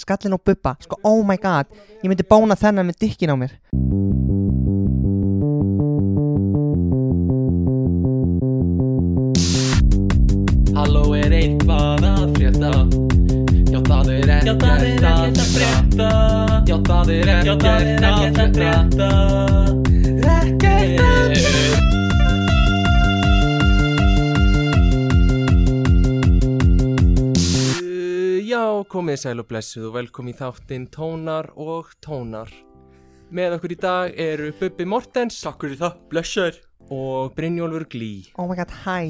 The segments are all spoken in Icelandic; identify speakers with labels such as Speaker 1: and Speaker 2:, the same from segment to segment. Speaker 1: skallin á bubba sko oh my god, ég myndi bóna þennan með dykkin á mér
Speaker 2: Halló er eitthvað að frétta Já það er ekkert að frétta Já það er ekkert að frétta Ekkert að frétta Uh, Já, komið sæl og blessuð og velkomin í þáttinn Tónar og Tónar Með okkur í dag eru Bubbi Mortens Takk fyrir það, blessaður Og Brynjólfur Glý
Speaker 1: oh my god, hæ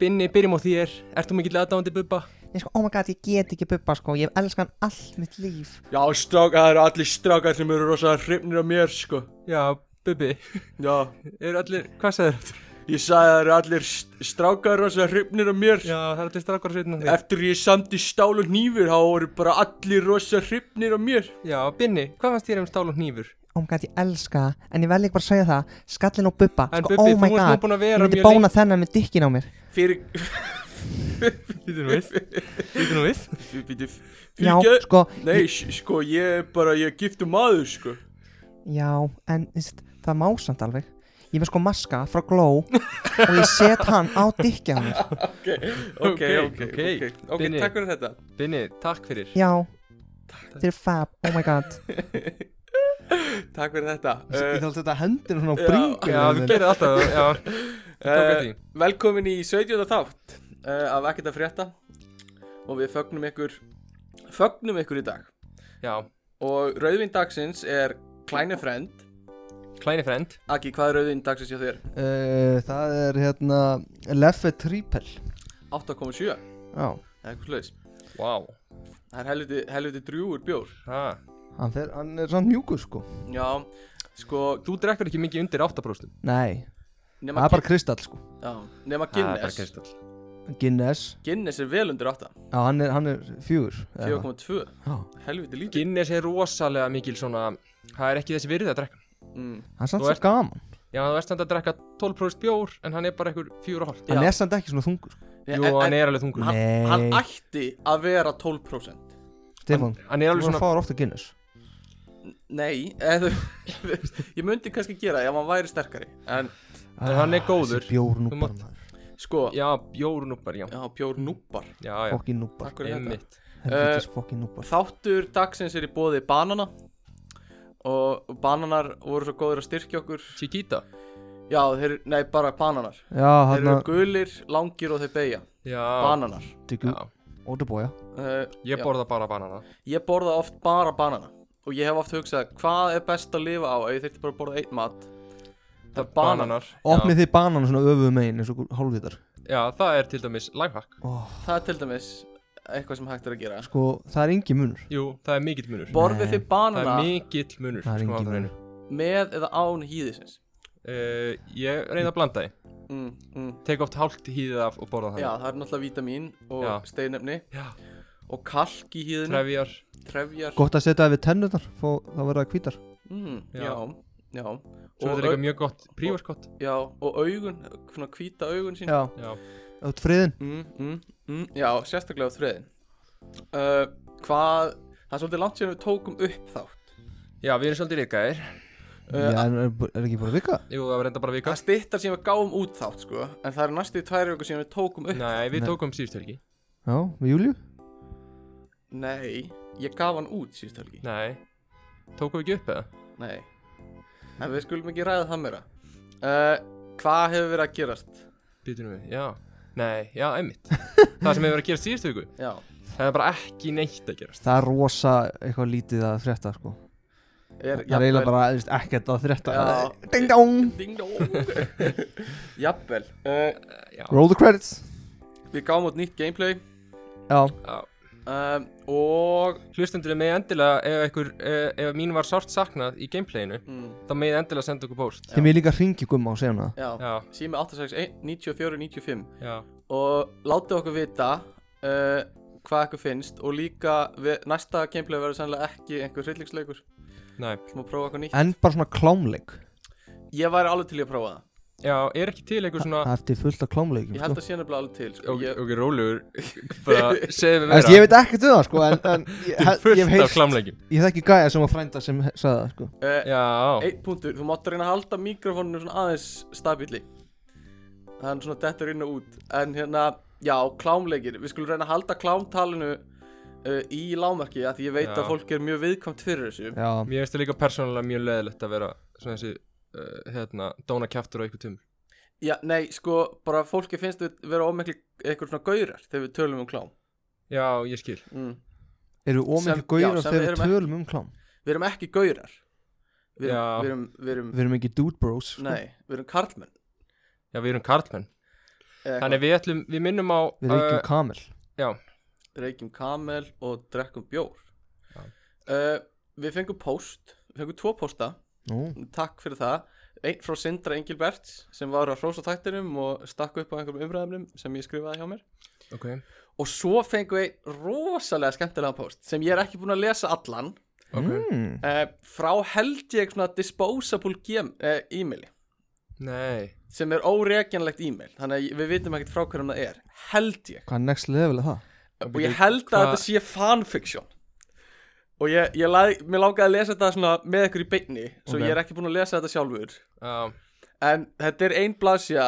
Speaker 2: Binni, byrjum á þér, ert þú mikill aðdáðandi Bubba?
Speaker 1: Nei, sko, oh my god, ég get ekki bubba sko ég elska hann allt mitt líf
Speaker 3: Já, strákar, það eru allir strákar sem eru rosalega hrifnir af mér, sko.
Speaker 2: Já, Bubi,
Speaker 3: Já,
Speaker 2: eru allir, hvað sagðir aftur?
Speaker 3: ég sagði að það eru allir st- strákar rosalega hrifnir af mér.
Speaker 2: Já, það er allir strákar sveitin á því.
Speaker 3: Eftir ég samdi stál og nýfur, þá voru bara allir rosalega hrifnir af mér.
Speaker 2: Já, Binni, hvað fannst þér um stál og hnífur?
Speaker 1: oh my god, ég elska það, en ég vel ekki bara að segja það skallin á bubba,
Speaker 2: En
Speaker 1: sko
Speaker 2: Bubbi,
Speaker 1: oh
Speaker 2: þú
Speaker 1: my
Speaker 2: ert nú
Speaker 1: god
Speaker 2: búin að
Speaker 1: ég
Speaker 2: vera
Speaker 1: myndi bóna þennan með dykkin á mér
Speaker 3: Fyrir,
Speaker 2: Býtu nú við, býtu nú við.
Speaker 3: fyrir, fyrir,
Speaker 1: já,
Speaker 3: fyrir, ekki,
Speaker 1: sko,
Speaker 3: nei, ég... sko, ég er bara, ég er giftur maður, sko.
Speaker 1: já, en þvist, það má samt alveg ég er með sko maska frá Glow og ég set hann á dykki á mér
Speaker 3: Ok,
Speaker 2: ok, ok,
Speaker 3: ok, ok,
Speaker 2: Binni.
Speaker 3: takk fyrir þetta.
Speaker 2: Binni, takk fyrir.
Speaker 1: já, þetta er fab, oh my god
Speaker 3: Takk fyrir þetta.
Speaker 1: Ég
Speaker 3: Uh,
Speaker 1: þátt þetta hendur svona á
Speaker 3: já,
Speaker 1: bringu
Speaker 2: Já, þú gerir alltaf, já, ég tók
Speaker 3: uh,
Speaker 2: eftir því.
Speaker 3: velkomin í 17. þátt uh, af Ekkert að frétta og við fögnum ykkur, fögnum ykkur í dag.
Speaker 2: Já,
Speaker 3: Og rauðvinn dagsins er Kleine Friend
Speaker 2: klæni frend.
Speaker 3: Aki, hvað er rauðvinn dagsins hjá þér?
Speaker 4: Uh, það er hérna Leffe Trípel
Speaker 3: 8,7 eða
Speaker 4: Já,
Speaker 3: eitthvað slags
Speaker 2: Vá,
Speaker 3: Það er helviti, helviti drjúur bjór
Speaker 2: ha.
Speaker 4: hann, fer, hann er samt mjúkur sko
Speaker 3: Já, sko
Speaker 2: Þú drekkur ekki mikið undir 8%.
Speaker 4: Nei, það
Speaker 3: Nema,
Speaker 4: er bara kristall sko
Speaker 3: gin, já,
Speaker 2: Það er
Speaker 3: nema
Speaker 2: bara
Speaker 3: Guinness
Speaker 2: kristall.
Speaker 4: Guinness,
Speaker 3: Guinness er vel undir 8
Speaker 4: já hann er, hann er fjúr
Speaker 3: 4,2
Speaker 4: Já.
Speaker 3: Helviti lítið
Speaker 2: Guinness er rosalega mikil svona, það er ekki þessi virði að drekka.
Speaker 3: mm.
Speaker 4: Hann er samt
Speaker 2: Þú
Speaker 4: svo
Speaker 2: ert-
Speaker 4: gaman
Speaker 2: Já, þú ert samt að drekka 12% bjór, en hann er bara einhver 4,5.
Speaker 4: Hann
Speaker 3: Já.
Speaker 4: er samt ekki svona þungur sko.
Speaker 2: Jú, hann er alveg þungur.
Speaker 3: hann,
Speaker 4: Nei.
Speaker 3: hann ætti að vera 12%
Speaker 4: Stefán,
Speaker 2: Hann er
Speaker 4: þú
Speaker 2: alveg
Speaker 4: svona...
Speaker 2: svona,
Speaker 4: fáir ofta Guinness
Speaker 3: Nei, eða, ég myndi kannski gera það ef hann væri sterkari En
Speaker 2: En hann er
Speaker 4: Ah,
Speaker 2: góður.
Speaker 4: Þessi bjór
Speaker 2: Þú
Speaker 4: núpar
Speaker 2: mátt-
Speaker 4: maður
Speaker 3: sko, já,
Speaker 2: já, bjór núpar, já.
Speaker 3: bjór núpar
Speaker 2: Já, Eh. já,
Speaker 4: Fokkin núpar
Speaker 3: Takk fyrir þetta
Speaker 2: einmitt.
Speaker 4: Helvitis fokkin núpar
Speaker 3: Þáttur dagsins er í bóði banana og bananar voru svo góðir að styrkja okkur
Speaker 2: Chiquita.
Speaker 3: Já, þeir, nei, bara bananar
Speaker 4: Já, hérna,
Speaker 3: Þeir
Speaker 4: hann
Speaker 3: eru
Speaker 4: er
Speaker 3: gulir, langir og þeir beigja
Speaker 2: Já.
Speaker 3: Bananar
Speaker 4: Tygu,
Speaker 2: Já.
Speaker 4: ótabója
Speaker 3: uh,
Speaker 2: Ég
Speaker 3: Já.
Speaker 2: borða bara banana
Speaker 3: Ég borða oft bara banana og ég hef oft hugsað hvað er best að lifa á ef ég þurfti bara að borða einn mat Það er bananar
Speaker 4: Opnið þið banan svona öfuðum megin eins og hálfvitar
Speaker 2: Já. Já, það er til dæmis lifehack
Speaker 4: oh,
Speaker 3: Það er til dæmis eitthvað sem hægt er að gera
Speaker 4: Sko, það er engin munur
Speaker 2: Jú, það er mikill munur
Speaker 3: Borðið
Speaker 4: Nei.
Speaker 3: þið
Speaker 2: Það
Speaker 3: banana
Speaker 2: er mikill munur
Speaker 4: Það er engin
Speaker 2: skulum hafa það á hreinu.
Speaker 3: með eða án hýðisins
Speaker 2: uh, Ég reyna að blanda því
Speaker 3: mm, mm.
Speaker 2: Tek oft hálft hýðið af og borða
Speaker 3: Já,
Speaker 2: það
Speaker 3: það er náttúrulega vítamín og
Speaker 2: Já.
Speaker 3: steinefni
Speaker 2: Já.
Speaker 3: og kalk í hýðinu,
Speaker 2: Trefjar
Speaker 3: trefjar
Speaker 4: Gott að setja það við tennurnar, fó- þá verða það hvítar
Speaker 3: Mm,
Speaker 2: Já.
Speaker 3: já, já, já.
Speaker 2: Svo er
Speaker 3: Og,
Speaker 2: þetta líka
Speaker 3: au-
Speaker 2: mjög gott Prívorkott
Speaker 3: já, og augun, svona hvíta augun sín
Speaker 4: Já,
Speaker 2: Já
Speaker 4: átt friðin
Speaker 3: mm, mm, mm, já sérstaklega á þriðin uh, Hvað, það er svolítið langt sér við tókum upp þátt
Speaker 2: Já, við erum svolítið rikaðir Eh,
Speaker 3: uh,
Speaker 4: Já, en er, er ekki bara vika?
Speaker 2: Jú, það var reynda bara vika
Speaker 3: Það stittar sem við gáum út þátt sko En það er næstu í tvær viku sem við tókum upp
Speaker 2: Nei, við
Speaker 4: Nei.
Speaker 2: tókum síðust helgi
Speaker 4: Já, með Júliu?
Speaker 3: Nei, ég gaf hann út síðust helgi
Speaker 2: Nei Tókum við ekki upp eða?
Speaker 3: Nei En við skulum ekki ræða það meira uh, Hvað hefur verið að gerast?
Speaker 2: Býtum við, já Nei, já, einmitt Það sem hefur verið að gera síðustu viku
Speaker 3: Já,
Speaker 2: Það er bara ekki neitt að gerast
Speaker 4: Það er rosa eitthvað lítið að frétta sko.
Speaker 3: er,
Speaker 4: Það er eiginlega bara þú veist, ekkert að frétta
Speaker 3: Já.
Speaker 4: Ding dong
Speaker 3: Ding dong Jafnvel uh,
Speaker 4: Eh.
Speaker 2: Já,
Speaker 4: Roll the credits
Speaker 3: Við gáum út nýtt gameplay
Speaker 4: Já,
Speaker 2: já
Speaker 3: um, Og
Speaker 2: Hlustendur er með endilega ef, ykkur, eh, ef mín var sárt saknað í gameplayinu
Speaker 3: mm,
Speaker 2: þá með endilega senda okkur post
Speaker 4: þeim ég líka hringi gumma og segja hana það.
Speaker 3: Já,
Speaker 2: Já,
Speaker 3: sími 861 94 95
Speaker 2: já,
Speaker 3: Og látið okkur vita uh, Hvað ykkur finnst Og líka við, Næsta gameplay verður sannlega ekki einhver hryllingsleikur
Speaker 2: næ
Speaker 3: Sem að prófa eitthvað nýtt
Speaker 4: En bara svona klámleik
Speaker 3: Ég væri alveg til í að prófa það
Speaker 2: Já, er ekki til einhver svona
Speaker 4: Það eftir fullt af klámleikjum
Speaker 3: Ég held
Speaker 4: sko.
Speaker 3: að sé nefnilega alveg til sko.
Speaker 2: Ok,
Speaker 3: ég,
Speaker 2: ok, rólegur Bara segðu
Speaker 4: Þú
Speaker 2: mig
Speaker 4: veist, Ég veit ekkert um það sko En, en ég,
Speaker 2: Þetta
Speaker 4: hef- ég hef
Speaker 2: er fullt af
Speaker 4: heilt
Speaker 2: klamleikin
Speaker 4: Ég þekki gæja sem var frænda sem he- sagði það sko
Speaker 3: uh,
Speaker 2: Já,
Speaker 3: Eitt punktur, þú mátt reyna að halda mikrofóninu svona aðeins stabíli Hann svona dettur inn og út En hérna, já, klámleikir Við skulum reyna að halda klámtalinu uh, í lámarki af Því ég veit
Speaker 2: Já.
Speaker 3: að fólk er mjög viðkvæmt fyrir þessu
Speaker 4: Já
Speaker 2: mér finnst það líka persónulega mjög leðilegt að vera svona þessi uh, hérna, dóna kjaftur á ykkur tum
Speaker 3: Já, nei, sko, bara fólki finnst við vera ómengli eitthvað svona gaurar þegar við tölum um klám
Speaker 2: Já, ég skil
Speaker 3: mm.
Speaker 4: Eru
Speaker 3: Sem-
Speaker 4: ómikið
Speaker 3: já,
Speaker 4: gaurar
Speaker 3: sem
Speaker 4: þegar
Speaker 3: erum
Speaker 4: við
Speaker 3: ekki-
Speaker 4: tölum um klám
Speaker 3: Við erum ekki gaurar Við erum,
Speaker 2: Já.
Speaker 3: við erum, við erum,
Speaker 4: Við erum ekki dude bros sko.
Speaker 3: nei, við erum karlmenn
Speaker 2: Já, við erum karlmenn
Speaker 3: Eða
Speaker 2: Þannig við ætlum, við minnum á uh,
Speaker 4: Við erum ekki
Speaker 3: Uh,
Speaker 4: um kamel
Speaker 3: eitthvað. reykjum kamel og drekkum bjór
Speaker 2: Já.
Speaker 3: uh, Við fengum post, við fengum tvo posta
Speaker 4: Nú
Speaker 3: Takk fyrir það Einn frá Sindra Engilberts sem var að hrósa tættinum og stakk upp á einhverjum umræðumnum sem ég skrifaði hjá mér
Speaker 2: uh, Ok,
Speaker 3: Og svo fengum við einn rosalega skemmtilega post sem ég er ekki búin að lesa allan
Speaker 2: ok
Speaker 4: mm.
Speaker 3: uh, frá held ég svona disposable gem, uh, e-maili
Speaker 2: Nei
Speaker 3: sem er óreikjanlegt e-mail þannig að ég- við vitum ekkert frá hverjum það er held ég
Speaker 4: Hvað er next level er það?
Speaker 3: og ég held að
Speaker 2: Hva-
Speaker 3: þetta sé fanfiction og ég, ég lað, mér langaði að lesa þetta svona með ykkur í beinni svo
Speaker 2: Ok.
Speaker 3: ég er ekki búin að lesa þetta sjálfur
Speaker 2: Já,
Speaker 3: en þetta er ein blasja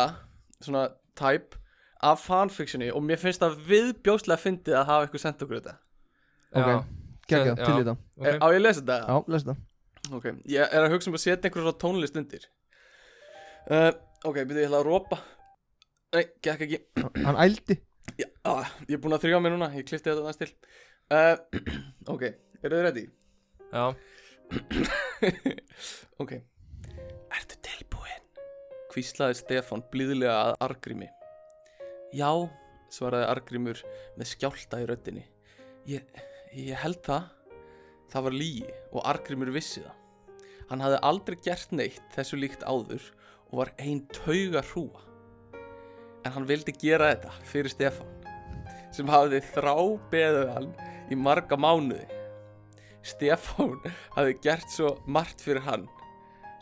Speaker 3: svona type af fanfictioni og mér finnst það viðbjóðslega fyndið að hafa eitthvað sendt okkur þetta
Speaker 2: já,
Speaker 4: Ok. Eh, ah. Gekja,
Speaker 2: Já.
Speaker 4: til í það
Speaker 2: ok
Speaker 3: Á ég að lesa þetta?
Speaker 4: Já, les það
Speaker 3: Ok, ég er að hugsa um að setja einhverjum svona tónlist undir uh, Ok, byrju, ég ætla að rópa Nei, gekk ekki
Speaker 4: Hann ældi
Speaker 3: Já, ah, Ég er búin að þrjá mér núna, ég klifti þetta aðeins til uh, Ok, eru þið ready?
Speaker 2: Já,
Speaker 3: Ok Ertu tilbúin? Hvíslaði Stefán blíðlega að Argrími Já, svaraði Argrímur með skjálta í röddinni Ég, ég held það Það var lígi og Argrímur vissi það. Hann hafði aldrei gert neitt þessu líkt áður og var ein tauga hrúa. En hann vildi gera þetta fyrir Stefán, sem hafði þrábeðið hann í marga mánuði. Stefán hafði gert svo margt fyrir hann,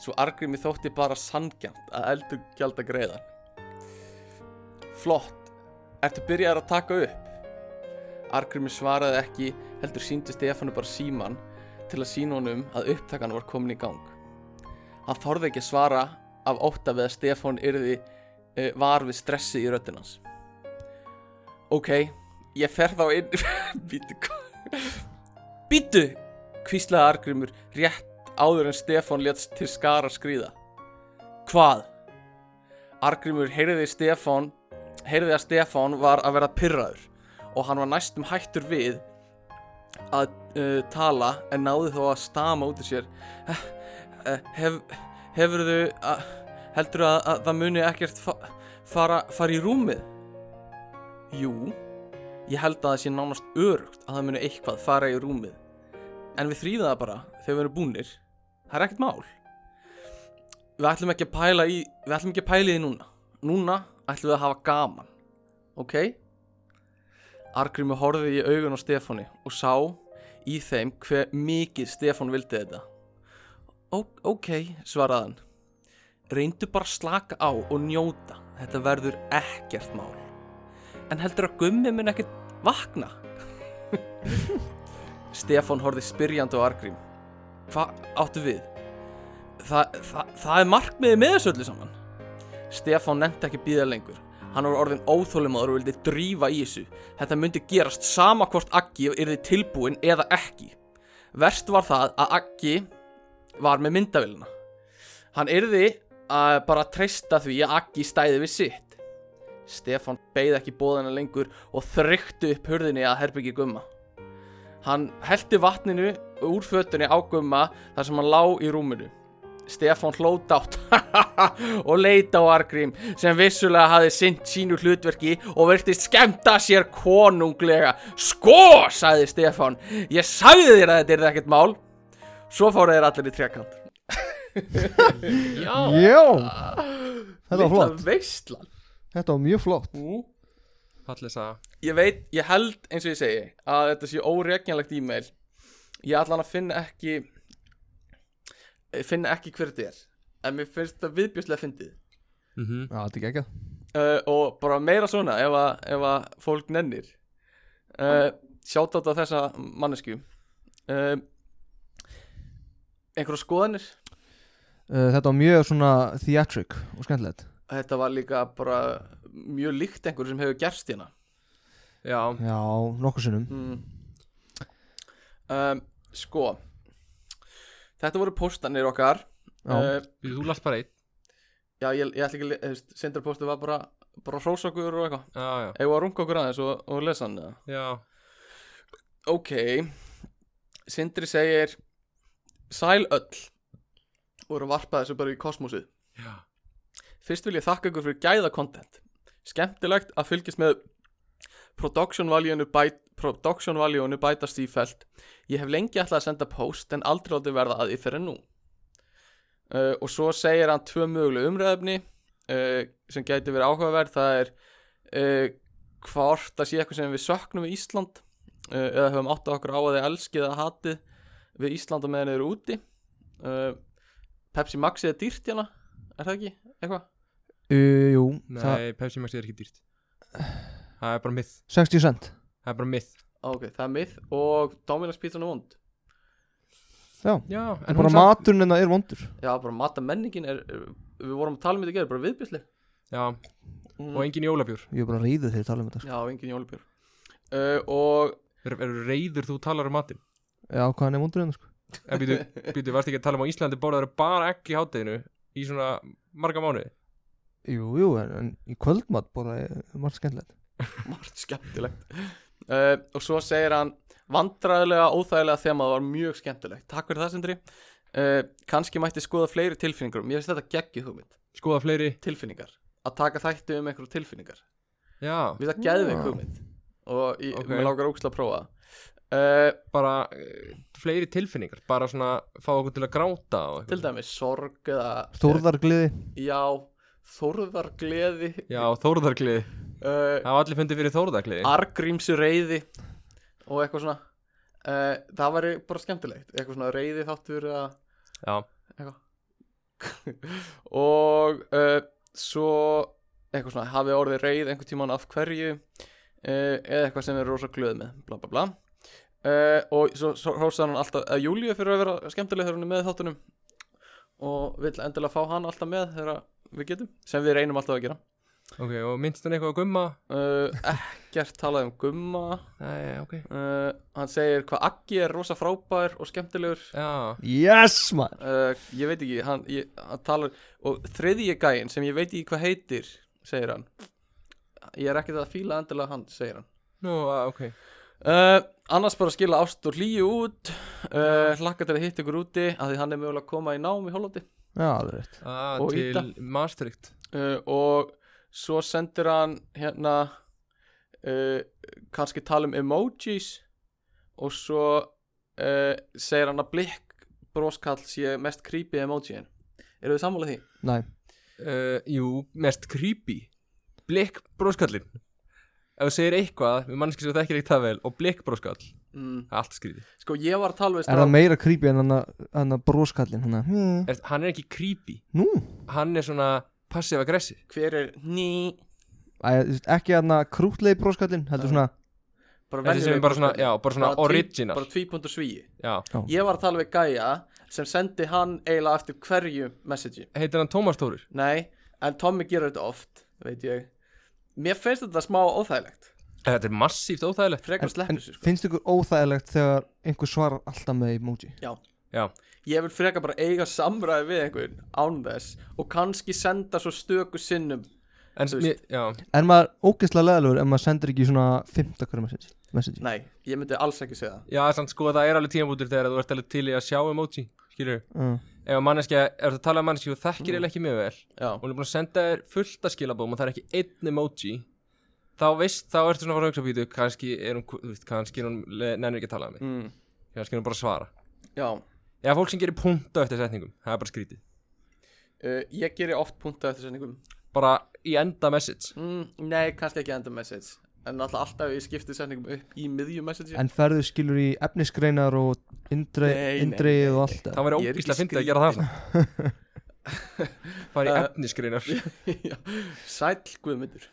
Speaker 3: svo Argrími þótti bara sangjant að eldur gjalda greiðan. Flott, ertu byrjaður að taka upp? Argrími svaraði ekki, heldur síndi Stefánu bara síman til að sína honum að upptakan var komin í gang. Hann þorði ekki að svara af ótta við að Stefán yrði uh, var við stressi í röddinn hans. Ok, ég fer þá inn... Býtu, hvað? Býtu! Hvíslaði Argrímur rétt áður en Stefán létt til skara skrýða. Hvað? Argrímur heyrði Stefán heyrði að Stefán var að vera pyrraður og hann var næstum hættur við að uh, tala en náði þó að stama út í sér "Eh, eh, hef, hefurðu að, heldur að, að það muni ekkert fa fara, fara í rúmið jú ég held að það sé nánast örugt að það muni eitthvað fara í rúmið en við þrýða það bara þegar við erum búnir það er ekkert mál við ætlum ekki að pæla í við ætlum ekki að pæla í því núna núna ætlum við að hafa gaman ok? Argrími horfið í augun á Stefáni og sá í þeim hver mikið Stefán vildi þetta. Ó, ok, svaraði hann. Reyndu bara að slaka á og njóta. Þetta verður ekkert mál. En heldur að gummi mun ekkert vakna? Stefán horfið spyrjandi á Argrím. Hvað áttu við? Þa, það, það er markmiðið með þessu öllu saman. Stefán nefndi ekki bíða lengur. Hann var orðin óþólimaður og vildi drífa í þessu. Þetta myndi gerast sama hvort Aggi yrði tilbúin eða ekki. Verst var það að Aggi var með myndavélina. Hann yrði að bara treysta því að Aggi stæði við sitt. Stefan beigð ekki bóðina lengur og þryktu upp hurðinni að herbyggi gumma. Hann hellti vatninu úr fötunni á gumma þar sem hann lá í rúminu. Stefán hlót átt og leita á Argrím sem vissulega hafði sinnt sínu hlutverki og virtist skemmta sér konunglega. Sko, sagði Stefán, ég sagði þér að þetta er ekkert mál. Svo fóru þeir allir í trekant. Já,
Speaker 4: Jó
Speaker 3: Ah.
Speaker 4: Þetta var flott
Speaker 3: veistlan.
Speaker 4: Þetta var mjög flott
Speaker 2: fallið saga
Speaker 3: Ég veit, ég held eins og ég segi að þetta sé óreikjanlegt e-mail. Ég ætla hann að finna ekki, eh, finna ekki hver þetta er. En mér finnst þetta viðbjörslega fyndið.
Speaker 2: mm -hmm.
Speaker 4: Já, þetta er ekki
Speaker 3: uh, og bara meira svona ef að, ef að fólk nennir uh, sjátt á þessa mannesku uh, einhverja skoðanir
Speaker 4: uh, Þetta var mjög svona theatric og skemmtilegt
Speaker 3: þetta var líka bara mjög líkt einhverju sem hefur gerst hérna
Speaker 2: Já,
Speaker 4: Já, nokkur sinnum
Speaker 3: mm. um, sko þetta voru póstanir okkar
Speaker 4: Já.
Speaker 3: uh,
Speaker 2: Býtu, þú last bara einn
Speaker 3: já ég, ég ætla ekki að sendarpóstu var bara bara hrós okkur og eitthvað
Speaker 2: Já, já,
Speaker 3: eða að runga okkur aðeins og, og lesa hann eða?
Speaker 2: já
Speaker 3: Ok Sindri segir Sæl öll og eru að varpa þessu bara í kosmosið
Speaker 2: Já.
Speaker 3: Fyrst vil ég þakka ykkur fyrir gæða content Skemmtilegt að fylgjast með production value-unu bæt, production value bætast í felt Ég hef lengi ætlað að senda post en aldrei látið verða að því fyrir nú uh, Og svo segir hann tvö möguleg umræðefni uh, sem gæti verið áhugaverð það er uh, hvort að sé eitthvað sem við söknum í Ísland uh, eða höfum áttað okkur á að þið elskið eða hatið við Íslanda meðan þið eru úti uh, Pepsi Maxi er dýrt hérna er það ekki eitthvað?
Speaker 4: uh, Jú,
Speaker 2: Nei,
Speaker 4: það,
Speaker 2: Pepsi Max er ekki dýrt Það er bara mið
Speaker 4: 60 cent
Speaker 2: Það er bara mið
Speaker 3: Á, Ok, það er mið og Dominos pizzan er vond
Speaker 4: Já,
Speaker 2: Já, en
Speaker 4: bara
Speaker 2: hún samt-
Speaker 4: maturinn en það er vondur
Speaker 3: Já, bara matta menningin er, er- við vorum að tala um þetta í gerð, bara viðbjörsli
Speaker 2: Já, og engin jólabjór
Speaker 4: Ég er bara ríðið þegar ég tala um þetta sko.
Speaker 3: Já, engin jólubjör uh, og
Speaker 2: Eru er reiður þú talar um matinn
Speaker 4: Já, hvað hann er vondur en það sko
Speaker 2: En býtu, býtu, varst ekki að tala um á Íslandi borðaður bara ekki í hátteginu í svona marga mánuði
Speaker 4: Jú, jú, en, en í kvöldmat bara er margt skemmtilegt
Speaker 3: margt skemmtilegt uh, og svo segir hann vandræðilega óþægilega þegar maður var mjög skemmtilegt takk fyrir það Sindri uh, kannski mætti skoða fleiri tilfinningur mér finnst þetta geggjuð hugmynd
Speaker 2: Skoða fleiri
Speaker 3: tilfinningar að taka þætti um einhverju tilfinningar
Speaker 2: Já,
Speaker 3: við það geðum við hugmynd og ég,
Speaker 2: Ok.
Speaker 3: okay. mér lágar ógst að prófa það. uh,
Speaker 2: bara uh, fleiri tilfinningar Bara svona fá okkur til að gráta og eitthvað.
Speaker 3: til dæmis sorg eða
Speaker 4: Þórðargliði
Speaker 3: já, þorðar gleði
Speaker 2: Já, þórðargliði
Speaker 3: uh,
Speaker 2: Það var allir fundið fyrir þórðargliði
Speaker 3: Ah. argrímsu reyði og eitthvað svona uh, það væri bara skemmtilegt eitthvað svona reyði þáttur eða
Speaker 2: Já,
Speaker 3: og uh, svo eitthvað svona hafið orðið reyð einhvern tíman af hverju uh, eða eitthvað sem er rosa glöð með bla bla bla uh, og svo, svo hrósaði hann alltaf að Júlíu fyrir að vera skemmtileg þegar hún er með í þáttunum og vill endilega fá hann alltaf með þegar við getum sem við reynum alltaf að gera
Speaker 2: ok, og minnst hann eitthvað að gumma?
Speaker 3: uh, ekkert talaði um gumma
Speaker 2: Nei, ok
Speaker 3: uh, hann segir hvað Aggi er rosa frábær og skemmtilegur
Speaker 2: Já,
Speaker 4: Yes, maður
Speaker 3: uh, ég veit ekki hann, ég, hann talar og þriðji gæinn sem ég veit ekki hvað heitir segir hann ég er ekkert að fíla endilega hann segir hann
Speaker 2: nú, ah, ok
Speaker 3: uh, annars bara skila ást og hlýju út uh, hlakka til að hitta ykkur úti að því hann er mögulega að koma í nám í Hollandi
Speaker 4: Já, það er rétt
Speaker 2: ah,
Speaker 3: Og
Speaker 2: Til
Speaker 3: Ida.
Speaker 2: Maastricht
Speaker 3: uh, og svo sendir hann hérna uh, kannski tala um emojis og svo uh, segir hann að blikk broskall sé mest creepy emojiin eru þið sammála því?
Speaker 4: Nei,
Speaker 2: uh, Jú, mest creepy Blikk bróskallin Ef þú segir eitthvað, við mannski sem það ekki reykt það vel Og blikk bróskall,
Speaker 3: Mm.
Speaker 2: það er allt skrýði
Speaker 3: Sko ég var að tala
Speaker 4: er
Speaker 3: við
Speaker 4: það
Speaker 3: strák
Speaker 4: meira creepy en hann að- hann að broskallin hann að hmm.
Speaker 2: er, Hann er ekki creepy,
Speaker 4: Nú,
Speaker 2: hann er svona passive aggressive
Speaker 3: Hver er ný
Speaker 4: Æ, þú veist, ekki hann að krútlegi broskallin heldur svona
Speaker 3: Bara
Speaker 2: Þessi sem er bara svona, já, bara svona
Speaker 3: tví-
Speaker 2: original
Speaker 3: Bara tvípundur svíi
Speaker 2: Já,
Speaker 3: Ég var að tala við Gaia Sem sendi hann eiginlega eftir hverju messagei
Speaker 2: heitir hann Tómas Tórir
Speaker 3: Nei, en Tommy gerur þetta oft Veit ég Mér finnst þetta smá óþægilegt
Speaker 2: Þetta er massíft óþægilegt
Speaker 3: Frekar
Speaker 4: En
Speaker 3: sleppur sér sko
Speaker 4: finnst ykkur óþægilegt þegar einhver svarar alltaf með emoji
Speaker 2: Já,
Speaker 3: Ég vil frekar bara eiga samræði við einhvern Án þess Og kannski senda svo stöku sinnum
Speaker 2: en
Speaker 3: Þú
Speaker 2: mér, já,
Speaker 4: Er maður ógeðslega leðalur ef maður sendir ekki svona 15 hverju message, message.
Speaker 3: Nei, ég myndi alls ekki segja það
Speaker 2: já, samt sko það er alveg tímabútur þegar þú ert alveg til í að sjá emoji Skilur,
Speaker 4: Uh,
Speaker 2: ef manneskja, ef þú talaði manneskja og um þú þekkir eiginlega ekki mjög vel
Speaker 3: Mm. Já,
Speaker 2: hún er búin að senda þér fullt að skilabóðum og það er ekki einn emoji þá veist, þá ertu svona að fara að hugsa býtu kannski er hún, þú veist, kannski er hún le- nennir ekki að tala um mig,
Speaker 3: mm,
Speaker 2: kannski er hún bara að svara
Speaker 3: já.
Speaker 2: eða fólk sem gerir punta eftir setningum, það er bara skrítið
Speaker 3: Uh, Ég gerir oft punta eftir sendingum
Speaker 2: bara í enda message
Speaker 3: Mm, nei, kannski ekki enda message En alltaf alltaf ég skipti setningum upp í miðjum message
Speaker 4: En ferðu skilur í efnisgreinar og
Speaker 3: Nei, nei,
Speaker 4: indreið og allt það?
Speaker 2: það væri
Speaker 3: Ég er ekki
Speaker 2: ógíslega fyndið að gera það fara í
Speaker 3: Eh.
Speaker 2: efnisgreinar
Speaker 3: Já, Sæll Guðmundur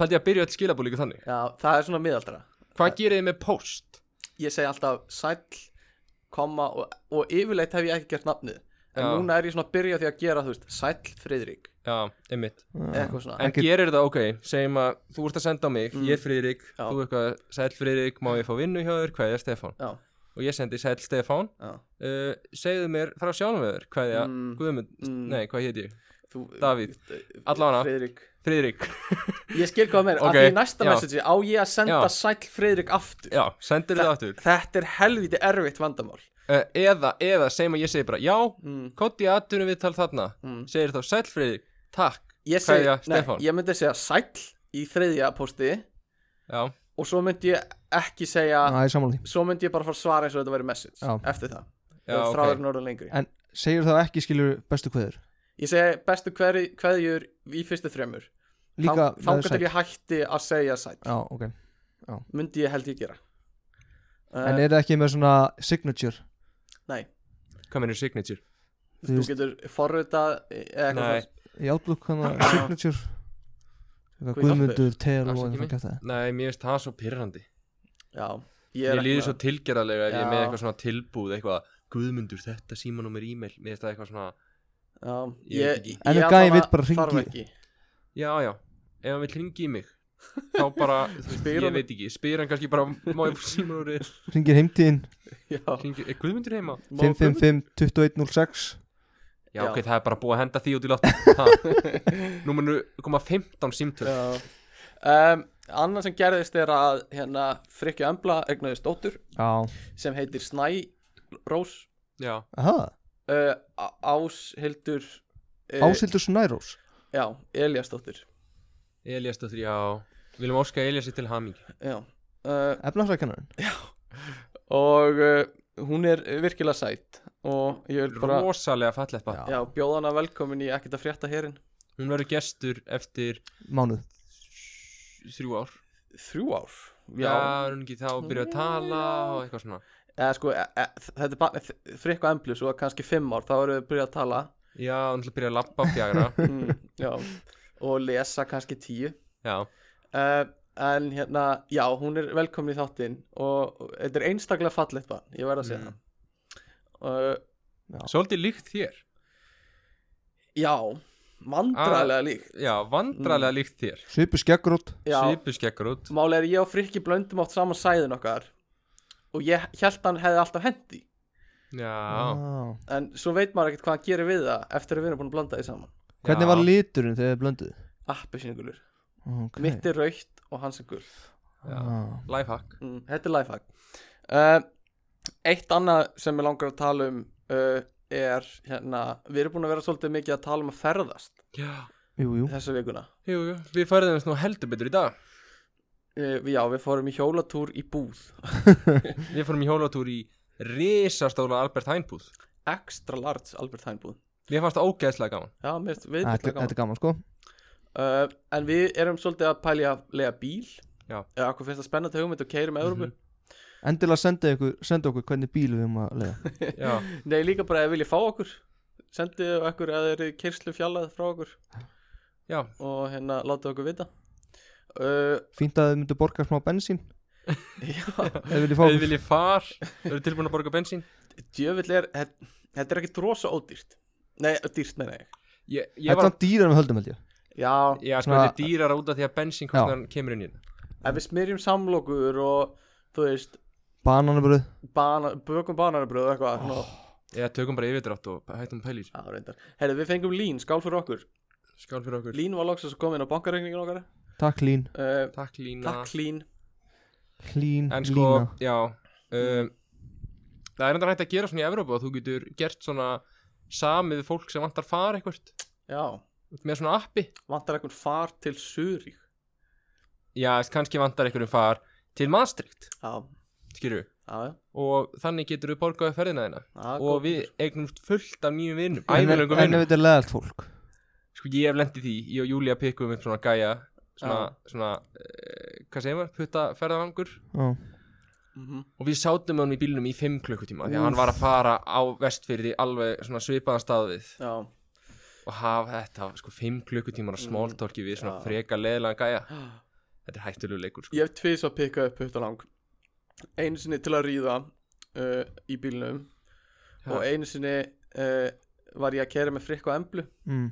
Speaker 2: Paldi að byrja öll skilabúð líka þannig
Speaker 3: Já, það er svona miðaldra
Speaker 2: Hvað gerir þið með post?
Speaker 3: Ég segi alltaf sæll, komma og, og yfirleitt hef ég ekki gert nafnið En
Speaker 2: Já.
Speaker 3: núna er ég svona að byrja því að gera, þú veist, sæll Friðrik
Speaker 2: Já, einmitt
Speaker 3: Eða eitthvað svona
Speaker 2: En
Speaker 1: Ekki-
Speaker 2: gerir það ok, segjum að þú ert að senda á mig, ég er Friðrik,
Speaker 3: Mm. Já.
Speaker 2: þú eitthvað Sæll Friðrik, má ég fá vinnu hjá þér, hvað er Stefán?
Speaker 3: Já,
Speaker 2: Og ég sendi Sæll Stefán,
Speaker 3: já
Speaker 2: uh, segðu mér frá sjálfum við þér, hvað er
Speaker 3: Mm,
Speaker 2: Guðmund,
Speaker 3: mm.
Speaker 2: nei, hvað hétt ég?
Speaker 3: þú,
Speaker 2: Davíð, allavega.
Speaker 3: Friðrik
Speaker 2: Friðrik,
Speaker 3: Ég skil hvað meir,
Speaker 2: Ok,
Speaker 3: okay. af því í næsta
Speaker 2: já.
Speaker 3: message á ég að senda
Speaker 2: Já.
Speaker 3: sæll Friðrik aftur
Speaker 2: já, sendir
Speaker 3: Þa-
Speaker 2: það aftur
Speaker 3: Þetta er helviti erfitt vandamál
Speaker 2: uh, Eða, eða, segjum að ég segi bara, já,
Speaker 3: mm.
Speaker 2: kotti aðtunum við tal þarna,
Speaker 3: Mm.
Speaker 2: segir þá Sæll Friðrik, takk,
Speaker 3: Ég segi,
Speaker 2: Kveðja,
Speaker 3: nei,
Speaker 2: Stefán.
Speaker 3: ég myndi segja sæll í þriðja posti
Speaker 2: já,
Speaker 3: Og svo myndi ég ekki segja
Speaker 4: Það er samanlega
Speaker 3: svo myndi ég bara fara að svara eins og þetta væri message
Speaker 4: Já.
Speaker 3: eftir það,
Speaker 2: já,
Speaker 3: þegar
Speaker 2: ok,
Speaker 3: þráðurinn orðin lengri
Speaker 4: En- Segir þá ekki skilur bestu kveður
Speaker 3: ég segi bestu hverju, hverjur í fyrstu þremur
Speaker 4: Líka
Speaker 3: Þang- þangað
Speaker 4: verður
Speaker 3: til ég hætti að segja sætt
Speaker 4: Já, ok
Speaker 3: myndi ég held ég gera
Speaker 4: En
Speaker 3: uh,
Speaker 4: er það ekki með svona signature
Speaker 3: nei,
Speaker 2: hvað mennur signature?
Speaker 4: þú
Speaker 3: þú
Speaker 4: veist-
Speaker 3: getur forrita eða eitthvað
Speaker 2: Nei.
Speaker 3: þess.
Speaker 4: í Outlook hana signature Eitthvað
Speaker 3: Guð
Speaker 4: Guðmundur, tel og
Speaker 2: Afsakið
Speaker 4: eitthvað
Speaker 2: mig.
Speaker 4: kæft það
Speaker 2: Nei, mér finnst það svo pyrrandi
Speaker 3: já, ég
Speaker 2: Mér
Speaker 3: er
Speaker 2: líður svo tilgerðarlega ef ég er með
Speaker 3: Já.
Speaker 2: eitthvað svona tilbúð eitthvað Guðmundur þetta símanúmer e-mail Mér finnst það eitthvað svona
Speaker 3: já,
Speaker 2: Ég
Speaker 3: ég,
Speaker 2: veit ekki.
Speaker 3: ég,
Speaker 4: En ef
Speaker 3: ég
Speaker 4: gæi
Speaker 3: allavega
Speaker 4: vill bara
Speaker 3: þarf
Speaker 4: hringi-
Speaker 3: ekki.
Speaker 2: Já, já, ef hann vil ringi í mig Þá bara, þú veist,
Speaker 3: Spyr
Speaker 2: ég
Speaker 3: hann-
Speaker 2: veit ekki Spyr hann kannski bara, má ég fór símanúmerið
Speaker 4: Ringir heimtíðin
Speaker 3: já,
Speaker 2: Hringi- Er Guðmundur heima?
Speaker 3: Má-
Speaker 4: 555 2106
Speaker 2: Já,
Speaker 3: Já.
Speaker 2: ok, það er bara búið að henda því út í látt Nú munu koma 15 símtöl
Speaker 3: já um, annað sem gerðist er að hérna, Frikki Embla egnaðist dóttur
Speaker 4: Já
Speaker 3: sem heitir Snærós
Speaker 2: Já,
Speaker 4: Aha,
Speaker 3: uh, Á- Áshildur uh,
Speaker 4: Ásildur Snærós
Speaker 3: Já, Eliasdóttir
Speaker 2: Elias dóttir, já Viljum óska Eliasi til hamingi
Speaker 3: Já uh,
Speaker 4: Efnafrækkanarinn
Speaker 3: Og uh, hún er virkilega sætt Og ég vil bara
Speaker 2: Rosalega fallegt bara
Speaker 3: Já, bjóða hana velkomin í ekkert að frétta hérinn
Speaker 2: Hún verður gestur eftir
Speaker 4: Mánuð
Speaker 2: þrjú ár
Speaker 3: Þrjú ár
Speaker 2: Já, er hún ekki þá að byrja að tala og eitthvað svona
Speaker 3: Eða sko, e, e, þetta er bara Frikku Emblu, svo kannski fimm ár Þá erum við byrjað að tala
Speaker 2: Já, hún ætla að byrja að labba fjagra
Speaker 3: mm, Já Og lesa kannski tíu
Speaker 2: Já,
Speaker 3: uh, En hérna, já, hún er velkomin í þáttinn Og og þetta er einstaklega fallegt bara Ég verð að segja
Speaker 2: Mm.
Speaker 3: það uh,
Speaker 2: svolítið líkt þér
Speaker 3: Já, vandræðlega líkt
Speaker 2: Já, vandralega líkt þér
Speaker 4: Svipu skeggrót
Speaker 3: Já.
Speaker 2: Svipu skekkur út
Speaker 3: Máli er ég og Frikki blöndum átt saman sæðin okkar og ég held hann hefði alltaf hendi Ah.
Speaker 2: Já,
Speaker 3: en svo veit maður ekkert hvað hann gerir við það eftir að við erum búin að blanda því saman
Speaker 4: Hvernig
Speaker 2: Já.
Speaker 4: var liturinn þegar þið blönduð?
Speaker 3: Appi sínugulur,
Speaker 4: Okay.
Speaker 3: mitt er raukt og hans er gul
Speaker 2: Já.
Speaker 4: ah.
Speaker 2: lifehack
Speaker 3: mm, Þetta er lifehack uh, Eitt annað sem ég langar að tala um uh, er hérna, við erum búin að vera svolítið mikið að tala um að ferðast
Speaker 2: Já,
Speaker 4: Jú, jú
Speaker 3: þessa vikuna
Speaker 2: jú, jú, við færðum þess nú heldur betur í dag
Speaker 3: uh, við- Já, við fórum í hjólatúr í búð
Speaker 2: Við fórum í hjólatúr í risastóla Albert Heinbúð
Speaker 3: Extra large Albert Heijn búð
Speaker 2: Mér fannst það ógeðslega gaman
Speaker 3: Já, mér finnst
Speaker 4: Þetta
Speaker 3: viðbjóðslega gaman.
Speaker 4: þetta er gaman sko
Speaker 3: uh, En við erum svolítið að pæli að lega bíl
Speaker 2: Já.
Speaker 3: Eða okkur finnst það spennandi hugmynd og keirum Evrópu
Speaker 4: Endilega senda ykkur, senda okkur hvernig bíl við um að leiða
Speaker 2: Já,
Speaker 3: Nei, líka bara ef vilja fá okkur Sendið okkur að þeir eru kyrslu fjallað frá okkur
Speaker 2: já,
Speaker 3: Og hérna láta okkur vita uh,
Speaker 4: Fínt að þið myndu borga smá bensín
Speaker 3: Já,
Speaker 4: Ef við
Speaker 2: við
Speaker 4: fáum
Speaker 2: viljum far Við erum tilbúin að borga bensín
Speaker 3: djöfull er þetta- Þetta er ekki drosa ódýrt Nei, dýrt meina ég
Speaker 2: Ég, ég
Speaker 4: Þetta
Speaker 2: var,
Speaker 4: er dýrar en við höldum held ég
Speaker 3: Já,
Speaker 2: já, sko,
Speaker 4: svona-
Speaker 2: þetta er dýrar út af því að bensín kostnar kemur inn í hérna. þetta
Speaker 3: ef við smyrjum samlokur og þú veist,
Speaker 4: Bananabröð
Speaker 3: bana, bökum bananabröð og eitthvað svona.
Speaker 2: Eða tökum bara yfirdrátt og hættum pælir
Speaker 3: Já, reyndar Herri, við fengum lín, skál fyrir okkur
Speaker 2: Skál fyrir okkur
Speaker 3: Lín var loksins að koma inn á bankareikningin okkar
Speaker 4: Takk lín
Speaker 3: uh,
Speaker 2: Takk Lína
Speaker 3: Takk lín
Speaker 4: Lín,
Speaker 2: En sko,
Speaker 4: lína
Speaker 2: já um, Það er enda hægt að gera svona í Evrópu og þú getur gert svona samið við fólk sem vantar far eitthvert
Speaker 3: Já,
Speaker 2: með svona appi
Speaker 3: vantar einhvern far til Surík
Speaker 2: Já, veist, kannski vantar einhverjum far til Maastricht,
Speaker 3: Já,
Speaker 2: skilju
Speaker 3: já, já,
Speaker 2: og þannig getur við borgaði ferðina þína
Speaker 3: já
Speaker 2: og
Speaker 3: góð
Speaker 2: við eignumst fullt af nýjum vinum
Speaker 4: En
Speaker 2: æfilöngum
Speaker 4: en ef
Speaker 2: vinum,
Speaker 4: þetta er leðalt fólk
Speaker 2: sko ég hef lendið því ég og Júlia pikkum upp svona gæja svona, svona uh, hvað segir maður, putta ferðavangur
Speaker 4: Já.
Speaker 3: Mhm.
Speaker 2: og við sátum með honum í bílnum í 5 klukkutíma því að hann var að fara á vestfyrði alveg svona svipaðan stað við
Speaker 3: Já,
Speaker 2: og hafa þetta sko 5 klukkutímar að smóltorki við svona freka leðilega gæja þetta er hættulegu leikur sko
Speaker 3: Mm. Ég hef tvís að pikka upp puttalang Einu sinni til að ríða uh, í bílnum
Speaker 2: Ha.
Speaker 3: Og einu sinni uh, var ég að kæra með frikku að emblu
Speaker 1: mm.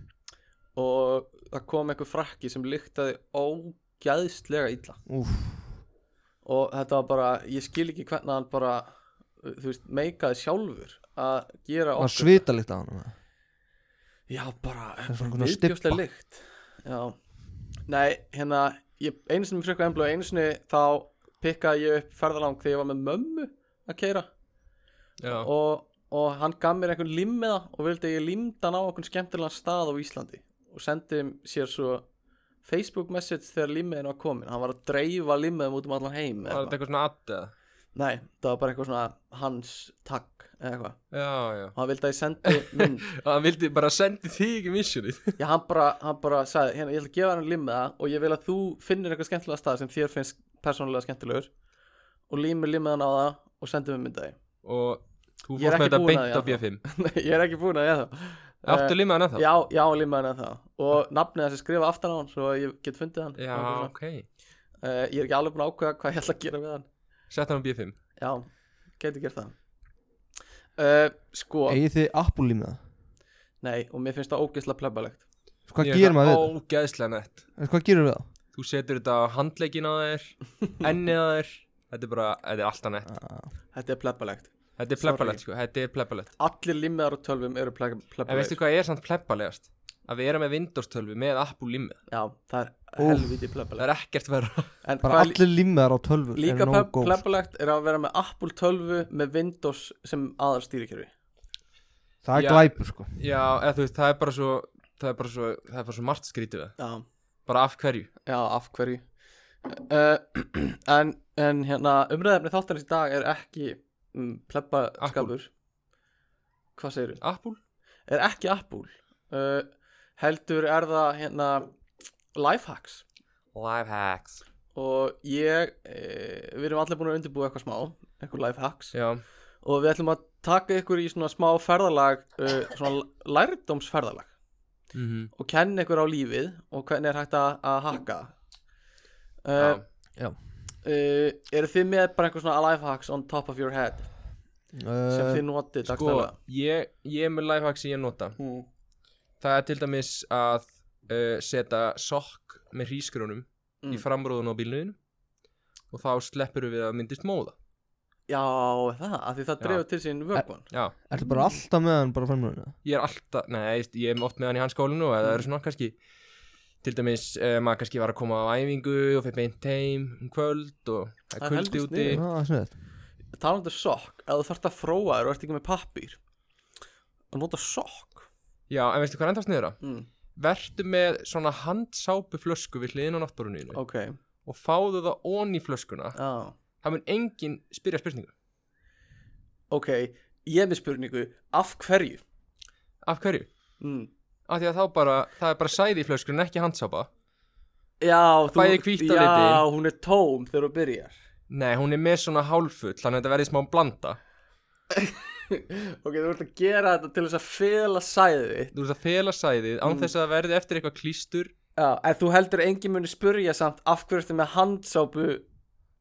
Speaker 3: Og það kom einhver frakki sem lyktaði ógæðslega illa
Speaker 1: Úf,
Speaker 3: Og þetta var bara, ég skil ekki hvernig hann bara uh, Þú veist, meikaði sjálfur Að gera
Speaker 4: var svitalikt á hann
Speaker 3: Já, bara,
Speaker 1: er svona
Speaker 3: bara
Speaker 1: konar stybba.
Speaker 3: viðbjóðslega lykt Já Nei, hérna, ég, einu sinni með frikku emblu og einu sinni þá pikkaði ég upp ferðalang þegar ég var með mömmu að keira
Speaker 2: Já,
Speaker 3: og, og hann gaf mér einhvern limmiða og vildi að ég limda hann á einhvern skemmtilegan stað á Íslandi og sendi sér svo Facebook message þegar limmiðin var komin hann var að dreifa limmiðum út um allan heim
Speaker 2: var
Speaker 3: eða
Speaker 2: þetta eitthvað
Speaker 3: eitthvað.
Speaker 2: svona add eða?
Speaker 3: Nei, það var bara eitthvað svona hans takk eða eitthvað
Speaker 2: Já, já
Speaker 3: og hann vildi að ég sendi mynd
Speaker 2: Það vildi bara sendi þig ekki missunni
Speaker 3: Já, hann bara, hann bara sagði, hérna, ég ætla að gefa hann limmiða og ég vil að þú finnir eitthvað skemmtilega stað sem þér finnst persónulega skemmtilegur og límir limmiðan á það og sendir mér myndaði
Speaker 2: Og þú
Speaker 3: Ég
Speaker 2: fórst með
Speaker 3: er ekki
Speaker 2: þetta
Speaker 3: búin að
Speaker 2: beint á
Speaker 3: því
Speaker 2: B5
Speaker 3: Nei, ég er ekki búin að ég það Eh,
Speaker 2: Áttu limaðan að það?
Speaker 3: Já, já, límaðan eða það Og nafnið hans er skrifað aftan á hann Svo ég get fundið hann
Speaker 2: Já,
Speaker 3: Og eitthvað svona.
Speaker 2: ok
Speaker 3: Eh, Ég er ekki alveg búin að ákveða hvað ég ætla að gera við hann
Speaker 2: Sett hann á B5
Speaker 3: Já, geti gert það uh, Sko,
Speaker 4: Egið þið appulím það? Sko,
Speaker 3: nei, og mér finnst það ógeðslega plebbalegt
Speaker 4: Hvað
Speaker 2: Ég er
Speaker 4: gerir maður við
Speaker 2: það
Speaker 4: það?
Speaker 2: Ógæðslega nett
Speaker 4: Hvað gerir við það?
Speaker 2: Þú setur þetta á handleikin á þér Ennið á þér Þetta er bara, þetta er alltaf nett
Speaker 3: Þetta er plebbalegt
Speaker 2: Þetta er plebbalegt sko, þetta er plebbalegt
Speaker 3: Allir límiðar og tölvum eru pleb-
Speaker 2: En Eh, veistu
Speaker 3: plebbalegir
Speaker 2: hvað er samt plebbalegast? Að við erum með Windows 12 með Apple limið
Speaker 3: Já, það er helviti
Speaker 2: Það
Speaker 3: plebbalegt
Speaker 2: er ekkert verra
Speaker 3: En
Speaker 4: Bara
Speaker 3: hvað er lí-
Speaker 4: allir límmiðar á tölvu
Speaker 3: líka
Speaker 4: er
Speaker 3: pleb-
Speaker 4: nóg góð
Speaker 3: plebbalegt er að vera með Apple 12 með Windows sem aðar stýrikerfi
Speaker 4: Það
Speaker 2: Já.
Speaker 4: er glæpur sko
Speaker 2: Já, eða þú veist, það er bara svo Það er bara svo, það er bara svo margt skrítið við það.
Speaker 3: Já,
Speaker 2: Bara af hverju
Speaker 3: já, af hverju uh, en, en hérna umræðefni þáttanins í dag er ekki um, plebbaskapur Hvað segirðu?
Speaker 2: Apple?
Speaker 3: er ekki Apple uh, heldur er það hérna lifehacks
Speaker 2: Lifehacks
Speaker 3: og ég, e, við erum allir búin að undirbúa eitthvað smá, eitthvað lifehacks
Speaker 2: Já,
Speaker 3: og við ætlum að taka ykkur í svona smá ferðalag, uh, svona lærdómsferðalag
Speaker 2: mm
Speaker 3: og kenna ykkur á lífið og hvernig er hægt að, að hakka
Speaker 2: já. Eh,
Speaker 3: uh, uh, eru þið með bara einhver svona lifehacks on top of your head sem
Speaker 4: uh,
Speaker 3: þið notið
Speaker 2: Sko,
Speaker 3: dagstæðlega
Speaker 2: ég, ég er með lifehacks sem ég nota
Speaker 3: mm.
Speaker 2: Það er til dæmis að uh, setja sokk með hrísgrónum í
Speaker 3: Mm.
Speaker 2: framrúðun á bílnuðinu og þá sleppur við að myndist móða
Speaker 3: já, það, af því það
Speaker 2: Já.
Speaker 3: drefur til sín vökun
Speaker 2: Já,
Speaker 4: Ertu bara alltaf með hann bara framröðinu?
Speaker 2: ég er alltaf, nei, ég- ég er oft með hann í hans skólinu eða það eru svona kannski til dæmis, eh, maður kannski var að koma á æfingu og fyrir beint heim um kvöld og það
Speaker 3: Það
Speaker 2: er
Speaker 3: er
Speaker 2: kvöldi
Speaker 3: helvítið
Speaker 2: úti
Speaker 4: Já, það er sniðið
Speaker 3: talandi um sokk, ef þú þarft að fróa þér og ert ekki með pappír að nota sokk
Speaker 2: Já, en veistu hvað er enda sniður á?
Speaker 3: mm.
Speaker 2: Vertu með svona handsápu flösku við hliðin á náttboruninu
Speaker 3: ok,
Speaker 2: og fáðu það ón í flöskuna
Speaker 3: já
Speaker 2: það mun enginn spyrja spurningu
Speaker 3: ok, ég er með spurningu af hverju
Speaker 2: Af hverju?
Speaker 3: mm.
Speaker 2: Af því að þá bara, það er bara sæði í flöskunum, ekki handsápa
Speaker 3: já, þú,
Speaker 2: Bæði hvítt á
Speaker 3: já,
Speaker 2: litinn.
Speaker 3: hún er tóm þegar þú byrjar
Speaker 2: Nei, hún er með svona hálfull, þannig að þetta verði smá blanda
Speaker 3: ok, þú ert að gera þetta til þess að fela sæðið þitt.
Speaker 2: Þú ert að fela sæðið
Speaker 3: Mm.
Speaker 2: án þess að það verði eftir eitthvað klístur
Speaker 3: já, en þú heldur að enginn muni spurja samt af hverju ertu með handsápu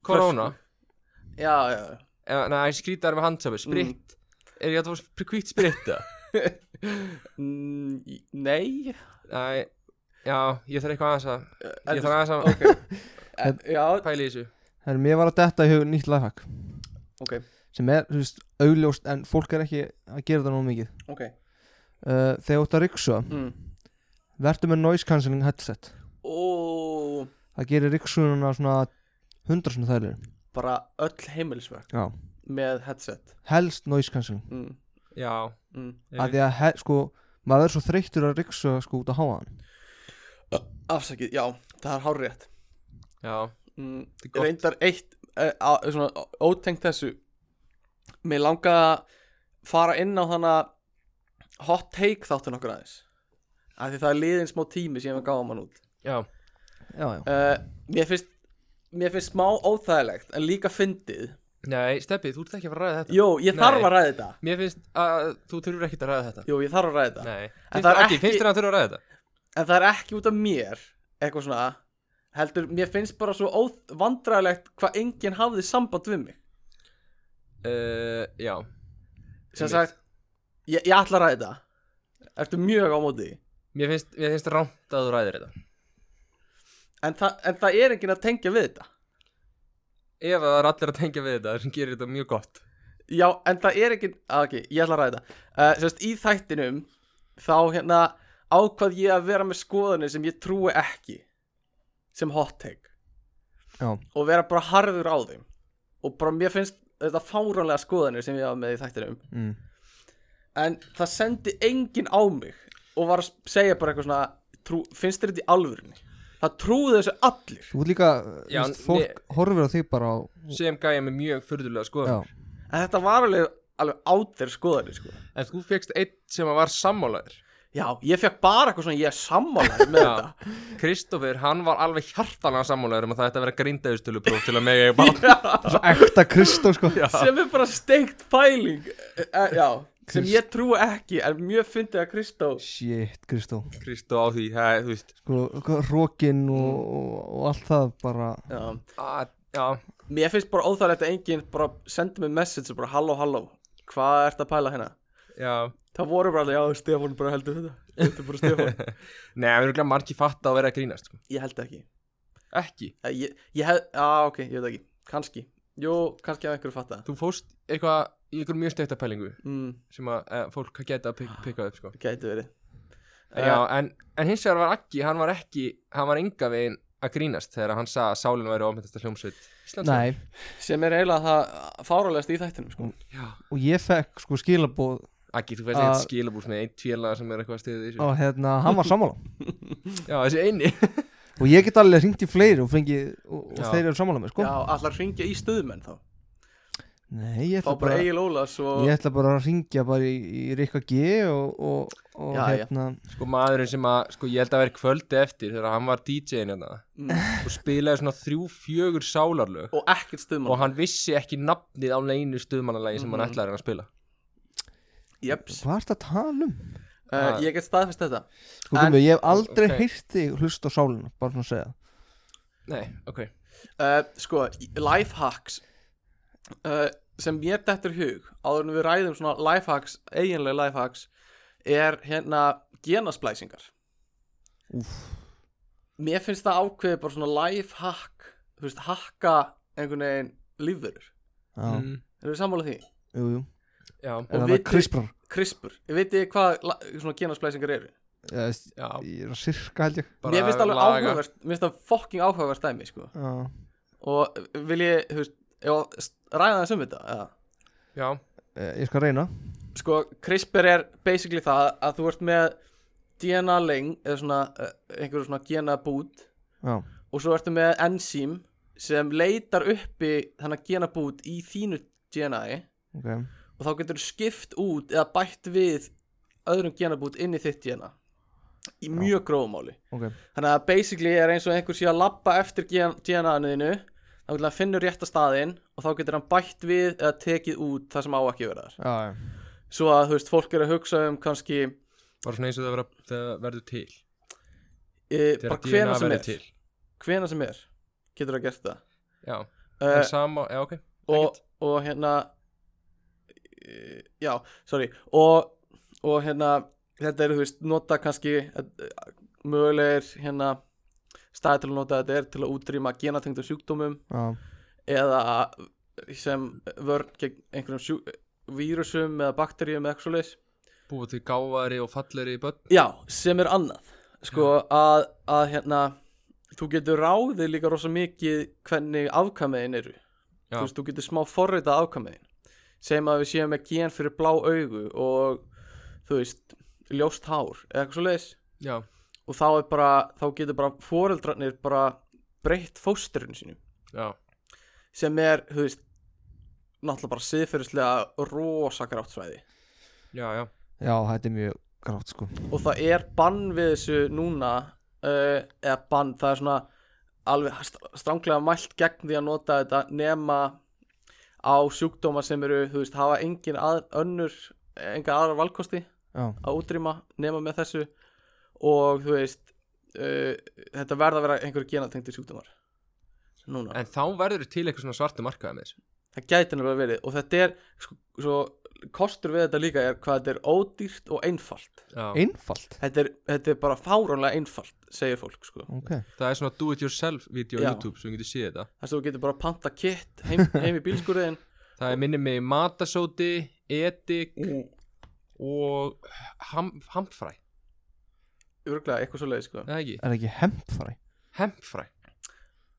Speaker 2: Korona,
Speaker 3: já, já, já.
Speaker 2: eða, nei, skrítar með handsápu, spritt Er ég að það var kvitt spritta?
Speaker 3: mm, í- nei
Speaker 2: Nei, já, ég þarf eitthvað aðeins að
Speaker 3: en
Speaker 2: Ég þarf aðeins að
Speaker 3: ok, en, já,
Speaker 2: pæla í þessu
Speaker 4: Herru, mér var að detta í hug nýtt lifehack
Speaker 3: ok,
Speaker 4: sem er, þú veist, augljóst en fólk er ekki að gera það nóg mikið
Speaker 3: ok
Speaker 4: uh, Þegar þú ert að ryksuga,
Speaker 3: mm.
Speaker 4: vertu með noise cancelling headset
Speaker 3: ó,
Speaker 4: Það gerir ryksugununa svona hundra svona þærlir
Speaker 3: bara öll heimilsverk
Speaker 4: Já
Speaker 3: með headset
Speaker 4: Helst noise cancelling
Speaker 3: mm,
Speaker 2: Já,
Speaker 3: mm.
Speaker 2: Eh.
Speaker 4: Af því að, he, sko, maður er svo þreyttur að ryksuga sko út að háa hann
Speaker 3: afsakið, já, það er hárétt
Speaker 2: já,
Speaker 3: mm,
Speaker 2: er gott.
Speaker 3: reyndar eitt uh, á, svona, ó- ótengt þessu mér langaði að fara inn á þann að hot take þáttun okkur aðeins af því það er liðin smá tími sem við gáðum hann út
Speaker 2: já,
Speaker 4: Já, já
Speaker 3: Eh, uh, mér finnst mér finnst smá óþægilegt en líka fyndið
Speaker 2: Nei, Steppi, þú ert ekki að fara að ræða þetta
Speaker 3: Jó, ég þarf
Speaker 2: Nei.
Speaker 3: að ræða þetta
Speaker 2: Mér finnst að þú þurfur ekkert að ræða þetta
Speaker 3: Jó, ég þarf að ræða þetta
Speaker 2: Nei,
Speaker 3: En
Speaker 2: finnst
Speaker 3: það er
Speaker 2: þér ekki,
Speaker 3: ekki-
Speaker 2: finnst þér að þurfa að ræða þetta
Speaker 3: En það er ekki út af mér Eitthvað svona Heldur, mér finnst bara svo óvandræðilegt Hvað enginn hafði samband við mig
Speaker 2: uh, Já,
Speaker 3: Sem
Speaker 2: Einmitt.
Speaker 3: sagt, ég, ég ætla að ræða þetta Ertu mjög á móti því?
Speaker 2: mér finnst, mér finnst rámt að þú ræðir þetta
Speaker 3: en, þa en það er enginn að tengja við þetta
Speaker 2: Ef að það er allir að tengja við þetta sem gerir þetta mjög gott
Speaker 3: Já, en það er ekki, að ok, ég ætla að ræða þetta uh, Sérst, í þættinum Þá hérna ákvað ég að vera með skoðanir sem ég trúi ekki Sem hot take
Speaker 1: Já.
Speaker 3: Og vera bara harður á þeim Og bara mér finnst þetta fáránlega skoðanir sem ég hafa með í þættinum
Speaker 1: mm.
Speaker 3: En það sendi enginn á mig Og var að s- segja bara eitthvað svona trú, Finnst þér þetta í alvörinni? Það trúðu þessu allir
Speaker 4: Þú ert líka,
Speaker 2: Já,
Speaker 4: já, veist, fólk
Speaker 2: mér-
Speaker 4: horfir á þig bara á
Speaker 2: sem gæja með mjög furðulega sko. skoðun
Speaker 4: Já,
Speaker 3: En þetta var alveg, alveg átir skoðanir sko
Speaker 2: En þú fegst einn sem að var sammálaður
Speaker 3: Já, ég fekk bara eitthvað svona, ég er sammálaður með
Speaker 2: Já.
Speaker 3: þetta
Speaker 2: Kristoffer, hann var alveg hjartalega sammálaður um að það ætti að vera grindaðustölu til að mega ég bara
Speaker 4: svo ekta Kristó sko
Speaker 3: sem er bara steikt pæling e, já, sem ég trú ekki en mjög fyndið að Kristó
Speaker 4: Shit, Kristó
Speaker 2: Kristó á því, það, þú veist
Speaker 4: Sko, rókin og, og, og allt það bara
Speaker 3: já.
Speaker 2: að, Já,
Speaker 3: mér finnst bara óþægilegt að enginn bara sendi mig message og bara halló halló hvað ert að pæla hérna
Speaker 2: já
Speaker 3: það voru bara allir, já Stefán bara heldur þetta þetta er bara Stefán
Speaker 2: Nei, við erum glæðið margir fatta að vera að grínast sko.
Speaker 3: ég held ekki
Speaker 2: Ekki,
Speaker 3: Eh, ég, ég hef, já ok, ég veit ekki kannski, jú, kannski af einhverju fatta
Speaker 2: þú fóst eitthvað í einhverjum mjög steikta pælingu
Speaker 3: mm,
Speaker 2: sem að e, fólk geta að pik- pikka upp sko.
Speaker 3: gæti verið
Speaker 4: Eh.
Speaker 2: já, en, en hins vegar var ekki hann var ekki, hann var enga veginn að grínast þegar hann sagði að sálinn væri ofmyndast að hljómsveit Íslands
Speaker 4: Nei,
Speaker 3: sem er eiginlega það fáralegast í þættinum sko.
Speaker 4: og ég fekk sko skilaboð
Speaker 2: Akki, þú veist eitthvað
Speaker 4: Að-
Speaker 2: skilabús með einn tvílaga sem er eitthvað að stiða þessu
Speaker 4: og hérna, hann var sammála
Speaker 2: Já, þessi eini
Speaker 4: og ég get alveg hringt í fleiri og fengið og, og
Speaker 2: Já.
Speaker 4: þeir eru sammála með sko
Speaker 3: já, allar hringja í stöðumenn þá
Speaker 4: Nei, ég
Speaker 3: þá
Speaker 4: ætla
Speaker 3: bara
Speaker 4: bara,
Speaker 3: Egil Ólas og
Speaker 4: ég ætla bara að ringja bara í, í Rikka G og, og, og
Speaker 3: Já, já.
Speaker 4: hérna
Speaker 2: Sko maðurinn sem að, sko ég held að vera kvöldi eftir þegar hann var DJ-in hérna
Speaker 3: mm,
Speaker 2: og spilaði svona þrjú, fjögur sálarlög
Speaker 3: og ekkert stöðumann
Speaker 2: og hann vissi ekki nafnið á neinu stuðmannalagi sem hann
Speaker 3: Mhm.
Speaker 2: ætlaði að reyna að spila
Speaker 3: Jeps,
Speaker 4: Hvað ertu að tala um?
Speaker 3: uh,
Speaker 2: Ha.
Speaker 3: ég get staðfest þetta
Speaker 4: Sko,
Speaker 3: En-
Speaker 4: Gumi, ég hef aldrei
Speaker 2: ok.
Speaker 4: okay. heyrt þig hlusta á sálina, bara svona að segja
Speaker 2: Nei, ok
Speaker 3: uh, Sko, lifehacks uh, sem ég dettur í hug áður en við ræðum svona lifehacks eiginlega lifehacks er hérna genasplæsingar
Speaker 4: Úff.
Speaker 3: Mér finnst það ákveðið bara svona lifehack þú veist, hakka einhvern veginn lífverur
Speaker 4: Já,
Speaker 2: Mm,
Speaker 3: Erum við sammála því?
Speaker 4: jú, jú
Speaker 2: Já,
Speaker 3: Og
Speaker 4: En það var
Speaker 3: vitið-
Speaker 4: krisprar
Speaker 3: Krispur, ég veit ég hvað la- svona genasplæsingar eru
Speaker 4: Ég veist,
Speaker 2: já
Speaker 4: ég er að sirka held ég
Speaker 2: bara
Speaker 3: Mér finnst það alveg
Speaker 2: laga-
Speaker 3: áhugavert, mér finnst það fucking áhugavert dæmi sko
Speaker 4: Já,
Speaker 3: og vil ég, þú veist, ef að s- ræða þess um þetta eða?
Speaker 2: Já,
Speaker 4: eh, ég skal reyna
Speaker 3: sko, CRISPR er basically það að þú ert með DNA leng eða svona, eh, einhverju svona genabút
Speaker 4: Já,
Speaker 3: og svo ertu með enzím sem leitar uppi þannig genabút í þínu DNA
Speaker 4: ok
Speaker 3: og þá getur þú skipt út eða bætt við öðrum genabút inn í þitt DNA í mjög grófumáli
Speaker 4: Ok.
Speaker 3: þannig að basically er eins og einhver sé að lappa eftir DNA-niðinu þá getur hann finnur rétta staðinn og þá getur hann bætt við eða tekið út það sem á ekki að vera þar
Speaker 4: Já, já,
Speaker 3: svo að þú veist, fólk er að hugsa um kannski e,
Speaker 2: bara svona eins og það, vera, það verður til
Speaker 3: bara
Speaker 2: Þegar
Speaker 3: hvena
Speaker 2: DNA
Speaker 3: sem
Speaker 2: verður
Speaker 3: er
Speaker 2: til
Speaker 3: hvena sem er getur að gert það
Speaker 2: Já, en
Speaker 3: uh,
Speaker 2: sama, já ok
Speaker 3: og, og hérna e, já, sorry og, og hérna þetta eru, þú veist, nota kannski eh, mögulegir hérna staði til að nota þetta er til að útrýma genatengdum sjúkdómum
Speaker 4: já,
Speaker 3: eða sem vörn gegn einhverjum sjú, vírusum eða bakteríum eða eitthvað svo leis
Speaker 2: Búið til gáfari og falleri börn
Speaker 3: Já, sem er annað sko að, að hérna þú getur ráðið líka rosa mikið hvernig afkamiðin eru
Speaker 2: Já.
Speaker 3: þú veist, þú getur smá forrita afkamiðin segjum að við séum með gen fyrir blá augu og þú veist ljóst hár eða eitthvað svo leis
Speaker 2: Já,
Speaker 3: og þá er bara, þá getur bara foreldrarnir bara breytt fósturinn sínum
Speaker 2: já,
Speaker 3: sem er, þú veist náttúrulega bara siðferðislega rosa grátt svæði
Speaker 2: já, já
Speaker 4: já, þetta er mjög grátt sko
Speaker 3: og það er bann við þessu núna uh, eða bann, það er svona alveg st- stranglega mælt gegn því að nota þetta nema á sjúkdóma sem eru, þú veist, hafa engin að, önnur, enga aðra valkosti
Speaker 1: Já.
Speaker 3: að útrýma nema með þessu og þú veist uh, þetta verða að vera einhverju genatengti sjúkdómar núna
Speaker 2: En þá verður til eitthvað svona svartu markaði með þessu
Speaker 3: það gæti nefnilega verið og þetta er sko, svo kostur við þetta líka er hvað þetta er ódýrt og einfalt
Speaker 2: Já,
Speaker 1: Einfalt
Speaker 3: þetta er, þetta er bara fáránlega einfalt segir fólk sko
Speaker 1: Ok
Speaker 2: það er svona do it yourself vídeo á
Speaker 3: Já.
Speaker 2: YouTube sem getur séð þetta
Speaker 3: þess að þú getur bara panta kit heim, heim í bílskurðin
Speaker 2: Það er minni mig matasóti, edik
Speaker 3: Mm.
Speaker 2: og ham, hamfræ,
Speaker 3: örglega eitthvað svo leið sko
Speaker 2: eða ekki?
Speaker 1: Er ekki hempfræ?
Speaker 2: Hempfræ,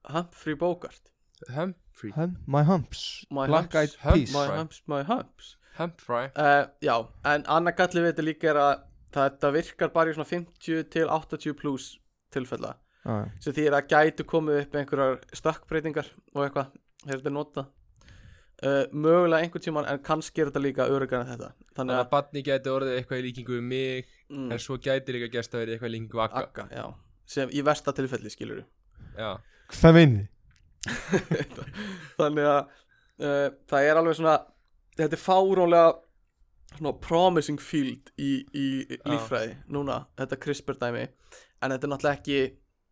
Speaker 3: Humphrey Bogart
Speaker 2: hempfrí,
Speaker 1: Hemp, my humps
Speaker 3: My
Speaker 1: Black
Speaker 3: humps,
Speaker 1: eyed
Speaker 2: hump,
Speaker 1: peas
Speaker 3: my
Speaker 2: Right.
Speaker 3: humps, my humps
Speaker 2: hempfræ
Speaker 3: uh, já, en annar galli við þetta líka er að þetta virkar bara í svona 50 til 80 pluss tilfella
Speaker 1: Já, já.
Speaker 3: sem því að gætu komið upp einhverjar stökkbreytingar og eitthvað þegar þetta er nota uh, mögulega einhvern tíman en kannski er þetta líka örugan en þetta
Speaker 2: Þannig
Speaker 3: þannig
Speaker 2: að
Speaker 3: að
Speaker 2: badni gæti orðið eitthvað í líkingu við mig En
Speaker 3: mm,
Speaker 2: svo gæti líka gæst að verið eitthvað í líkingu við Akka
Speaker 3: akka, já, sem í versta tilfelli skilur
Speaker 2: Já,
Speaker 1: Hvað meini?
Speaker 3: þannig að uh, það er alveg svona þetta er fárónlega svona promising field í, í líffræði núna, þetta CRISPR dæmi en þetta er náttúrulega ekki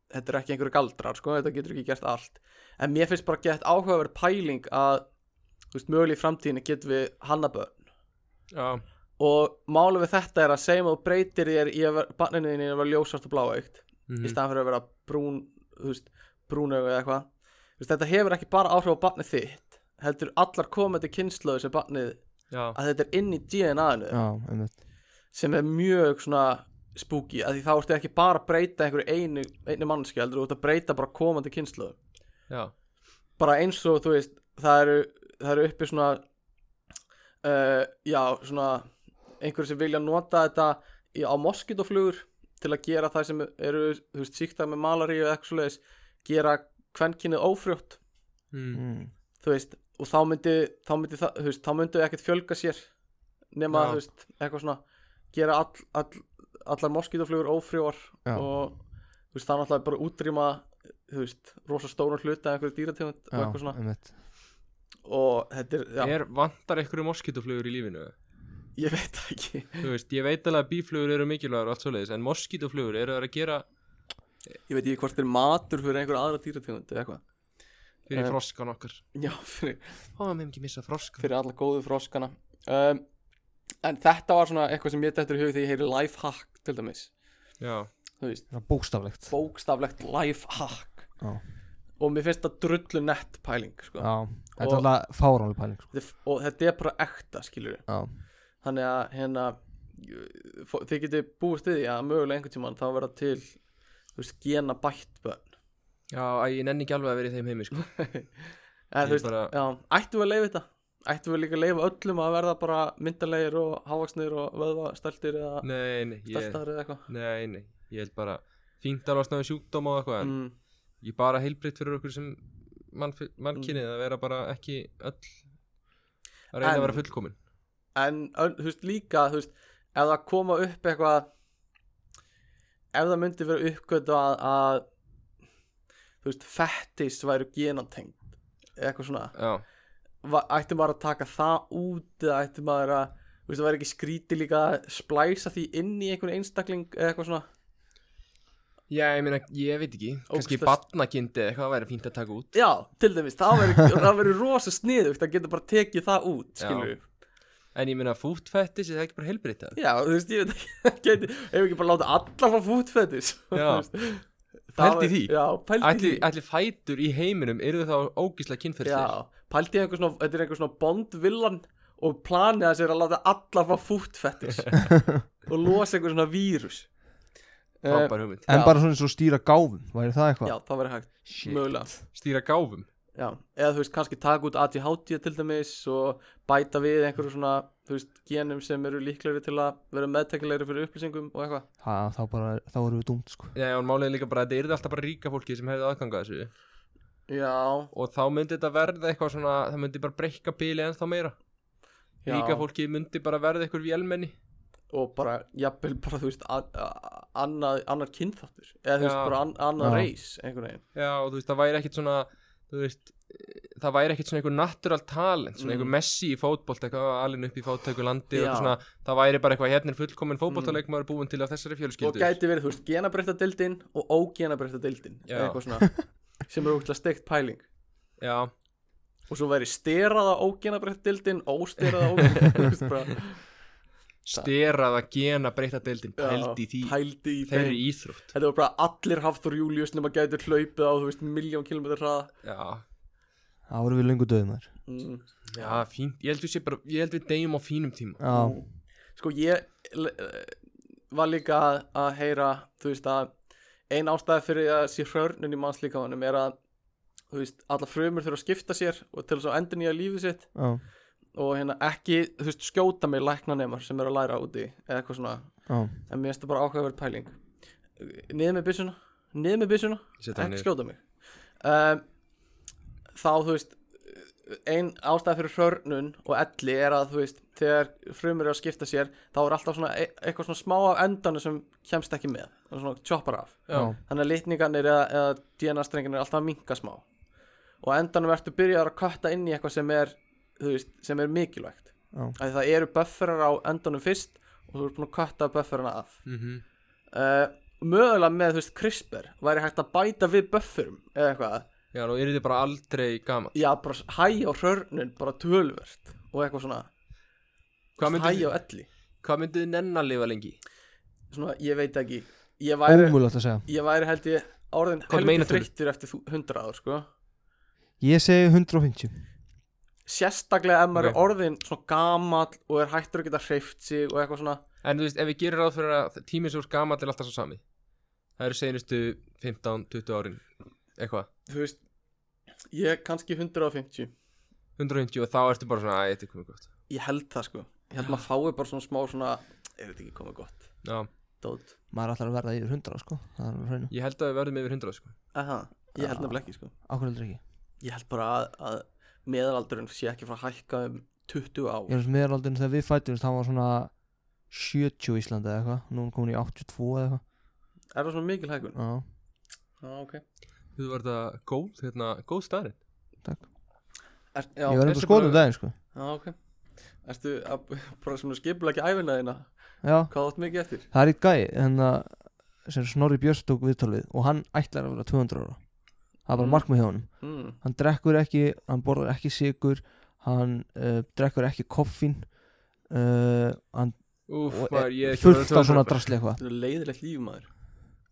Speaker 3: þetta er ekki einhverju galdrar, sko, þetta getur ekki gert allt en mér finnst bara gett áhugaverð pæling að, þú veist, mögulega í framtíðinu getum við hanna börn
Speaker 2: já,
Speaker 3: og máli við þetta er að segjum að þú breytir þér í að vera- barninu þínu í að vera ljósast og bláaugt í
Speaker 2: mhm,
Speaker 3: staðan fyrir að vera brún þú veist, brúnögu eða eitthvað Þú veist, þetta hefur ekki bara áhrif á barnið þitt heldur allar komandi kynnslöðu sem barnið
Speaker 2: já,
Speaker 3: að þetta er inn í DNA-inu
Speaker 1: Já, einmitt
Speaker 3: sem er mjög svona spooky að því þá ertu ekki bara að breyta einhverju einu, einu mannski heldur þú ert að breyta bara komandi kynnslöðu
Speaker 2: já
Speaker 3: bara eins og þú veist það eru, það eru uppi svona uh, já svona einhverju sem vilja nota þetta í, á moskitoflugur til að gera það sem eru þú veist síktað með malaríu eða eitthvað svoleiðis gera kvenkinnið ófrjótt
Speaker 2: mm.
Speaker 1: mm.
Speaker 3: þú veist og þá myndi þá myndi það þú veist þá myndi ekkert fjölga sér nema
Speaker 2: Já.
Speaker 3: þú veist eitthvað svona gera all, all, allar moskitoflugur ófrjóar
Speaker 1: Já.
Speaker 3: og þú veist það er náttúrulega bara útrýma þú veist rosa stóran hluta af einhverju dýrategund og eitthvað svona
Speaker 1: einmitt
Speaker 3: og þetta er, já,
Speaker 2: Er vantar einhverju moskítoflugur í lífinu?
Speaker 3: ég veit það ekki
Speaker 2: Þú veist, ég veit alveg að bíflugur eru mikilvægur og allt svoleiðis En moskítoflugur eru þær að gera
Speaker 3: ég veit ekki hvort þeir matur fyrir einhverja aðra dýrategund eða eitthvað
Speaker 2: fyrir
Speaker 3: Eh.
Speaker 2: froskan okkar
Speaker 3: já, fyrir,
Speaker 2: Ó, meðum ekki missa froskan
Speaker 3: fyrir alla góðu froskana um, en þetta var svona eitthvað sem ég dættur í hug þegar ég heyri lifehack til dæmis
Speaker 2: Já,
Speaker 3: þú veist,
Speaker 1: Það er bókstaflegt
Speaker 3: bókstaflegt lifehack
Speaker 1: Já.
Speaker 3: og mér finnst það drullu nett pæling sko.
Speaker 1: Já, þetta er
Speaker 3: Og-
Speaker 1: alltaf fáránlega pæling sko.
Speaker 3: Þetta er- og þetta er bara ekta skilur
Speaker 1: Já,
Speaker 3: þannig að hérna fó- þið getur búist við því að mögulega einhvern tímann þá verða til þú veist, gena bætt börn
Speaker 2: já, æ, ég nenni ekki alveg að vera í þeim heimi, sko
Speaker 3: en,
Speaker 2: Ég
Speaker 3: þú veist,
Speaker 2: bara-
Speaker 3: já, ættum við að leifa þetta ættum við líka að leifa öllum að verða bara myndalegir og hávaksnir og vöðvastæltir eða
Speaker 2: Nei, nei, ég,
Speaker 3: stæltar eða eitthvað
Speaker 2: nei, nei Ég held bara, fínt alveg að snáði sjúkdóma og eitthvað En
Speaker 3: mm,
Speaker 2: ég er bara heilbreytt fyrir okkur sem mann, mannkynið að vera bara ekki öll að reyna
Speaker 3: Mm. En-
Speaker 2: að vera fullkomin
Speaker 3: en ön- þú veist líka þú veist, ef það koma upp eitthvað ef það myndi vera uppgötu að, að þú veist, fettis væru genatengd eða eitthvað svona
Speaker 2: já,
Speaker 3: Va- ætti maður að taka það út eða ætti maður að þú veist, það væri ekki skríti líka að splæsa því inn í einhvern einstakling eða eitthvað svona
Speaker 2: já ég meina, ég veit ekki kannski
Speaker 3: Ógeðslegt.
Speaker 2: batnakyndi eða eitthvað væri fínt að taka út
Speaker 3: já, til dæmis, það væri, það væri rosa sniðugt að geta bara tekið það út,
Speaker 2: Já.
Speaker 3: skilur við
Speaker 2: en ég meina fútfettis er það ekki bara heilbreytt eða?
Speaker 3: Já, þú veist, ég veit ekki, það gæti, ef ekki bara láta alla fá fútfetis
Speaker 2: Já. Pældu í því.
Speaker 3: Já, pældi
Speaker 2: ætli,
Speaker 3: því
Speaker 2: ætli fætur í heiminum eru þá ógislega kynferðsir
Speaker 3: Já, pældi í einhver svona, þetta er einhver svona bondvillan og planið að sér að láta alla fá fútfetis og losa einhver svona vírus Eh,
Speaker 2: frábær hugmynd
Speaker 1: en
Speaker 3: Já.
Speaker 1: bara svona eins og stýra gáfum Væri það eitthvað?
Speaker 3: Eh, Já, það væri hægt, mögulega
Speaker 2: stýra gáfum
Speaker 3: Já, eða þú veist, kannski taka út ADHD til dæmis og bæta við einhverju svona, þú veist, genum sem eru líklegri til að vera meðtekilegri fyrir upplýsingum og eitthvað.
Speaker 1: Ha, þá, bara, þá erum við dúmt sko.
Speaker 2: já, en málið er líka bara að þetta eru alltaf bara ríka fólki sem hefði aðganga þessu
Speaker 3: Já,
Speaker 2: og þá myndi þetta verða eitthvað svona það myndi bara breyka bíli ennþá meira
Speaker 3: já.
Speaker 2: ríka fólki myndi bara verða eitthvað vélmenni
Speaker 3: Og bara, jafnvel, bara, þú veist, an- a- annað, annar kynþáttur. Eða þú veist,
Speaker 2: Já.
Speaker 3: bara an, annað
Speaker 1: Já.
Speaker 3: reis, einhvern veginn.
Speaker 2: Já, og þú veist, það væri ekkert svona, þú veist, eh, það væri ekkert svona einhver natural talent svona einhver Messi í fótbolt eitthvað alin upp í fóttöku landi
Speaker 3: Mm. Já. Mm.
Speaker 2: og svona, það væri bara eitthvað hérna er fullkominn fótboltaleikmaður búin til af þessari
Speaker 3: og
Speaker 2: fjölskyldu
Speaker 3: gæti verið, þú veist, genabreyta dildin og ógenabreyta dildin
Speaker 2: Já.
Speaker 3: eða eitthvað svona sem er útla steikt pæling
Speaker 2: já,
Speaker 3: og svo væri steraða ógenabreyta dildin ósteraða ógenabreyta
Speaker 2: steraða gena breyta deildin pældi í því,
Speaker 3: pældi í
Speaker 2: þeir eru
Speaker 3: þeim.
Speaker 2: íþrótt
Speaker 3: þetta var bara allir Hafþór Július nema gætur hlaupið á, þú veist, miljón kilometr hraða
Speaker 2: já,
Speaker 4: þá erum við löngu döðum þær
Speaker 3: mm.
Speaker 2: já, fínt, ég held við, sé bara, ég held við deyjum á fínum tíma
Speaker 4: já,
Speaker 3: sko ég l- eh, var líka að, að heyra þú veist að ein ástæði fyrir að sé hrörnun í mannslíkamanum er að þú veist, alla frumur þurfa að skipta sér og til þess að endur nýja lífið sitt
Speaker 4: já,
Speaker 3: og hérna ekki, þú veist, skjóta mig læknanemar sem eru að læra úti eða eitthvað svona
Speaker 4: já
Speaker 3: en mér finnst það bara áhugaverð pæling niður með byssuna, niður með byssuna
Speaker 2: Setja hann
Speaker 3: ekki
Speaker 2: niður.
Speaker 3: skjóta mig um, þá þú veist ein ástæð fyrir hrörnun og elli er að þú veist þegar frumur eru að skipta sér þá er alltaf svona e eitthvað svona smá af endanu sem kemst ekki með það er svona choppar af
Speaker 2: já,
Speaker 3: þannig að litningarnir eða, eða DNA-strengin er alltaf að minka smá og á endanum ertu byrjaður að kötta inn í eitthvað sem er, þú veist, sem er mikilvægt
Speaker 4: Já.
Speaker 3: Af því það eru bufferar á endanum fyrst og þú ert búin að kötta bufferana af
Speaker 2: mhm
Speaker 3: uh, mögulega með, þú veist, CRISPR væri hægt að bæta við bufferum eða eitthvað,
Speaker 2: Já, nú eru þið bara aldrei gaman
Speaker 3: já, bara s- hæ á hrörnun bara tölvert og eitthvað svona
Speaker 2: Hvað
Speaker 3: hæ
Speaker 2: myndið
Speaker 3: á elli
Speaker 2: hva myndu þið nenn að lifa lengi?
Speaker 3: svona, ég veit ekki ég væri,
Speaker 4: ómulagt að segja
Speaker 3: ég væri held ég orðin
Speaker 2: Hvað
Speaker 3: heldur
Speaker 2: meinar þú?
Speaker 3: þreyttur eftir þú- 100 áður, sko
Speaker 4: ég segi 150
Speaker 3: sérstaklega ef maður
Speaker 2: Ok.
Speaker 3: er orðin svona gamall og er hættur að geta hreift sig og eitthvað svona
Speaker 2: En þú veist, ef við gerir ráð fyrir að tíminn sem úr gamall er alltaf svo sami Það eru seinustu 15-20 árin Eitthvað,
Speaker 3: þú veist, ég er kannski 150
Speaker 2: 150 og þá ertu bara svona Æ, þetta er komið gott
Speaker 3: ég held það sko, ég held maður fái bara svona smá svona, er þetta ekki komið gott
Speaker 2: Já,
Speaker 3: dót,
Speaker 4: maður ætlar að verða yfir 100 sko það er hreinu
Speaker 2: ég held að við verðum yfir 100 sko.
Speaker 3: aha, ég held
Speaker 4: Já.
Speaker 3: nefnilega ekki sko
Speaker 4: okkur heldur ekki
Speaker 3: ég held bara að, að meðalaldurinn sé ekki frá að hækka um 20 ár
Speaker 4: ég er þess meðalaldin þegar við fættumst það var svona 70 í Íslandi eða eitthvað nú er hún komin í 82 eða eitthvað
Speaker 3: er það svona mikil hækkun?
Speaker 4: já,
Speaker 3: Já, ok
Speaker 2: Þú var þetta góð, hérna, góð starinn
Speaker 3: er, já,
Speaker 4: ég var
Speaker 2: þessi
Speaker 4: enda skoðum
Speaker 2: bara-
Speaker 4: daginn sko
Speaker 3: já, ok Ertu að bara svona skipla ekki æfina þína
Speaker 4: já,
Speaker 3: hvað átt mikið eftir?
Speaker 4: það er eitt gæi hérna, sem Snorri Björns tók viðtal við og hann ætlar að vera 200 ára það er bara
Speaker 3: Mm.
Speaker 4: markmið hjá honum
Speaker 3: Mm.
Speaker 4: hann drekkur ekki, hann borðar ekki sigur hann uh, drekkur ekki koffín uh, hann
Speaker 2: Úf,
Speaker 4: og
Speaker 2: maður, ég
Speaker 4: er
Speaker 2: er ekki
Speaker 4: fullt
Speaker 2: orðinn
Speaker 4: á svona
Speaker 2: 200 bara.
Speaker 4: drasli eitthvað
Speaker 3: Þetta er leiðilegt líf maður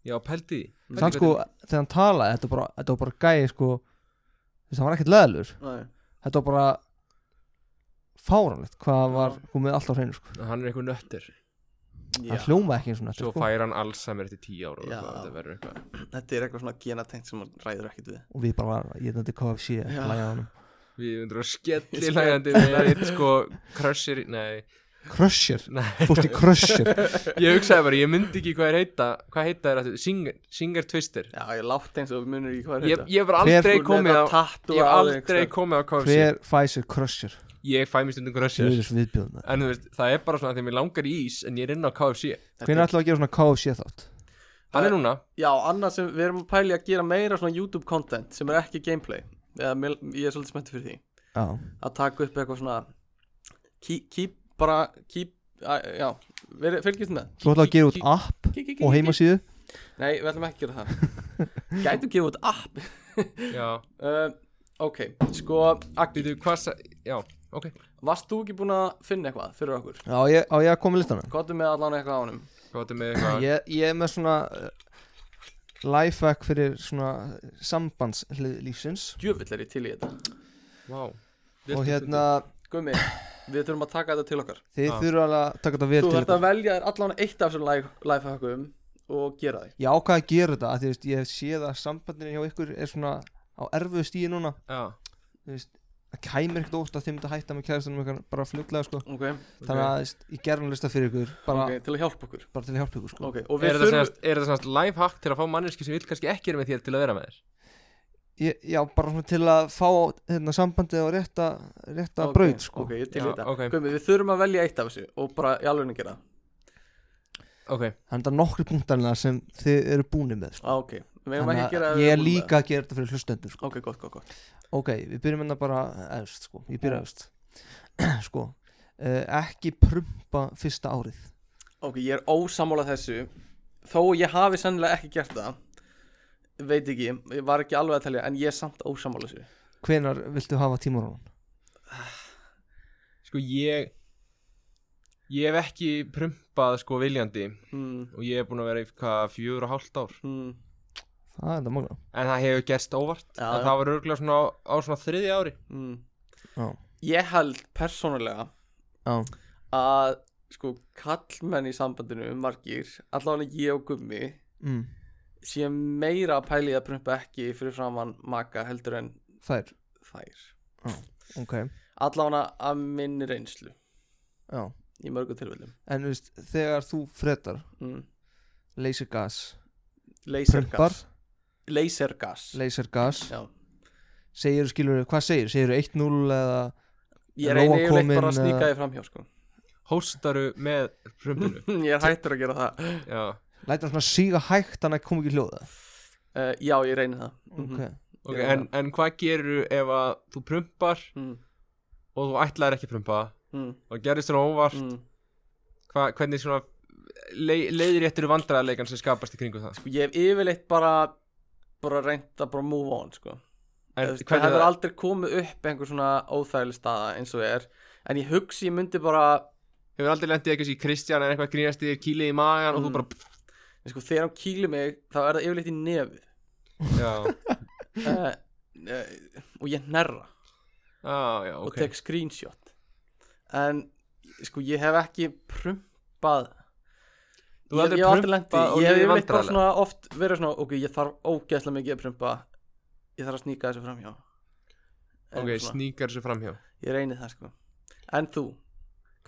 Speaker 2: Já, pældi því Pældi
Speaker 4: þannig sko,
Speaker 2: hvernig-
Speaker 4: þegar hann talaði þetta var bara, þetta var bara gæi sko þess að hann var ekkert leðalur
Speaker 3: Nei.
Speaker 4: þetta var bara fáranlegt hvað hann var komið allt á hreinu sko.
Speaker 2: Hann er eitthvað nöttur
Speaker 3: Já.
Speaker 4: hann hljómaði ekki eins og
Speaker 2: Svo
Speaker 4: nættir sko.
Speaker 2: fær hann Alzheimer eftir 10 ára og
Speaker 3: Já.
Speaker 2: eitthvað, þetta verður eitthvað.
Speaker 3: Þetta er eitthvað svona genatengt sem maður ræður ekkert við
Speaker 4: og við bara var, ég nætti KFC að
Speaker 3: Já.
Speaker 4: hlæja á honum
Speaker 2: Við undur að skelli lægandi Við erum sko crushir Nei,
Speaker 4: Crusher,
Speaker 2: nei
Speaker 4: fórst í Crusher
Speaker 2: Ég hugsaði bara, ég myndi ekki hvað er heita Hvað heita er þetta? Singer, singer Twister
Speaker 3: Já, ég látt eins og munur ekki hvað er
Speaker 2: Ég
Speaker 3: þetta
Speaker 2: ég hef bara
Speaker 4: Hver
Speaker 2: aldrei
Speaker 3: Þú
Speaker 2: komið
Speaker 3: með
Speaker 2: á
Speaker 3: að tattoo
Speaker 2: Ég hef
Speaker 3: á þig
Speaker 2: aldrei
Speaker 3: einhvers
Speaker 2: komið á KFC
Speaker 4: hver Pfizer Crusher
Speaker 2: Ég fæ mér stundum Crusher
Speaker 4: Sjöðis viðbjöðum
Speaker 2: En þú veist, það er bara svona þegar mér langar í ís En ég er inn á KFC
Speaker 3: staðar.
Speaker 4: hvernig ætlaðu að gera svona KFC þátt
Speaker 2: Hann er núna
Speaker 3: Já, annars sem við erum að pæli að gera meira svona YouTube content sem er ekki gameplay Eða, mér, Ég er svolítið smettur fyrir því
Speaker 4: já,
Speaker 3: að taka upp eitthvað svona keep, keep bara keep, að, já, veri, fylgist með
Speaker 4: svo ætlaðu að gera út app
Speaker 3: Keep, keep,
Speaker 4: og
Speaker 3: keep, keep.
Speaker 4: heimasíðu
Speaker 3: Nei, við ætlum ekki að gera það Gætu gefa út app
Speaker 2: Já,
Speaker 3: uh, Ok, sko, Aggi,
Speaker 2: býtu, hvað sa- Já, ok
Speaker 3: varst þú ekki búin að finna eitthvað fyrir okkur?
Speaker 4: Já, ég, á ég að koma í listana
Speaker 3: Kottu með allan eitthvað á honum
Speaker 2: Hvað áttu með eitthvað
Speaker 4: ég, ég er með svona uh, lifehack fyrir svona sambandshlið lífsins
Speaker 3: Djöfull er ég til í þetta
Speaker 2: Vá
Speaker 4: og hérna
Speaker 3: Gummi, við þurfum að taka þetta til okkar
Speaker 4: þið
Speaker 2: Ah.
Speaker 4: þurfa alveg að taka þetta vel
Speaker 3: Þú
Speaker 4: til
Speaker 3: þarft að
Speaker 4: ykkur.
Speaker 3: velja þér allan eitt af þessum life- lifehackum og gera þig
Speaker 4: ég ákvað að gera þetta af því, þú veist, ég sé það að sambandin hjá ykkur er svona á erfuðu stíði núna
Speaker 2: Já,
Speaker 4: þú veist, það kæmir ekkert ótt að þið mynda að hætta með kæðastunum ykkur bara fljótlega sko.
Speaker 3: Ok,
Speaker 4: þannig að þú veist, ég gerði lista fyrir ykkur bara,
Speaker 3: ok, til að hjálpa okkur
Speaker 4: bara til að hjálpa ykkur sko.
Speaker 3: Ok, og
Speaker 2: er
Speaker 3: við
Speaker 2: þetta
Speaker 3: þurfum
Speaker 2: semast, er þetta semast lifehack til að fá manneski sem vil kannski ekki er með þér til að vera með þér?
Speaker 4: ég, já, bara svona til að fá hérna, sambandið á rétta, rétta
Speaker 3: Ok,
Speaker 4: braut sko.
Speaker 3: ok, ég til í
Speaker 2: Já,
Speaker 3: þetta
Speaker 2: ok.
Speaker 3: Gumi, við þurfum að velja eitt af þessu og bara í alveg gera það.
Speaker 2: Ok,
Speaker 4: þannig að nokkri punktarina sem þið eru búni með sko.
Speaker 3: ah, ok, við erum ekki að
Speaker 4: Þannig
Speaker 3: gera
Speaker 4: að ég er líka að gera þetta fyrir hlustendur sko.
Speaker 3: ok, gott, gott, gott
Speaker 4: ok, við byrjum hérna bara eðust sko, ég byrja eðust sko, uh, ekki prumpa fyrsta árið
Speaker 3: Ok, ég er ósammála þessu Þó ég hafi sennilega ekki gert það Veit ekki, ég var ekki alveg að telja En ég er samt ósammála þessu
Speaker 4: hvenar viltu hafa tímarónan?
Speaker 2: Sko ég Ég hef ekki prumpað sko viljandi
Speaker 3: mm,
Speaker 2: Og ég hef búin að vera í hvað fjögur og hálft ár
Speaker 3: mm,
Speaker 4: það er þetta magna
Speaker 2: En það hefur gerst óvart
Speaker 3: Já,
Speaker 2: En
Speaker 3: já.
Speaker 2: það var örgulega svona á, á svona þriði ári
Speaker 3: mm.
Speaker 4: Já.
Speaker 3: Ég held persónulega
Speaker 4: Já.
Speaker 3: Að sko kallmenn í sambandinu Margir, allavega ég og gummi
Speaker 4: mm,
Speaker 3: Sér meira að pæli að prumpa ekki Fyrir framann maka heldur en
Speaker 4: þær,
Speaker 3: þær
Speaker 4: ok
Speaker 3: Allavega að minni reynslu
Speaker 4: Já.
Speaker 3: Í mörgu tilfellum
Speaker 4: en þú veist, þegar þú fredar
Speaker 3: mm.
Speaker 4: lasergas, prumpar
Speaker 3: Lasergas Lasergas
Speaker 4: lasergas,
Speaker 3: Já.
Speaker 4: segir skilur hvað segir, segir 1-0 eða
Speaker 3: Ég
Speaker 4: Nóg
Speaker 3: reyni
Speaker 4: að
Speaker 3: yfirleitt
Speaker 4: koma
Speaker 3: bara að
Speaker 4: inn,
Speaker 3: sníka
Speaker 2: eh,
Speaker 4: eða-
Speaker 3: því framhjá sko.
Speaker 2: Hóstaru með prumpinu
Speaker 3: Ég er hættur að gera það
Speaker 2: Já
Speaker 4: lætur hann svona síga hægt þannig að koma ekki í hljóða
Speaker 3: uh, Já, ég reyni það
Speaker 4: ok,
Speaker 3: Mhm.
Speaker 2: Ok,
Speaker 3: Já.
Speaker 2: en, en hvað gerur ef að þú prumpar
Speaker 3: mm,
Speaker 2: og þú ætlaðir ekki að prumpa
Speaker 3: mm,
Speaker 2: og gerðist svona óvart
Speaker 3: mm.
Speaker 2: hva, hvernig svona le, leiðir réttur vandræðarleikan sem skapast í kringu það
Speaker 3: Sko, Ég hef yfirleitt bara bara reynt að bara move on sko.
Speaker 2: en,
Speaker 3: Þú veist, Það
Speaker 2: hvernig
Speaker 3: hefur
Speaker 2: það,
Speaker 3: aldrei komið upp einhver svona óþægileg staða eins og er En ég hugsi, ég myndi bara
Speaker 2: hefur aldrei lendið eitthvað í Kristján en eitthvað grínast í þér, kýlið í magan og
Speaker 3: Mm.
Speaker 2: þú bara
Speaker 3: sko, Þegar hann kýlir mig, þá er það yfirleitt í nefið
Speaker 2: já,
Speaker 3: uh, uh, Og ég nerra
Speaker 2: ah, já,
Speaker 3: og
Speaker 2: ok
Speaker 3: tek screenshot En sko, ég hef ekki prumpað
Speaker 2: þú
Speaker 3: ég,
Speaker 2: hefur
Speaker 3: ég hef aldrei
Speaker 2: aldrei
Speaker 3: lendi,
Speaker 2: prumpað og
Speaker 3: ég hef
Speaker 2: leiðir
Speaker 3: yfirleitt bara
Speaker 2: vandræðarleikan
Speaker 3: svona oft verið svona, ok, ég þarf ógeðslega mikið að prumpa ég þarf að sníka þessu framhjá En
Speaker 2: ok,
Speaker 3: svona,
Speaker 2: sníkar þessu framhjá
Speaker 3: ég reyni það sko en þú,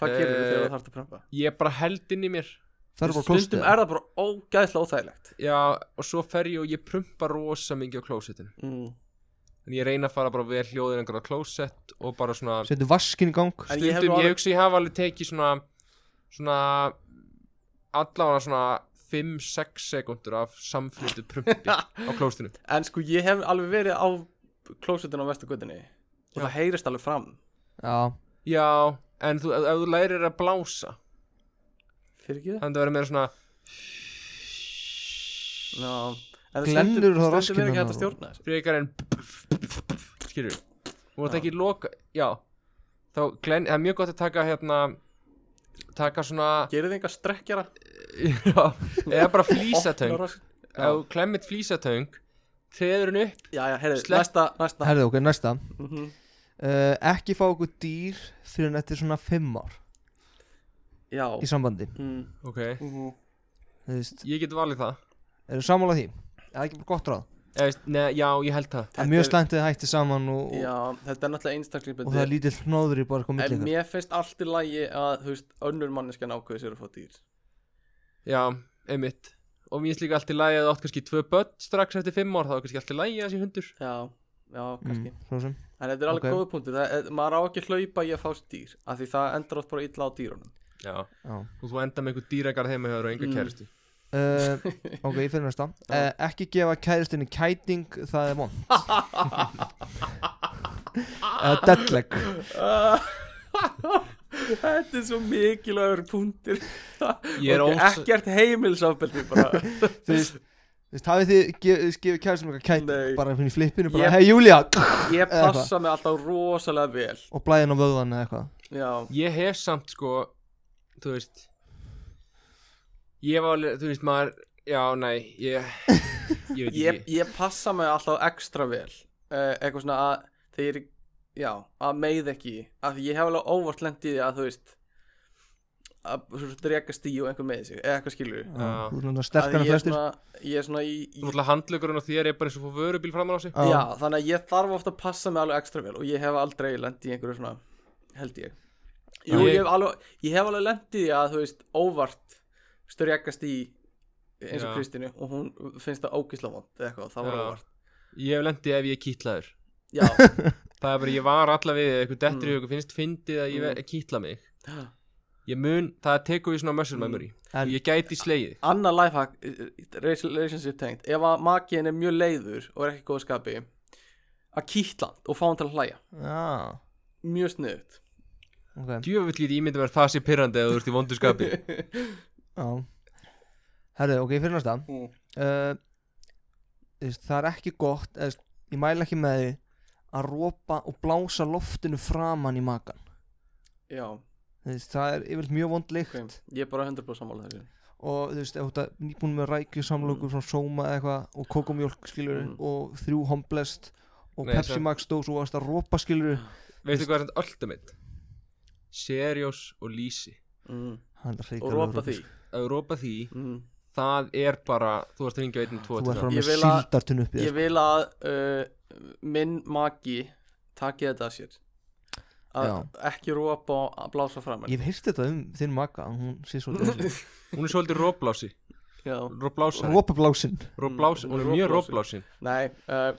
Speaker 3: hvað
Speaker 2: Eh,
Speaker 3: uh, gerir þú þegar þú þarfst að prumpa?
Speaker 2: ég er bara held inn í mér
Speaker 4: það er bara klostið
Speaker 3: stundum er það bara ógeðslega óþægilegt
Speaker 2: já, og svo fer ég og ég prumpa rosa mikið á klósettinu
Speaker 3: mm.
Speaker 2: en ég reyna að fara bara vel hljóðin einhverja klósett og bara svona
Speaker 4: setur vaskin í gang
Speaker 3: En
Speaker 2: stundum,
Speaker 3: ég hef
Speaker 2: ég, alveg...
Speaker 3: nú alveg-
Speaker 2: ég hugsa ég hafa alveg tekið svona svona allavega svona 5-6 sekundur af samflutu prumpi á klóstinu
Speaker 3: en sko, ég hef alveg verið á klósetinu á vestugutinni og það heyrist alveg fram
Speaker 4: já,
Speaker 2: já, en þú, ef, ef þú lærir að blása
Speaker 3: fyrir ekki það?
Speaker 2: þannig að vera meira svona
Speaker 3: Ná, en það
Speaker 4: Glennur
Speaker 3: stundum,
Speaker 4: það rassinn
Speaker 3: stundum er ekki hægt
Speaker 4: hennar
Speaker 3: að stjórna þessu
Speaker 2: frekar en skilur þú voru ekki loka, já þá glenn, það er mjög gott að taka hérna taka svona
Speaker 3: gerir þið einhver strekkjara?
Speaker 2: já, eða bara flísatöng ef
Speaker 3: Opnar rassinn?
Speaker 2: þú klemmit flísatöng treður hún upp
Speaker 3: já, já, heyrðu,
Speaker 2: Slepp-
Speaker 3: næsta, næsta
Speaker 4: herðu ok, næsta uh,
Speaker 3: Mhm.
Speaker 4: ekki fá okkur dýr fyrir en þetta er svona 5 ár
Speaker 3: já,
Speaker 4: í sambandi
Speaker 3: mm,
Speaker 2: ok,
Speaker 3: mhm.
Speaker 4: þú veist,
Speaker 2: ég get valið það
Speaker 4: eru sammála því það er ekki bara gott ráð
Speaker 2: Eða, veist, Nei, já, ég held það
Speaker 4: það er mjög
Speaker 3: er-
Speaker 4: slæmt að þið hætti saman og, og,
Speaker 3: Já, þetta er náttúrulega
Speaker 4: og það er
Speaker 3: einstaklingsbundið
Speaker 4: lítill hnóður í bara eitthvað milli
Speaker 3: En
Speaker 4: ykkar
Speaker 3: mér finnst allt í lagi að, þú veist, önnur manneskjan ákveði sér að fá dýr
Speaker 2: Já, einmitt Og mér finnst líka allt í lagi að þú átt kannski tvö börn strax eftir fimm ár Þá er kannski allt í lagi að sé hundur
Speaker 3: Já, já, kannski
Speaker 4: mm, svo sem
Speaker 3: En þetta er alveg
Speaker 4: Ok.
Speaker 3: góðu punktur, það, er- maður á ekki að hlaupa í að fá sér dýr Af því það endur átt bara illa á dýrunum
Speaker 2: Já
Speaker 4: Já.
Speaker 2: Og þú enda með einhver dýragar heima hjá þér og enga
Speaker 3: Mm.
Speaker 2: kæristu
Speaker 4: Uh, ok, ég fyrir næsta uh, Ekki gefa kæristinni kæting Það er vond Eða deadleg
Speaker 3: Þetta er svo mikilvægur punktur
Speaker 2: Ég er
Speaker 3: Ok,
Speaker 2: ós-
Speaker 3: Ekkert heimilsafbeldi bara
Speaker 4: Þú veist, þú veist hafið þið ge- gefið kæristinni kæting
Speaker 3: Nei.
Speaker 4: Bara fyrir flippinu, bara
Speaker 3: Ég-
Speaker 4: hei Júlia
Speaker 3: Ég passa mig alltaf rosalega vel
Speaker 4: Og blæðin á vöðvan eða eitthvað
Speaker 3: Já,
Speaker 2: Ég hef samt sko Þú veist Ég var alveg, þú veist maður Já, nei, ég Ég veit
Speaker 3: ég,
Speaker 2: ekki
Speaker 3: ég passa mig alltaf ekstra vel uh, eitthvað svona að þeir já, að meið ekki af því ég hef alveg óvart lent í því að þú veist að drekast í og einhver meið sig eða eitthvað skilur við.
Speaker 2: Já.
Speaker 4: Þú erum
Speaker 3: Af því
Speaker 4: sterkana
Speaker 3: ég er
Speaker 4: flestir
Speaker 3: svona, ég er svona í, í
Speaker 2: Náttúrulega handlökurinn á þér er bara eins og fór vörubíl framan á sig
Speaker 3: já, þannig að ég þarf ofta að passa mig alveg ekstra vel og ég hef aldrei lent í einhverju svona held ég Jú,
Speaker 2: Ég-
Speaker 3: ég, hef alveg, ég hef alveg lent í því að þú veist óvart styrjakast í eins og
Speaker 2: Já.
Speaker 3: Kristínu og hún finnst það ógisla vond eða eitthvað, það var
Speaker 2: Já.
Speaker 3: óvart
Speaker 2: Ég hef lendið ef ég er kýtlaður
Speaker 3: já,
Speaker 2: Það er bara, ég var allavega við Eitthvað dettur í
Speaker 3: Mm.
Speaker 2: eitthvað finnst fyndið að ég
Speaker 3: Mm.
Speaker 2: mm. kýtla mig Ég mun, það tekur ég svona
Speaker 3: Mm.
Speaker 2: muscle memory
Speaker 4: En-
Speaker 2: Ég gæti slegið
Speaker 3: annar lifehack eh, eh, relationship tengt ef að makiðin er mjög leiður og er ekki í góðu skapi að kýtla hann og fá hann til að hlæja
Speaker 4: Já,
Speaker 3: mjög sniðut
Speaker 4: ok
Speaker 2: Djöfull get ég myndi verið það sé pyrrandi eða þú ert í vondurskapi
Speaker 4: Já Herðu, ok, fyrir næsta
Speaker 3: Mm.
Speaker 4: uh, þess, Það er ekki gott eða, þess, Ég mæla ekki með því Að rópa og blása loftinu framan í makan
Speaker 3: já,
Speaker 4: þess, Það er yfirleitt mjög vond lykt
Speaker 3: ok, ég er bara 100% sammála þessu
Speaker 4: Og þú veist, ef þú ert að- nýbúin með rækju samlóku Frá sóma eða eitthvað Og kókumjólk skilur
Speaker 3: Mm.
Speaker 4: Og þrjú homblest Og
Speaker 2: Nei,
Speaker 4: Pepsi
Speaker 2: það-
Speaker 4: Max dós og varst að rópa skilur
Speaker 2: Veistu hvað er þetta alltaf mitt? Seriós og Lísi
Speaker 3: mm.
Speaker 4: Hann er
Speaker 3: og
Speaker 4: hrikalega
Speaker 3: ropa
Speaker 4: rópur.
Speaker 3: því
Speaker 2: Að ropa því,
Speaker 3: mm.
Speaker 2: það er bara Þú ert að ringja 1 og 2
Speaker 4: Þú ert frá
Speaker 3: Ég
Speaker 4: með
Speaker 3: vil að-
Speaker 4: síldartunni upp í
Speaker 3: ég
Speaker 4: þér
Speaker 3: vil að uh, minn magi taki þetta að sér að ekki ropa og að blása fram
Speaker 4: Ég hef heyrst þetta um þinn maka að Hún sé svo
Speaker 2: Hún er svolítið róblási
Speaker 3: já,
Speaker 2: Róblásari
Speaker 4: Rópablásin
Speaker 2: Róblási, hún er mjög róblásin
Speaker 3: nei uh,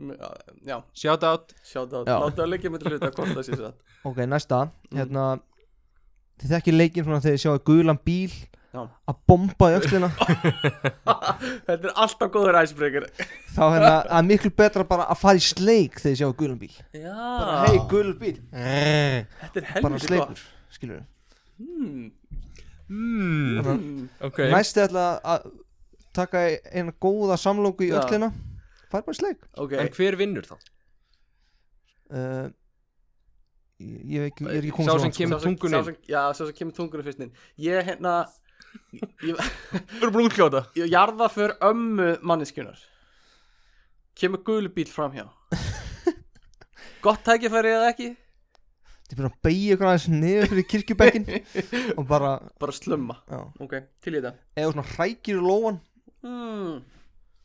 Speaker 3: m- uh, já,
Speaker 2: Shout out
Speaker 3: sjátt að
Speaker 4: Já.
Speaker 3: láta að leggja með til hluta hvort það sé satt
Speaker 4: Ok, næsta
Speaker 3: Mm.
Speaker 4: Hérna Þið þekkið leikinn svona þegar þið sjáu gulan bíl
Speaker 3: Já.
Speaker 4: Að bomba í öxlina
Speaker 3: þetta er alltaf góður æsbreykir
Speaker 4: Þá hérna það er miklu betra bara að fara í sleik þegar þið sjáu gulan bíl
Speaker 3: já,
Speaker 4: Bara hei gul bíl Bara
Speaker 3: þetta er helviti
Speaker 4: sleikur
Speaker 3: Ah. gott
Speaker 4: Skilur
Speaker 3: hmm.
Speaker 2: mm,
Speaker 3: Mm.
Speaker 2: Ok
Speaker 4: okay. Næst þið ætla að taka eina góða samlóku í
Speaker 3: Já.
Speaker 4: öxlina Fara bara í sleik
Speaker 3: ok,
Speaker 2: En hver vinnur þá?
Speaker 4: uh, ég, ég, veit ekki, ég er ekki
Speaker 2: Sá
Speaker 4: komið
Speaker 2: sem kemur-
Speaker 3: Sá sem-
Speaker 2: tungunni
Speaker 3: sá sem- já, sá sem kemur tungunni fyrst inn ég hérna ég,
Speaker 2: Við erum búin að útkljóta
Speaker 3: ég jarða för ömmu manneskjunar kemur gulubíl fram hjá gott tækifæri eða ekki
Speaker 4: Þið byrja að beigja ykkur aðeins niður fyrir kirkjubekkin Og bara
Speaker 3: bara slumma
Speaker 4: já.
Speaker 3: ok, til í þetta
Speaker 4: Eða svona hrækir í lóan
Speaker 3: mm,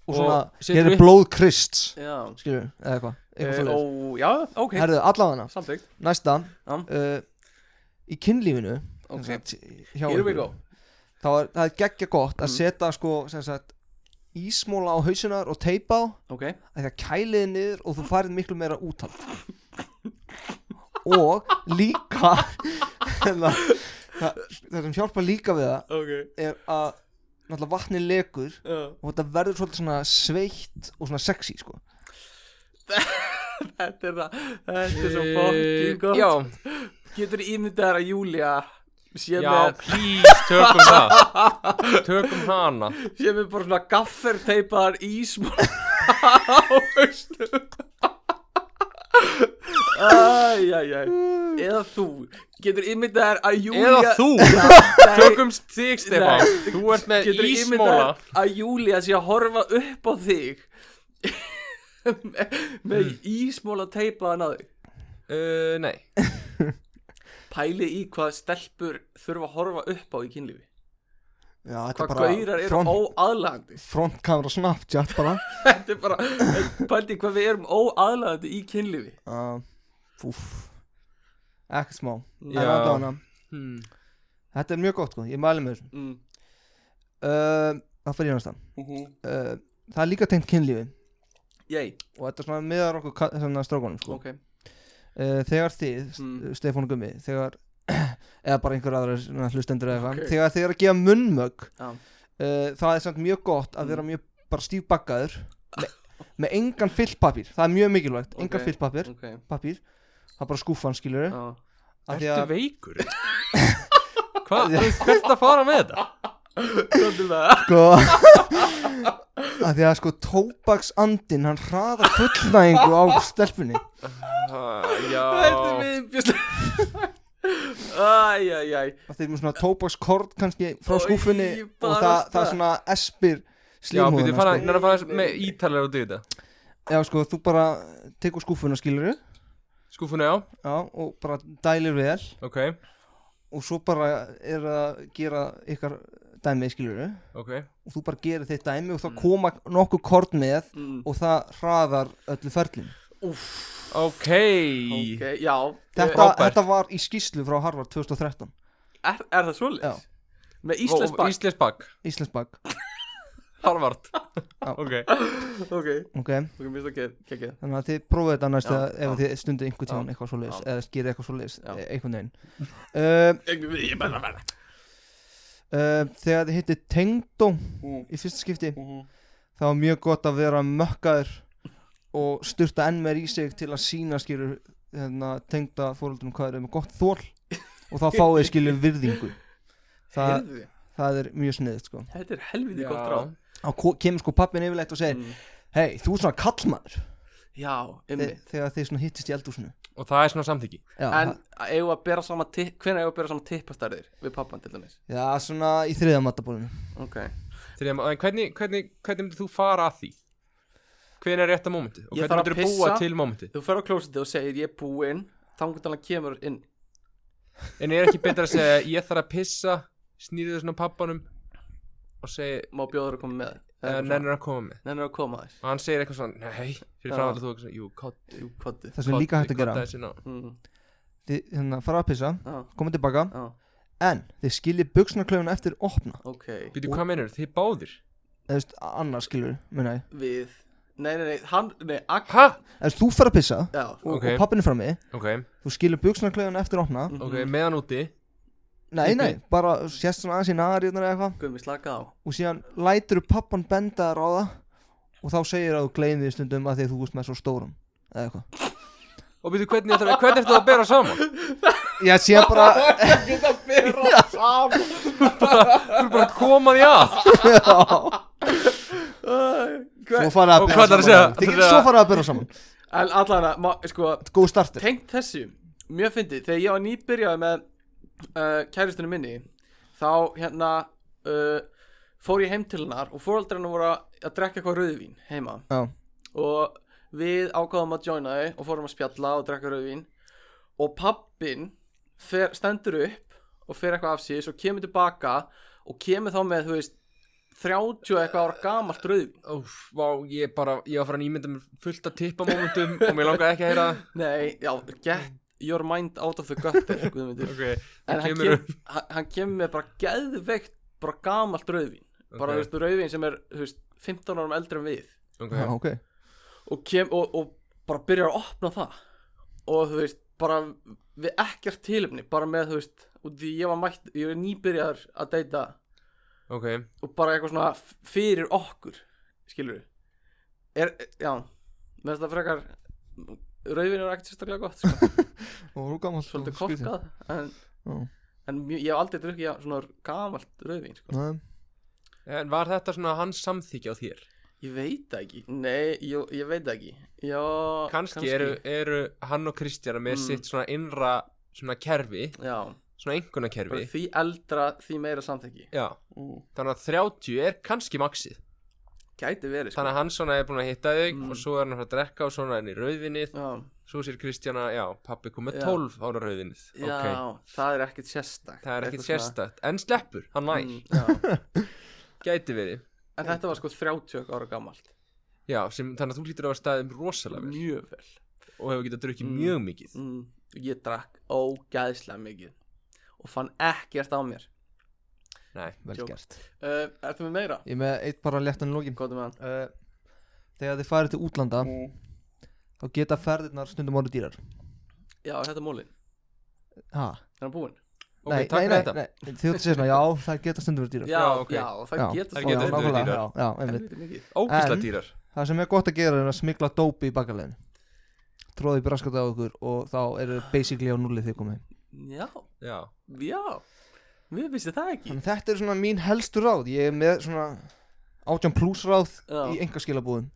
Speaker 4: Og
Speaker 2: Og
Speaker 4: svona
Speaker 2: setur
Speaker 4: Hér er
Speaker 2: upp-
Speaker 4: blóð krist
Speaker 3: já,
Speaker 4: skilur, eða eitthvað eitthvað
Speaker 3: e,
Speaker 4: fyrir þess
Speaker 3: ó, já, ok
Speaker 4: herðu, allavega
Speaker 3: samtökt,
Speaker 4: næsta
Speaker 3: Já.
Speaker 4: uh, í kynlífinu
Speaker 3: ok,
Speaker 4: sem sagt, hjá
Speaker 3: here we
Speaker 4: ykkur,
Speaker 3: go
Speaker 4: þá er það er geggja gott að
Speaker 3: Mm.
Speaker 4: setja sko sem sagt ísmóla á hausinar og teipa á
Speaker 3: ok,
Speaker 4: að það kæliði niður og þú farið miklu meira úthald og líka hérna, það, það sem hjálpa líka við það
Speaker 3: ok
Speaker 4: er að náttúrulega vatni lekur
Speaker 3: uh,
Speaker 4: og þetta verður svolítið svona sveitt og svona sexy sko
Speaker 3: þetta er það þetta er svo fokkin gott
Speaker 2: Eh, Já,
Speaker 3: getur ímyndað þér að Júlia sé
Speaker 2: já,
Speaker 3: með
Speaker 2: please, tökum það Tökum hana
Speaker 3: sem er bara svona gafferteipaðar ísmál á haustum Æjæjæ Eða þú Getur ímyndað þér að Júlia
Speaker 2: Eða þú, tökum þig Stefán Þú ert með
Speaker 3: Getur ímyndað
Speaker 2: ísmóla
Speaker 3: þér að Júlia sé að horfa upp á þig með, með
Speaker 2: Mm.
Speaker 3: ísmóla teipaðan að þig
Speaker 2: uh, Nei,
Speaker 3: Pæli í hvað stelpur þurfa að horfa upp á í kynlífi
Speaker 4: Já, þetta
Speaker 3: Hvað gaurar eru
Speaker 4: front,
Speaker 3: óaðlagandi
Speaker 4: frontkamera snapchat bara
Speaker 3: Þetta er bara Pæli í hvað við erum óaðlagandi í kynlífi
Speaker 4: uh, Úf Ekkert smá En
Speaker 2: Já.
Speaker 4: allavega,
Speaker 2: hmm.
Speaker 4: Þetta er mjög gott sko, ég mæli með þessu
Speaker 3: mm.
Speaker 4: uh, Það fyrir næsta
Speaker 3: uh -huh.
Speaker 4: uh, Það er líka tengt kynlífi
Speaker 3: Jæj,
Speaker 4: Og þetta er svona meðar okkur ka- svona strákunum sko.
Speaker 3: ok
Speaker 4: uh, Þegar þið,
Speaker 3: Mm.
Speaker 4: mm. Stefán og Gummi Þegar, eða bara einhver aðra svona hlustendur eða eitthvað
Speaker 3: Ok.
Speaker 4: Þegar þið er að gefa munnmög
Speaker 3: Já. Mm.
Speaker 4: uh, Það er samt mjög gott að vera mjög bara stífbakkaður með, með engan fyllpapír, það er mjög mikilvægt Engan
Speaker 3: Ok.
Speaker 4: fyllpapír,
Speaker 3: Ok,
Speaker 4: papír Það er bara skúfan skilur
Speaker 3: já
Speaker 2: Ertu veikur? Hvað, hvert ertu að fara með þetta?
Speaker 3: Góðum það
Speaker 4: sko að því að sko tóbaksandinn hann hraðar fullnægingu á stelpunni
Speaker 2: Ah,
Speaker 3: Þetta er
Speaker 2: já,
Speaker 3: viðbjörslega Æjæjæj
Speaker 4: að þeir eru með svona tóbakskort kannski frá
Speaker 3: Oj,
Speaker 4: skúfunni og
Speaker 3: bara
Speaker 4: það,
Speaker 3: stað.
Speaker 4: það er svona espir
Speaker 2: já, byrju, fara,
Speaker 4: slímhúðuna sko.
Speaker 2: nær að fara með ítalega út í þetta
Speaker 4: já sko þú bara tekur skúfuna skilur já
Speaker 2: Skúfuna, já,
Speaker 4: og bara dælir vel
Speaker 2: ok,
Speaker 4: og svo bara er að gera ykkar dæmi skilur
Speaker 2: ok
Speaker 4: og þú bara gerir þitt dæmi og þá koma nokkuð kort með
Speaker 3: Mm.
Speaker 4: og það hraðar öllu ferlin
Speaker 2: Ok,
Speaker 3: Ok, já
Speaker 4: þetta,
Speaker 2: Frábært.
Speaker 4: þetta var í skýslu frá Harvard 2013
Speaker 3: Er, er það
Speaker 4: Já.
Speaker 3: svoleiðis? Með Íslands bank
Speaker 2: Íslensk bak,
Speaker 4: Íslandsbak
Speaker 2: Harvard Ok,
Speaker 3: Ok,
Speaker 4: ok
Speaker 3: ok, mér finnst það kekkið
Speaker 4: Þannig að þið prófið þetta næst
Speaker 3: Já,
Speaker 4: að ef
Speaker 3: já.
Speaker 4: þið stundið einhvern tíðan eitthvað svo leiðis
Speaker 3: já.
Speaker 4: eða gerir eitthvað svo leiðis,
Speaker 3: Já.
Speaker 4: einhvern veginn uh,
Speaker 3: Ég bara verða
Speaker 4: uh, Þegar þið hittir tengdó
Speaker 3: Mm.
Speaker 4: í fyrsta skipti
Speaker 3: Mhm.
Speaker 4: þá er mjög gott að vera mökkaður og styrta enn meir í sig til að sína skilur hérna, tengda fóröldunum hvað þeir eru með gott þól og þá fáið þeir skilur virðingu það,
Speaker 3: Heyrðu,
Speaker 4: það er mjög sniðið sko.
Speaker 3: Þetta er helviti gott
Speaker 2: Já.
Speaker 3: ráð
Speaker 4: þá ko- kemur sko pappin yfirleitt og segir
Speaker 3: Mm.
Speaker 4: hei, þú er svona kallmaður
Speaker 3: Já,
Speaker 4: Þe,
Speaker 3: einmitt
Speaker 4: þegar þeir svona hittist í eldúsinu
Speaker 2: Og það er svona samþyggi
Speaker 4: já,
Speaker 3: En
Speaker 4: það-
Speaker 3: eigum við að bera saman tipp Hvernig eigum við að bera saman tippastarðir Við pappan til dæmis
Speaker 4: já, svona í þriða matabólinu
Speaker 3: Ok
Speaker 2: Þegar, en hvernig, hvernig, hvernig myndir þú fara að því? Hvenær er rétta mómenti? Og
Speaker 3: Ég
Speaker 2: hvernig
Speaker 3: þarf að
Speaker 2: myndir þú búa
Speaker 3: pissa.
Speaker 2: til mómenti?
Speaker 3: Þú fer á klósiti og segir ég er búinn Þangur þannig kemur inn
Speaker 2: En er ekki betra að segja ég þarf að pissa Snýðu þessum á pappanum Og segi
Speaker 3: Má bjóður að koma með
Speaker 2: uh, Nennir að koma með
Speaker 3: Nennir að koma þess
Speaker 2: Og hann segir eitthvað svona Nei Fyrir
Speaker 3: Já.
Speaker 2: fram allir þú eitthvað svona Jú, kott
Speaker 3: Jú, kottu
Speaker 4: það sem er líka hægt að gera
Speaker 2: þessi ná
Speaker 3: mm.
Speaker 4: þið hérna, fara að pissa,
Speaker 3: Já,
Speaker 4: koma tilbaka
Speaker 3: já,
Speaker 4: en þið skiljið buksnarklöfuna eftir opna
Speaker 3: ok
Speaker 2: Býtu, hvað meinur þið báðir?
Speaker 4: eða þú veist, annars skilur, minna ég
Speaker 3: Við Nei, nei, nei Hann, nei, ak
Speaker 2: Ha?
Speaker 4: eða þú fer að pissa
Speaker 3: Já,
Speaker 4: og,
Speaker 2: Ok. Mm.
Speaker 4: og pappin er frammi
Speaker 2: Ok,
Speaker 4: þú skilur buksnarklöfuna eftir opna
Speaker 3: Mhm.
Speaker 2: ok, meðan úti
Speaker 4: nei, nei,
Speaker 2: Mm.
Speaker 4: bara sérst svona aðeins í nariðnar eða eitthvað
Speaker 3: Guðmi, slaka á
Speaker 4: og síðan lætur pappan benda þér á það og þá segir að þú gleymið því stundum að því að þú veist með svo stórum eða eitthvað
Speaker 2: Og býtu, hvernig ætlar- hvernig ertu að bera saman?
Speaker 4: já, síðan bara,
Speaker 3: Geta bera saman
Speaker 2: Þú er bara að koma því að
Speaker 4: svo fara að
Speaker 2: Og
Speaker 4: bera
Speaker 2: hvað ætlarðu að
Speaker 4: saman
Speaker 2: segja?
Speaker 4: þið
Speaker 2: Ætlarðu
Speaker 4: getur
Speaker 2: að-
Speaker 4: svo fara að bera saman þetta
Speaker 3: En allan að, má- sko
Speaker 4: er góð startur
Speaker 3: tengt þessu mjög fyndið, þegar ég var nýbyrjaði með uh, kæristunum minni þá hérna uh, fór ég heim til hennar og fóraldrarna voru að, að drekka eitthvað rauðvín heima
Speaker 4: Já.
Speaker 3: og við ákváðum að joina þau og fórum að spjalla og drekka rauðvín og pappin fer, stendur upp og fer eitthvað af síðis og kemur tilbaka og kemur þá með, þú veist 30 eitthvað ára gamalt rauðvín
Speaker 2: Óf, vá, ég bara, ég var að fara að ímynda mér fullt að tippa mómentum og mér langaði ekki að heyra það.
Speaker 3: Nei, já, get your mind out of the gutter Guðmundur
Speaker 2: Ok,
Speaker 3: en hann
Speaker 2: kemur-
Speaker 3: kemur, hann, hann kemur með bara geðveikt bara gamalt rauðvín
Speaker 2: Ok.
Speaker 3: bara þú veist, rauðvín sem er þú veist, 15 árum eldri en við
Speaker 2: ok,
Speaker 4: já, ok
Speaker 3: og, kem, og, og bara byrjar að opna það og þú veist bara við ekkert tilumni bara með þú veist og því ég var mætt ég var nýbyrjar að deyta
Speaker 2: ok,
Speaker 3: og bara eitthvað svona f- fyrir okkur skilur við er, já með þetta frekar rauðvín er ekkert sérstaklega gott sko.
Speaker 4: og þú gammal
Speaker 3: svolítið korkað en,
Speaker 4: Já.
Speaker 3: en mjö, ég hef aldrei drukkið já, svona gamalt rauðvín sko.
Speaker 2: en var þetta svona hans samþykja á þér?
Speaker 3: Ég veit það ekki Nei, jú, ég veit það ekki Já,
Speaker 2: Kanski eru, eru hann og Kristjana með
Speaker 3: Mm.
Speaker 2: sitt svona innra svona kerfi,
Speaker 3: Já,
Speaker 2: svona einhverna
Speaker 3: bara
Speaker 2: kerfi
Speaker 3: því eldra, því meira samþekki
Speaker 2: Já,
Speaker 3: mm.
Speaker 2: þannig að 30 er kannski maxið
Speaker 3: Gæti verið, sko
Speaker 2: Þannig að hann svona er búin að hitta þig
Speaker 3: Mm.
Speaker 2: og svo er hann að fara að drekka og svona er hann í rauðvinnið
Speaker 3: Já,
Speaker 2: Svo sér Kristjana, já, pappi kom með
Speaker 3: Já.
Speaker 2: 12 ára rauðvinnið
Speaker 3: já það er ekkert sérstakt
Speaker 2: Það er ekkert
Speaker 3: Eitthvað
Speaker 2: sérstætt, en sleppur, hann
Speaker 3: svona-
Speaker 2: nær,
Speaker 3: mm, já.
Speaker 2: gæti verið
Speaker 3: En þetta var sko 30 ára gamalt
Speaker 2: Já, sem, þannig að þú lítur á að staðum rosalega vel
Speaker 3: Mjög vel
Speaker 2: og hefur getað drukkið
Speaker 3: Mm.
Speaker 2: mjög mikið
Speaker 3: mm. Ég drakk ógæðslega mikið Og fann ekkert á mér
Speaker 2: Nei,
Speaker 4: vel
Speaker 3: Joke.
Speaker 4: gert
Speaker 3: uh, Ertu með meira?
Speaker 4: ég er með eitt bara léttan í lokin
Speaker 3: Góðum með hann
Speaker 4: uh, þegar þið farið til útlanda
Speaker 2: Mm.
Speaker 4: þá geta ferðirnar stundum orðið dýrar
Speaker 3: Já, er þetta er mólin
Speaker 4: ha,
Speaker 3: Er hann búinn?
Speaker 2: Ok, takk fyrir þetta
Speaker 4: nei, nei, þið ætti að segja svona, já, það geta stundum verið dýrar
Speaker 3: Já,
Speaker 2: Já, ok.
Speaker 3: já, það
Speaker 4: Já.
Speaker 3: getur
Speaker 2: Það
Speaker 4: Já,
Speaker 2: geta stundum verið
Speaker 4: nákvæmlega,
Speaker 2: dýrar.
Speaker 4: já, já, einmitt.
Speaker 3: Helviti mikið
Speaker 2: Ógísla
Speaker 4: En-
Speaker 2: dýrar
Speaker 4: það sem er gott að gera er að smikla dópi í bakalegin tróðið braskat á ykkur og þá eru þið basically á núlið þið komið
Speaker 3: Já,
Speaker 2: Já,
Speaker 3: já Mér vissi það ekki
Speaker 4: Þannig þetta er svona mín helstu ráð ég er með svona 18 plus ráð
Speaker 3: Já.
Speaker 4: í engaskilabúðum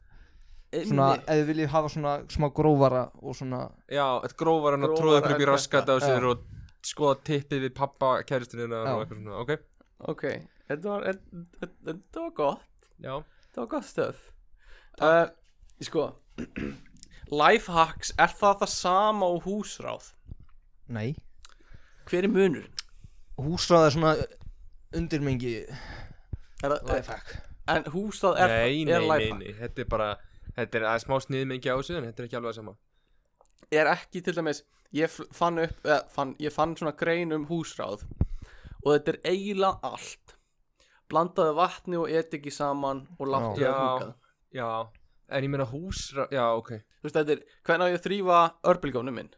Speaker 4: svona
Speaker 3: Einmitt.
Speaker 4: ef þið viljið hafa svona smá grófara og svona
Speaker 2: já, þetta grófar hann að
Speaker 3: Grófara
Speaker 2: tróða ykkur upp
Speaker 3: en
Speaker 2: í raskat á
Speaker 3: þetta.
Speaker 2: sér og skoða tippið við pappa kæristunina
Speaker 4: Já.
Speaker 2: og eitthvað svona, ok
Speaker 3: Ok, þetta var, þetta- þetta- þetta var gott
Speaker 2: Já,
Speaker 3: Þetta var gott stöð uh, Sko Lifehacks, er það það sama og húsráð?
Speaker 4: nei,
Speaker 3: Hver er munur?
Speaker 4: húsráð er svona undirmengi
Speaker 3: Er, það-
Speaker 4: lifehack
Speaker 3: En húsráð er,
Speaker 2: nei, nei,
Speaker 3: er
Speaker 2: nei,
Speaker 3: lifehack
Speaker 2: nei Þetta er bara, þetta er aðeins smá sniðmengi á þessu en þetta er ekki alveg að sama
Speaker 3: Er ekki til dæmis Ég f- fann upp, eða, fann, ég fann svona grein um húsráð Og þetta er eiginlega allt Blandaðu vatni og ediki saman Og láttu
Speaker 2: Já.
Speaker 3: það húkað
Speaker 2: Já, en ég meina húsra, já, ok
Speaker 3: Þú veist þetta er, hvernig á ég að þrýfa örbylgjónum minn?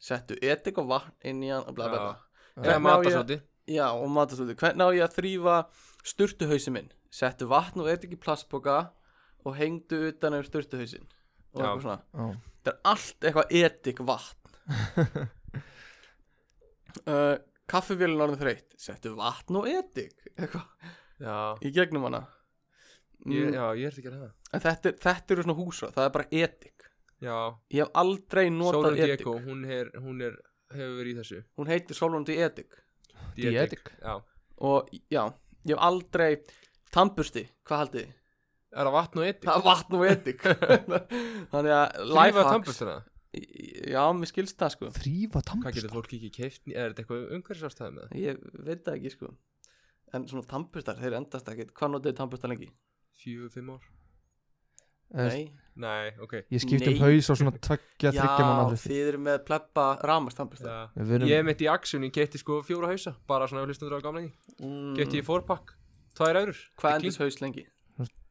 Speaker 3: Settu edik og vatn inn í hann og bla bla bla
Speaker 2: Já. Eða
Speaker 3: Hvernig á ég-
Speaker 2: matasóti
Speaker 3: Já, og matasöldu, hvernig á ég að þrýfa sturtuhausin minn? Settu vatn og eitthvað plastboka og hengdu utan um sturtuhausin og
Speaker 2: Já.
Speaker 3: eitthvað svona
Speaker 4: Já.
Speaker 3: þetta er allt eitthvað edik vatn uh, kaffivélun orðin þreytt settu vatn og edik eitthvað
Speaker 2: Já,
Speaker 3: í gegnum hana mm,
Speaker 2: ég, já, ég er ekki að gera það
Speaker 3: en þetta, er- þetta eru svona húsra, það er bara edik
Speaker 2: Já,
Speaker 3: ég hef aldrei notað
Speaker 2: Sólun
Speaker 3: edik
Speaker 2: Diego, hún er, hún er, hefur verið í þessu
Speaker 3: hún heitir Sólundu edik
Speaker 4: Diedic.
Speaker 2: Já,
Speaker 3: og já, ég hef aldrei tannbusti, hvað haldið þið?
Speaker 2: er það vatn og edik?
Speaker 3: það er vatn og edik þannig að
Speaker 2: Lífa
Speaker 3: lifehacks
Speaker 2: tannbustina
Speaker 3: já, mér skilst það sko
Speaker 4: Þrýfa
Speaker 2: Hvað getur
Speaker 4: tannbusta
Speaker 2: fólk ekki keift, er þetta eitthvað umhverfisarstæði með það?
Speaker 3: ég veit það ekki sko en svona tannbustar, þeir endast ekki hvað notiði tannbustar lengi?
Speaker 2: Fjögur, fimm ár?
Speaker 4: Nei.
Speaker 3: nei,
Speaker 2: Nei, ok
Speaker 4: Ég skipti
Speaker 3: Nei.
Speaker 4: um haus á svona tveggja, þryggja manna
Speaker 3: já,
Speaker 4: hluti
Speaker 3: þið eru með pleppa ramast tannbustar
Speaker 2: Já.
Speaker 4: Við erum-
Speaker 2: Ég er mitt í Axun, ég keipti sko fjóra hausa Bara svona ef hlustundur á gamla því
Speaker 3: mm,
Speaker 2: Keipti ég fórpakk, tvær eurur
Speaker 3: hvað
Speaker 2: Ekki
Speaker 3: endist haus lengi?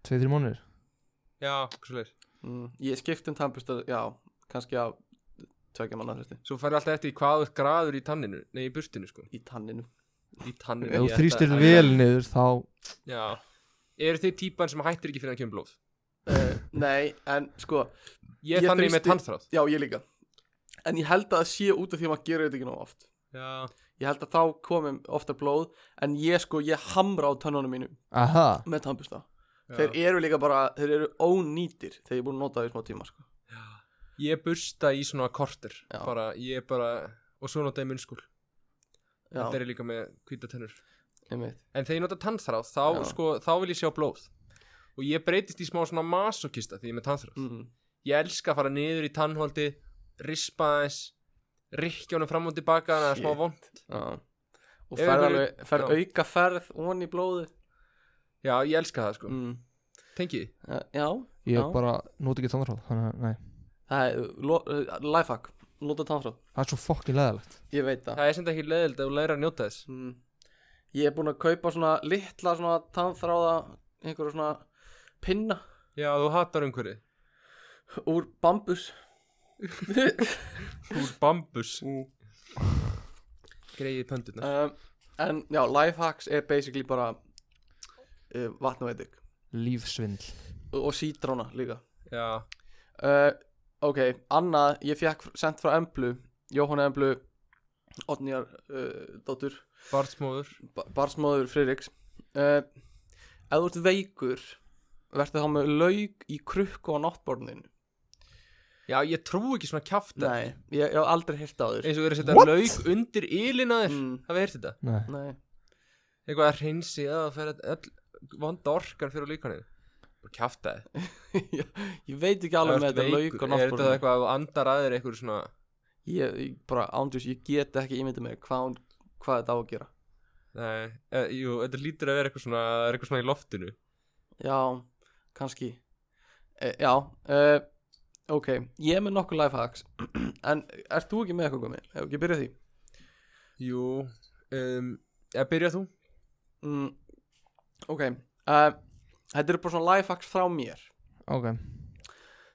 Speaker 4: Tveið, þrjú mánuðir
Speaker 2: klink. Já, hvað svo leir
Speaker 3: Mm, ég skipti um tannbustar, já, kannski á tvekja manna hlusti
Speaker 2: Svo færði alltaf eftir í hvað þú ert graður í tanninu Nei, í burstinu sko
Speaker 3: í tanninu
Speaker 2: Í tanninu
Speaker 4: Ef
Speaker 2: ég
Speaker 4: þú
Speaker 2: ætla-
Speaker 4: þrýstir vel niður þá
Speaker 2: Já Eru þið típan sem hættir ekki fyrir að kemur blóð?
Speaker 3: uh, nei, en sko
Speaker 2: Ég,
Speaker 3: Ég
Speaker 2: ég þannig með
Speaker 3: þrýsti-
Speaker 2: tannþráð
Speaker 3: já, ég líka en ég held að það sé út af því að maður gerir þetta ekki nóg oft
Speaker 2: Já
Speaker 3: ég held að þá komum ofta blóð en ég sko, ég hamra á tönnunum mínum
Speaker 4: Aha
Speaker 3: með tannbusta
Speaker 2: Já.
Speaker 3: þeir eru líka bara, þeir eru ónýtir þegar ég er búin að nota það í smá tíma sko.
Speaker 2: Ég bursta í svona korter
Speaker 3: Já.
Speaker 2: bara, Ég bara Og svo notaði munnskúl
Speaker 3: já,
Speaker 2: Þetta er líka með hvítatennur
Speaker 3: einmitt.
Speaker 2: En þegar ég nota tannþráð þá,
Speaker 3: Já.
Speaker 2: sko, þá vil ég sjá blóð Og ég breytist í smá svona masokista Því ég er með tannþráð
Speaker 3: Mm.
Speaker 2: Ég elska að fara niður í tannholdi Rispa aðeins Rikkja honum fram og tilbaka Þannig að það er
Speaker 3: Shit.
Speaker 2: smá vond
Speaker 3: já. og
Speaker 2: Ef
Speaker 3: fer,
Speaker 2: einhver-
Speaker 3: alveg, fer
Speaker 2: já.
Speaker 3: auka ferð ón í blóðu
Speaker 2: Já, ég elska það sko mm.
Speaker 3: mm.
Speaker 2: Tengi,
Speaker 3: já, já,
Speaker 4: Ég bara nota ekki tannarhráð Þannig að, nei
Speaker 3: það er lo- uh, lifehack, nota tannfráð
Speaker 4: Það er svo fokkin leðalegt
Speaker 3: ég veit það
Speaker 2: það er sem þetta ekki leðild Ef þú læra að njóta þess
Speaker 3: mm. ég er búin að kaupa svona litla svona tannfráða einhverju svona pinna
Speaker 2: Já, þú hatar umhverju
Speaker 3: úr bambus
Speaker 2: Úr bambus
Speaker 3: Mm.
Speaker 2: Greið pöndurna
Speaker 3: um, en já, lifehacks er basically bara uh, vatn og edik
Speaker 4: Lífsvindl
Speaker 3: og sítróna líka
Speaker 2: Já,
Speaker 3: uh, ok, annað ég fekk sendt frá Emblu Jóhanna Emblu Otnýjar uh, dóttur
Speaker 2: barnsmóður
Speaker 3: ba- barnsmóður Friðriks uh, ef þú ert veikur verður þá með laug í krukku á náttborðinu
Speaker 2: Já, ég trú ekki svona kjafta
Speaker 3: nei, ég, ég hef aldrei hirt á þér
Speaker 2: eins og verið að setja
Speaker 4: What?
Speaker 2: lauk undir ílinaðir mm.
Speaker 3: mm,
Speaker 2: hafið heyrt þetta
Speaker 4: Nei
Speaker 3: nei,
Speaker 2: eitthvað að reynsi að það fer all vonda orkan fyrir líkaninu og kjafta þið
Speaker 3: ég, ég veit ekki alveg með þetta laug á
Speaker 2: er þetta
Speaker 3: náttborðinu
Speaker 2: eitthvað að þú andar aðeir eitthvað svona
Speaker 3: ég, ég bara ándjús, ég get ekki ímyndið mér hvað, hún- hvað þetta á að gera
Speaker 2: nei, e, jú, þetta lítur að vera eitthvað svona það er eitthvað svona í loftinu
Speaker 3: Já, kannski e, Já, uh, ok Ég er með nokkuð lifehacks En ert þú ekki með eitthvað komið? Ef ekki byrja því
Speaker 2: jú, um, eða byrja þú
Speaker 3: mm, Ok uh, Þetta eru bara svona lifehacks frá mér
Speaker 4: Ok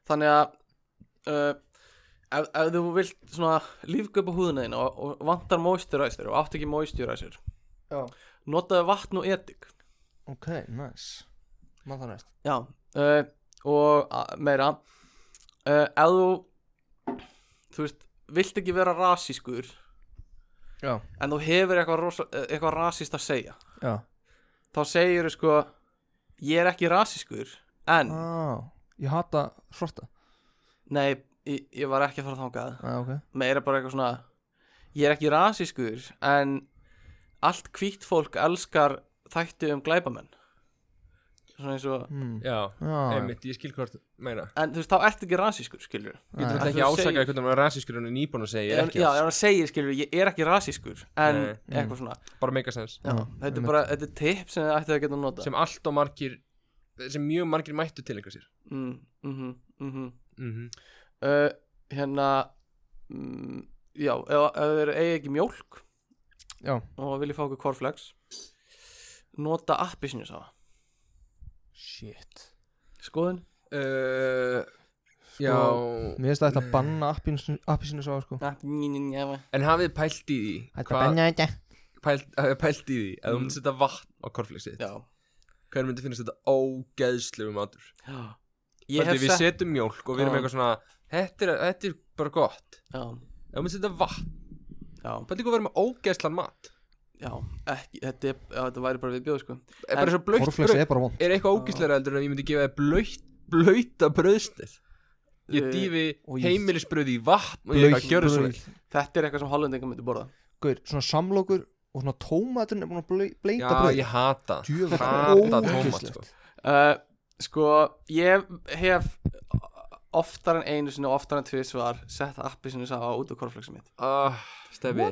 Speaker 3: Þannig að uh, ef, ef þú vilt svona lífgöpa húðina þín og, og vantar moisturizer og átt ekki moisturizer
Speaker 4: Já.
Speaker 3: Notaðu vatn og edik
Speaker 4: Ok, nice Mann það næst
Speaker 3: Já uh, Og a- meira uh, Ef þú Þú veist, vilt ekki vera rasískur
Speaker 4: Já
Speaker 3: en þú hefur eitthvað, rosa, eitthvað rasist að segja
Speaker 4: Já
Speaker 3: þá segir þú sko ég er ekki rasiskur en
Speaker 4: ah, Ég hata svarta
Speaker 3: nei, ég, ég var ekki að fara þangað
Speaker 4: ah, Ok
Speaker 3: meira bara eitthvað svona ég er ekki rasiskur en allt hvítt fólk elskar þætti um glæbamenn svona eins og
Speaker 4: hmm.
Speaker 2: já,
Speaker 4: Já, já.
Speaker 2: einmitt, ég skil hvort meina
Speaker 3: en þú veist, þá ert ekki rasiskur, skilur
Speaker 2: ég getur
Speaker 3: Nei.
Speaker 2: þetta ekki
Speaker 3: Þú
Speaker 2: ásakað
Speaker 3: segir-
Speaker 2: eitthvað með rasískur en nýbúin að segja ég er ekki
Speaker 3: já,
Speaker 2: já,
Speaker 3: ef hann segir, skilur, ég er ekki rasiskur en
Speaker 2: Nei.
Speaker 3: eitthvað svona
Speaker 2: bara meika sens
Speaker 3: já,
Speaker 4: Já, Hmm.
Speaker 3: þetta
Speaker 4: einmitt.
Speaker 3: er bara, þetta er tip sem þið ættið að geta að nota
Speaker 2: sem allt og margir sem mjög margir mættu til einhver sér
Speaker 3: mm, mm -hmm, mm -hmm.
Speaker 2: mm -hmm.
Speaker 3: uh, hérna mm, já, ef ef þau eru eigi ekki mjólk
Speaker 4: Já.
Speaker 3: og vilja fá okkur korflex nota appi sinni sá
Speaker 4: Shit
Speaker 3: skoðun
Speaker 2: Uh, já
Speaker 4: Mér finnst að þetta banna appinu sá sko
Speaker 3: Ah, ný, ný, ný, ný.
Speaker 2: En hafið pælt í því
Speaker 1: Þetta
Speaker 2: hvað,
Speaker 1: benna þetta
Speaker 2: pælt, hafið pælt í því að þú myndir setja vatn á korflexið
Speaker 3: Mm. já
Speaker 2: hver myndi finnast þetta ógeðslegu matur
Speaker 3: Já. Ég hef
Speaker 2: Heldur, við
Speaker 3: sett-
Speaker 2: setjum mjólk og við erum
Speaker 3: Já.
Speaker 2: eitthvað svona þetta er, þetta er bara gott
Speaker 3: já,
Speaker 2: ef maður setja vatn,
Speaker 3: já,
Speaker 2: bæti hvað verður með ógeðslan mat
Speaker 3: já ekki, þetta, er, já, þetta væri bara við bjóð sko.
Speaker 2: er
Speaker 3: En-
Speaker 2: bara svo blöytt
Speaker 4: Korflex
Speaker 2: bröð
Speaker 4: er bara vond
Speaker 2: er eitthvað ógeðslega eldur en að ég myndi gefa þér blöytt blöyta bröðsnið ég
Speaker 3: Eh,
Speaker 2: dýfi
Speaker 4: og ég-
Speaker 2: heimilisbröð í vatn og ég er að gjöra svo vel
Speaker 3: Þetta er eitthvað sem hollendingar myndi borða
Speaker 4: Gaur, svona samlokur og svona tómaturinn er búin að blei- bleika
Speaker 2: já
Speaker 4: bröð
Speaker 2: ég hata
Speaker 4: Djöfull,
Speaker 2: hata
Speaker 4: ógeðslegt.
Speaker 2: tómat sko.
Speaker 3: uh, Sko, ég hef oftar en einu sinni og oftar en tvisvar sett appi sinni sá út á korflöksum mitt
Speaker 2: uh, stefi,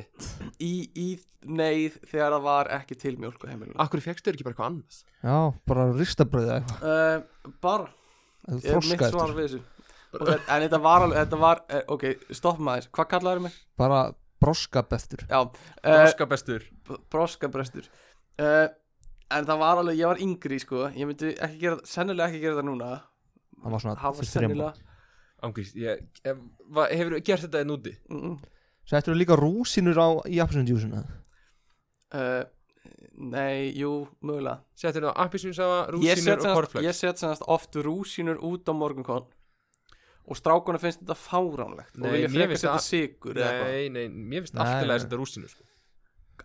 Speaker 3: í, í neyð þegar það var ekki til mjólk á heimilinu
Speaker 2: akkur fegstu ekki bara eitthvað annars
Speaker 4: já, bara ristabröð eða eitthvað
Speaker 3: uh, Bara,
Speaker 4: eða
Speaker 3: er mitt
Speaker 4: þroska
Speaker 3: svar
Speaker 4: eftir
Speaker 3: við þessu Og þetta- En þetta var alveg, þetta var, eh, ok, stopp maður, hvað kallaður mig?
Speaker 4: bara broskabeftur
Speaker 3: Já, uh,
Speaker 2: broska bestur
Speaker 3: broskabrestur uh, En það var alveg, ég var yngri sko Ég myndi ekki gera, sennilega ekki gera það núna
Speaker 4: það var svona
Speaker 3: Það var
Speaker 4: fyrir þreim
Speaker 3: sennilega
Speaker 2: Angriðs, ég, ef, va, hefur gert þetta hérna í núti?
Speaker 3: mm -mm.
Speaker 4: settur líka rúsinur á í appisunndjúsina
Speaker 3: Uh, Nei, jú, mögulega
Speaker 2: Settir það appisvinsafa, rúsinur
Speaker 3: Ég set
Speaker 2: hérna og
Speaker 3: sennast,
Speaker 2: korflex
Speaker 3: ég set sennast oft rúsínur út á morgunkon Og strákuna finnst þetta fáránlegt
Speaker 2: Nei,
Speaker 3: Og vilja
Speaker 2: mér
Speaker 3: frekar
Speaker 2: finnst
Speaker 3: setja
Speaker 2: það-
Speaker 3: sigur eða eitthvað
Speaker 2: Nei, nei, mér finnst
Speaker 4: Nei,
Speaker 2: alltaf
Speaker 4: nei.
Speaker 2: að setja rúsinur sko.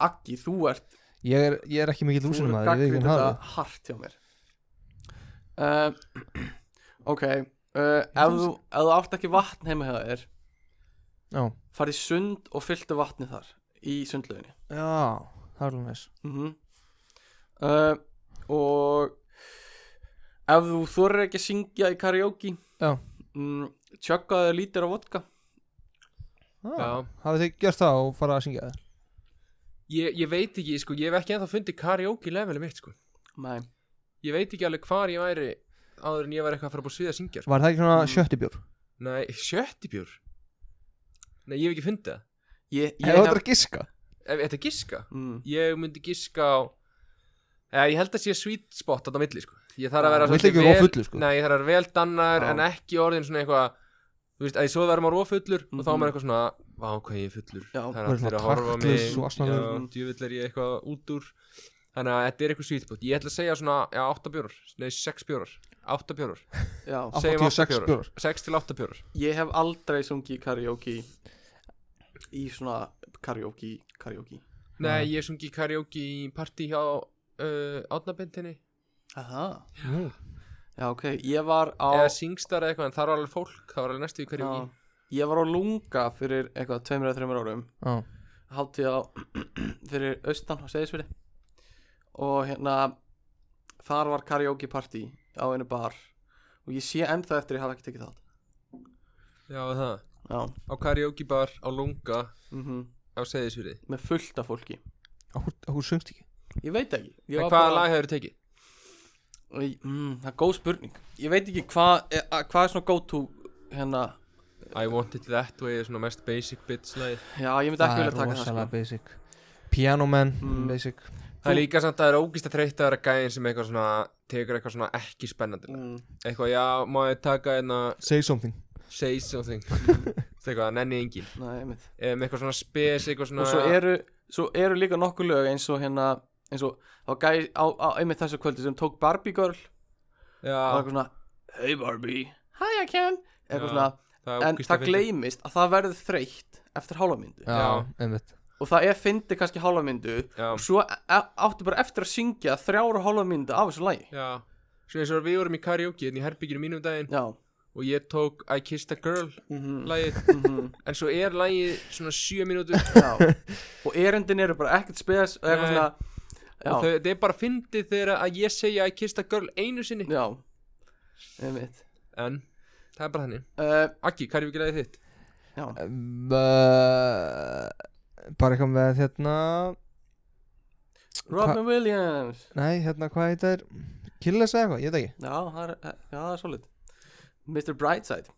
Speaker 3: Aggi, þú ert
Speaker 4: ég er, ég er ekki mikill
Speaker 3: Þú
Speaker 4: rúsinum
Speaker 3: ert
Speaker 4: maður, ég veit ekki
Speaker 3: gagnrýnd
Speaker 4: um hvað
Speaker 3: þetta
Speaker 4: það
Speaker 3: hart hjá mér uh, Ok uh, ef, þú, ef þú átt ekki vatn heima hjá þér
Speaker 4: já,
Speaker 3: farið í sund og fylltu vatni þar í sundlauginni
Speaker 4: já, það er alveg næst
Speaker 3: mm uh, og ef þú þorir ekki að syngja í karaoke
Speaker 4: Já.
Speaker 3: mm, tjökkaðu lítir á vodka
Speaker 2: Já.
Speaker 4: Ah, hafið þið gert það og farað að syngja það
Speaker 2: ég, ég veit ekki, sko, ég hef ekki ennþá fundið karaoke levelið mitt, sko
Speaker 3: Nei.
Speaker 2: Ég veit ekki alveg hvar ég væri áður en ég væri eitthvað að fara upp á sviða að syngja sko.
Speaker 4: var það ekki svona
Speaker 3: Mm.
Speaker 4: sjöttibjór
Speaker 2: Nei, sjöttibjór Nei, ég hef ekki fundið það
Speaker 3: ég, ég
Speaker 4: ég hef að giska
Speaker 2: Ef þetta er giska,
Speaker 3: mm,
Speaker 2: ég myndi giska á Eða, ég held að sé sweet spot þetta á milli, sko Ég þarf að vera
Speaker 4: Þú vilt
Speaker 2: svolítið
Speaker 4: ekki vera of fullur, sko.
Speaker 2: Nei, ég þarf að vera vel dannar
Speaker 3: Já.
Speaker 2: en ekki orðin svona eitthvað Þú veist, að ég svo verður maður rofullur og þá er
Speaker 3: Mhm.
Speaker 2: maður eitthvað svona Vá, hvað ég er fullur
Speaker 3: Já.
Speaker 2: Það
Speaker 4: Verður
Speaker 2: er allir
Speaker 4: svona
Speaker 2: að horfa á mig
Speaker 4: taktlaus og asnalegur.
Speaker 2: Já, djöfull er ég eitthvað út úr Þannig að þetta er eitthvað sweet spot Ég ætla að segja svona, já, 8 bjórar Nei, 6 bjórar 8 bjórar
Speaker 3: já,
Speaker 2: Segjum
Speaker 4: 86
Speaker 2: átta
Speaker 4: bjórar.
Speaker 2: 6 til 8 bjórar
Speaker 3: ég hef aldrei sungið karaoke í svona karaoke karaoke
Speaker 2: Nei, ég sungi karaoke í partí hjá uh, átnabindinni
Speaker 3: Aha.
Speaker 4: Nú.
Speaker 3: já ok, ég var á
Speaker 2: Eða singstar eða eitthvað En það var alveg fólk, það var alveg næstu í
Speaker 3: Já.
Speaker 2: karaoke
Speaker 3: Ég var á lunga fyrir eitthvað tveimur eða þreimur árum
Speaker 4: já,
Speaker 3: Háttið á fyrir austan á Seyðisfili Og hérna Þar var karaoke party á einu bar Og ég sé ennþá eftir að ég hafa ekki tekið þátt
Speaker 2: Já, það
Speaker 3: Já,
Speaker 2: Á karaoke bar, á lunga,
Speaker 3: mhm,
Speaker 2: á seðisfyrði
Speaker 3: með fullt af fólki
Speaker 4: okkur, okkur söngst ekki
Speaker 3: Ég veit ekki ég var
Speaker 2: Hvaða bara...
Speaker 3: bara-
Speaker 2: lag hefur tekið?
Speaker 3: Og ég- mm, Það er góð spurning Ég veit ekki hvað er, að- hvað er svona go to Hérna,
Speaker 2: I want it that way er svona mest basic bits lagið.
Speaker 3: já ég myndi ekki vilja taka það sko.
Speaker 4: rosalega basic pianoman,
Speaker 3: Mm.
Speaker 4: basic
Speaker 2: Það er líka samt að það er ógist að þreytta að vera gæðin sem eitthvað svona tekur eitthvað svona ekki spennandi lag.
Speaker 3: mm,
Speaker 2: Eitthvað, já, má ég taka einna
Speaker 4: say something
Speaker 2: say something Það eitthvað, nenni engin
Speaker 3: Nei, einmitt
Speaker 2: um, Eitthvað svona spes, eitthvað svona
Speaker 3: og svo eru, svo eru líka nokkur lög eins og hérna eins og þá gæði á, á einmitt þessu kvöldi sem tók Barbie girl og var
Speaker 2: Já,
Speaker 3: eitthvað svona hey Barbie, hi I can
Speaker 2: Já,
Speaker 3: eitthvað svona,
Speaker 2: það er
Speaker 3: en
Speaker 2: ógist
Speaker 3: það gleymist að það verður þreytt eftir hálfamyndu
Speaker 2: Já.
Speaker 4: já, einmitt
Speaker 3: og það er fyndi kannski hálfamyndu
Speaker 2: Já,
Speaker 3: og svo e- áttu bara eftir að syngja þrjára hálfamyndu af þessu lagi
Speaker 2: já Svo eins og við vorum í karaoke en í herbyggjur mínum um daginn
Speaker 3: já,
Speaker 2: og ég tók I kissed a girl
Speaker 3: mhm,
Speaker 2: lagið
Speaker 3: mhm,
Speaker 2: en svo er lagið svona 7 mínútur
Speaker 3: já og erindin eru bara ekkert spes og eitthvað
Speaker 2: Nei.
Speaker 3: svona
Speaker 2: og
Speaker 3: já,
Speaker 2: þau- þetta er bara fyndið þegar að ég segja I kissed a girl einu sinni
Speaker 3: já einmitt
Speaker 2: en það er bara þannig
Speaker 3: uh,
Speaker 2: Akki, hvað er við græðið þitt?
Speaker 3: já,
Speaker 4: Um, uh, bara eitthvað með hérna
Speaker 3: Robin Williams
Speaker 4: nei, hérna, hvað heit það er Killis eða eitthvað, ég veit ekki
Speaker 3: Já, það er, já, það er svolít Mr. Brightside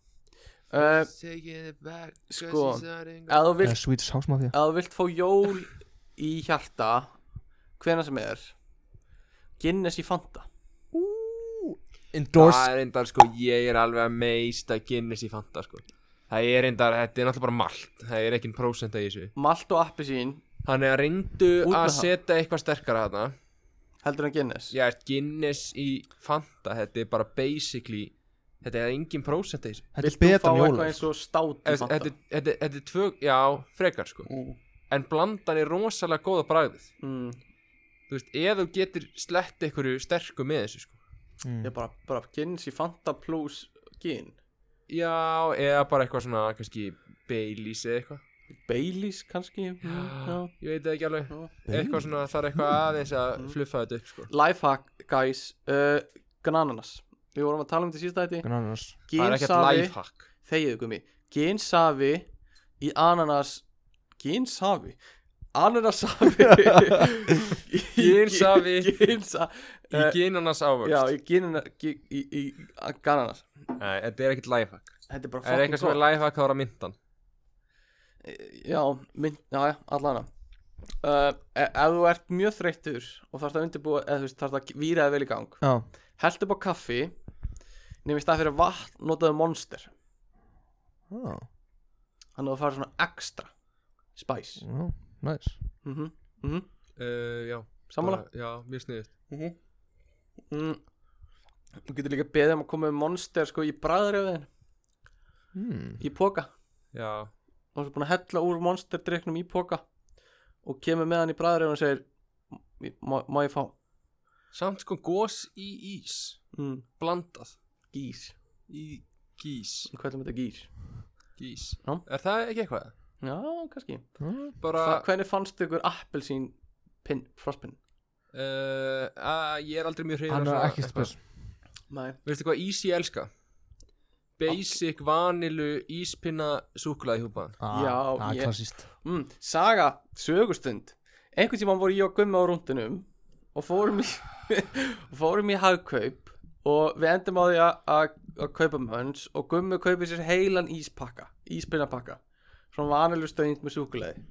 Speaker 3: uh, Sko, ef þú
Speaker 4: Eða
Speaker 3: vilt,
Speaker 4: Swedish House Mafia
Speaker 3: ef þú vilt fá jól í hjarta hvena sem er Guinness í Fanta
Speaker 4: Endorse
Speaker 2: Það er reyndar sko, ég er alveg að meista Guinness í Fanta sko Það er reyndar, þetta er náttúrulega bara malt Það er ekki prósenta í þessu
Speaker 3: Malt og appelsín
Speaker 2: Þannig að reyndu
Speaker 3: Út með
Speaker 2: að
Speaker 3: það.
Speaker 2: setja eitthvað sterkara þarna
Speaker 3: heldur en Guinness
Speaker 2: Já, Guinness í Fanta, þetta er bara basically Þetta er engin prósent þessu
Speaker 4: Þetta er
Speaker 5: Vilt
Speaker 4: betra
Speaker 5: þú fá
Speaker 4: en sko.
Speaker 5: eitthvað
Speaker 4: jólalæs
Speaker 5: eins og stát í
Speaker 2: Þetta
Speaker 5: Fanta?
Speaker 2: þetta- þetta- þetta er tvö, já, frekar sko
Speaker 3: Mm.
Speaker 2: En blandan er rosalega góða bragðið
Speaker 3: Mm.
Speaker 2: Þú veist, ef þú getur slett einhverju sterku með þessu sko
Speaker 3: Ég bara, bara gins í Fanta plus gin
Speaker 2: Já, eða bara eitthvað svona, kannski Baileys eða eitthvað
Speaker 3: Baileys kannski mm, já.
Speaker 2: Ég veit það ekki alveg
Speaker 3: Já. Mm.
Speaker 2: Eitthvað svona, það er eitthvað aðeins að fluffa þetta upp sko
Speaker 3: Lifehack guys uh, Gnananas Við vorum að tala um þetta í sísta þetta
Speaker 4: Grananas
Speaker 2: Það er ekkert
Speaker 3: Ginsafi
Speaker 2: lifehack
Speaker 3: Þegiðu gumi Ginsafi um í ananas Ginsafi Ananasafi Í-
Speaker 2: Ginsafi.
Speaker 3: Ginsa
Speaker 2: Í
Speaker 3: Eh,
Speaker 2: ginunars ávöxt
Speaker 3: Já, í ginina Í, í, í ananas
Speaker 2: Nei, þetta er ekkert lifehack
Speaker 3: Þetta er bara
Speaker 2: Er eitthvað sem er
Speaker 3: fucking gott
Speaker 2: lifehack þá er að myndan
Speaker 3: Já, mynd, já, já, allana uh, e- Ef þú ert mjög þreyttur og þarft að undirbúa, eða þú veist, þarft að víra þig vel í gang
Speaker 4: Já,
Speaker 3: Held upp á kaffi Nefnir stað fyrir vatn notaðu monster
Speaker 4: já,
Speaker 3: Þannig að þú farið svona ekstra Spæs
Speaker 4: já, næs
Speaker 3: mm -hmm. mm -hmm.
Speaker 2: uh, Já,
Speaker 3: Sammála
Speaker 2: bara- Já, mjög sniðut
Speaker 3: mm. Þú getur líka beðið um að koma með monster sko í bræðarjöðin
Speaker 4: Hmm.
Speaker 3: Í póka
Speaker 2: Já,
Speaker 3: Og svo búin að hella úr monsterdryknum í póka Og kemur með hann í bræðarjöðin og segir "M- Má, má ég fá
Speaker 2: samt sko gós í ís
Speaker 3: mm.
Speaker 2: Blandað
Speaker 3: Gís
Speaker 2: í gís
Speaker 3: Hvað er þetta gís?
Speaker 2: Gís
Speaker 3: Já.
Speaker 2: Er það ekki eitthvað?
Speaker 3: Já, kannski
Speaker 2: Bara,
Speaker 3: Þa, Hvernig fannst ykkur appelsín pinn, frostpinn?
Speaker 2: uh, að, ég er aldrei mjög hrifin
Speaker 4: Hann
Speaker 2: af
Speaker 4: er
Speaker 2: svona
Speaker 4: ekki
Speaker 2: eitthvað.
Speaker 4: spes
Speaker 3: Nei
Speaker 2: Veistu hvað ís ég elska? Basic, vanilu, íspinna, súkulaði húpaðan
Speaker 3: Já,
Speaker 4: Ah, Það
Speaker 3: ég-
Speaker 4: er klassist
Speaker 3: mm, Saga, sögustund Einhvern tímann voru ég og Gummi á rúndunum Og fórum í Fórum í hagkaup Og við endum á því að- að að kaupa mönns Og Gummi kaupið sér heilan íspakka Íspinnapakka Svona vanilur stöðing með súkuleði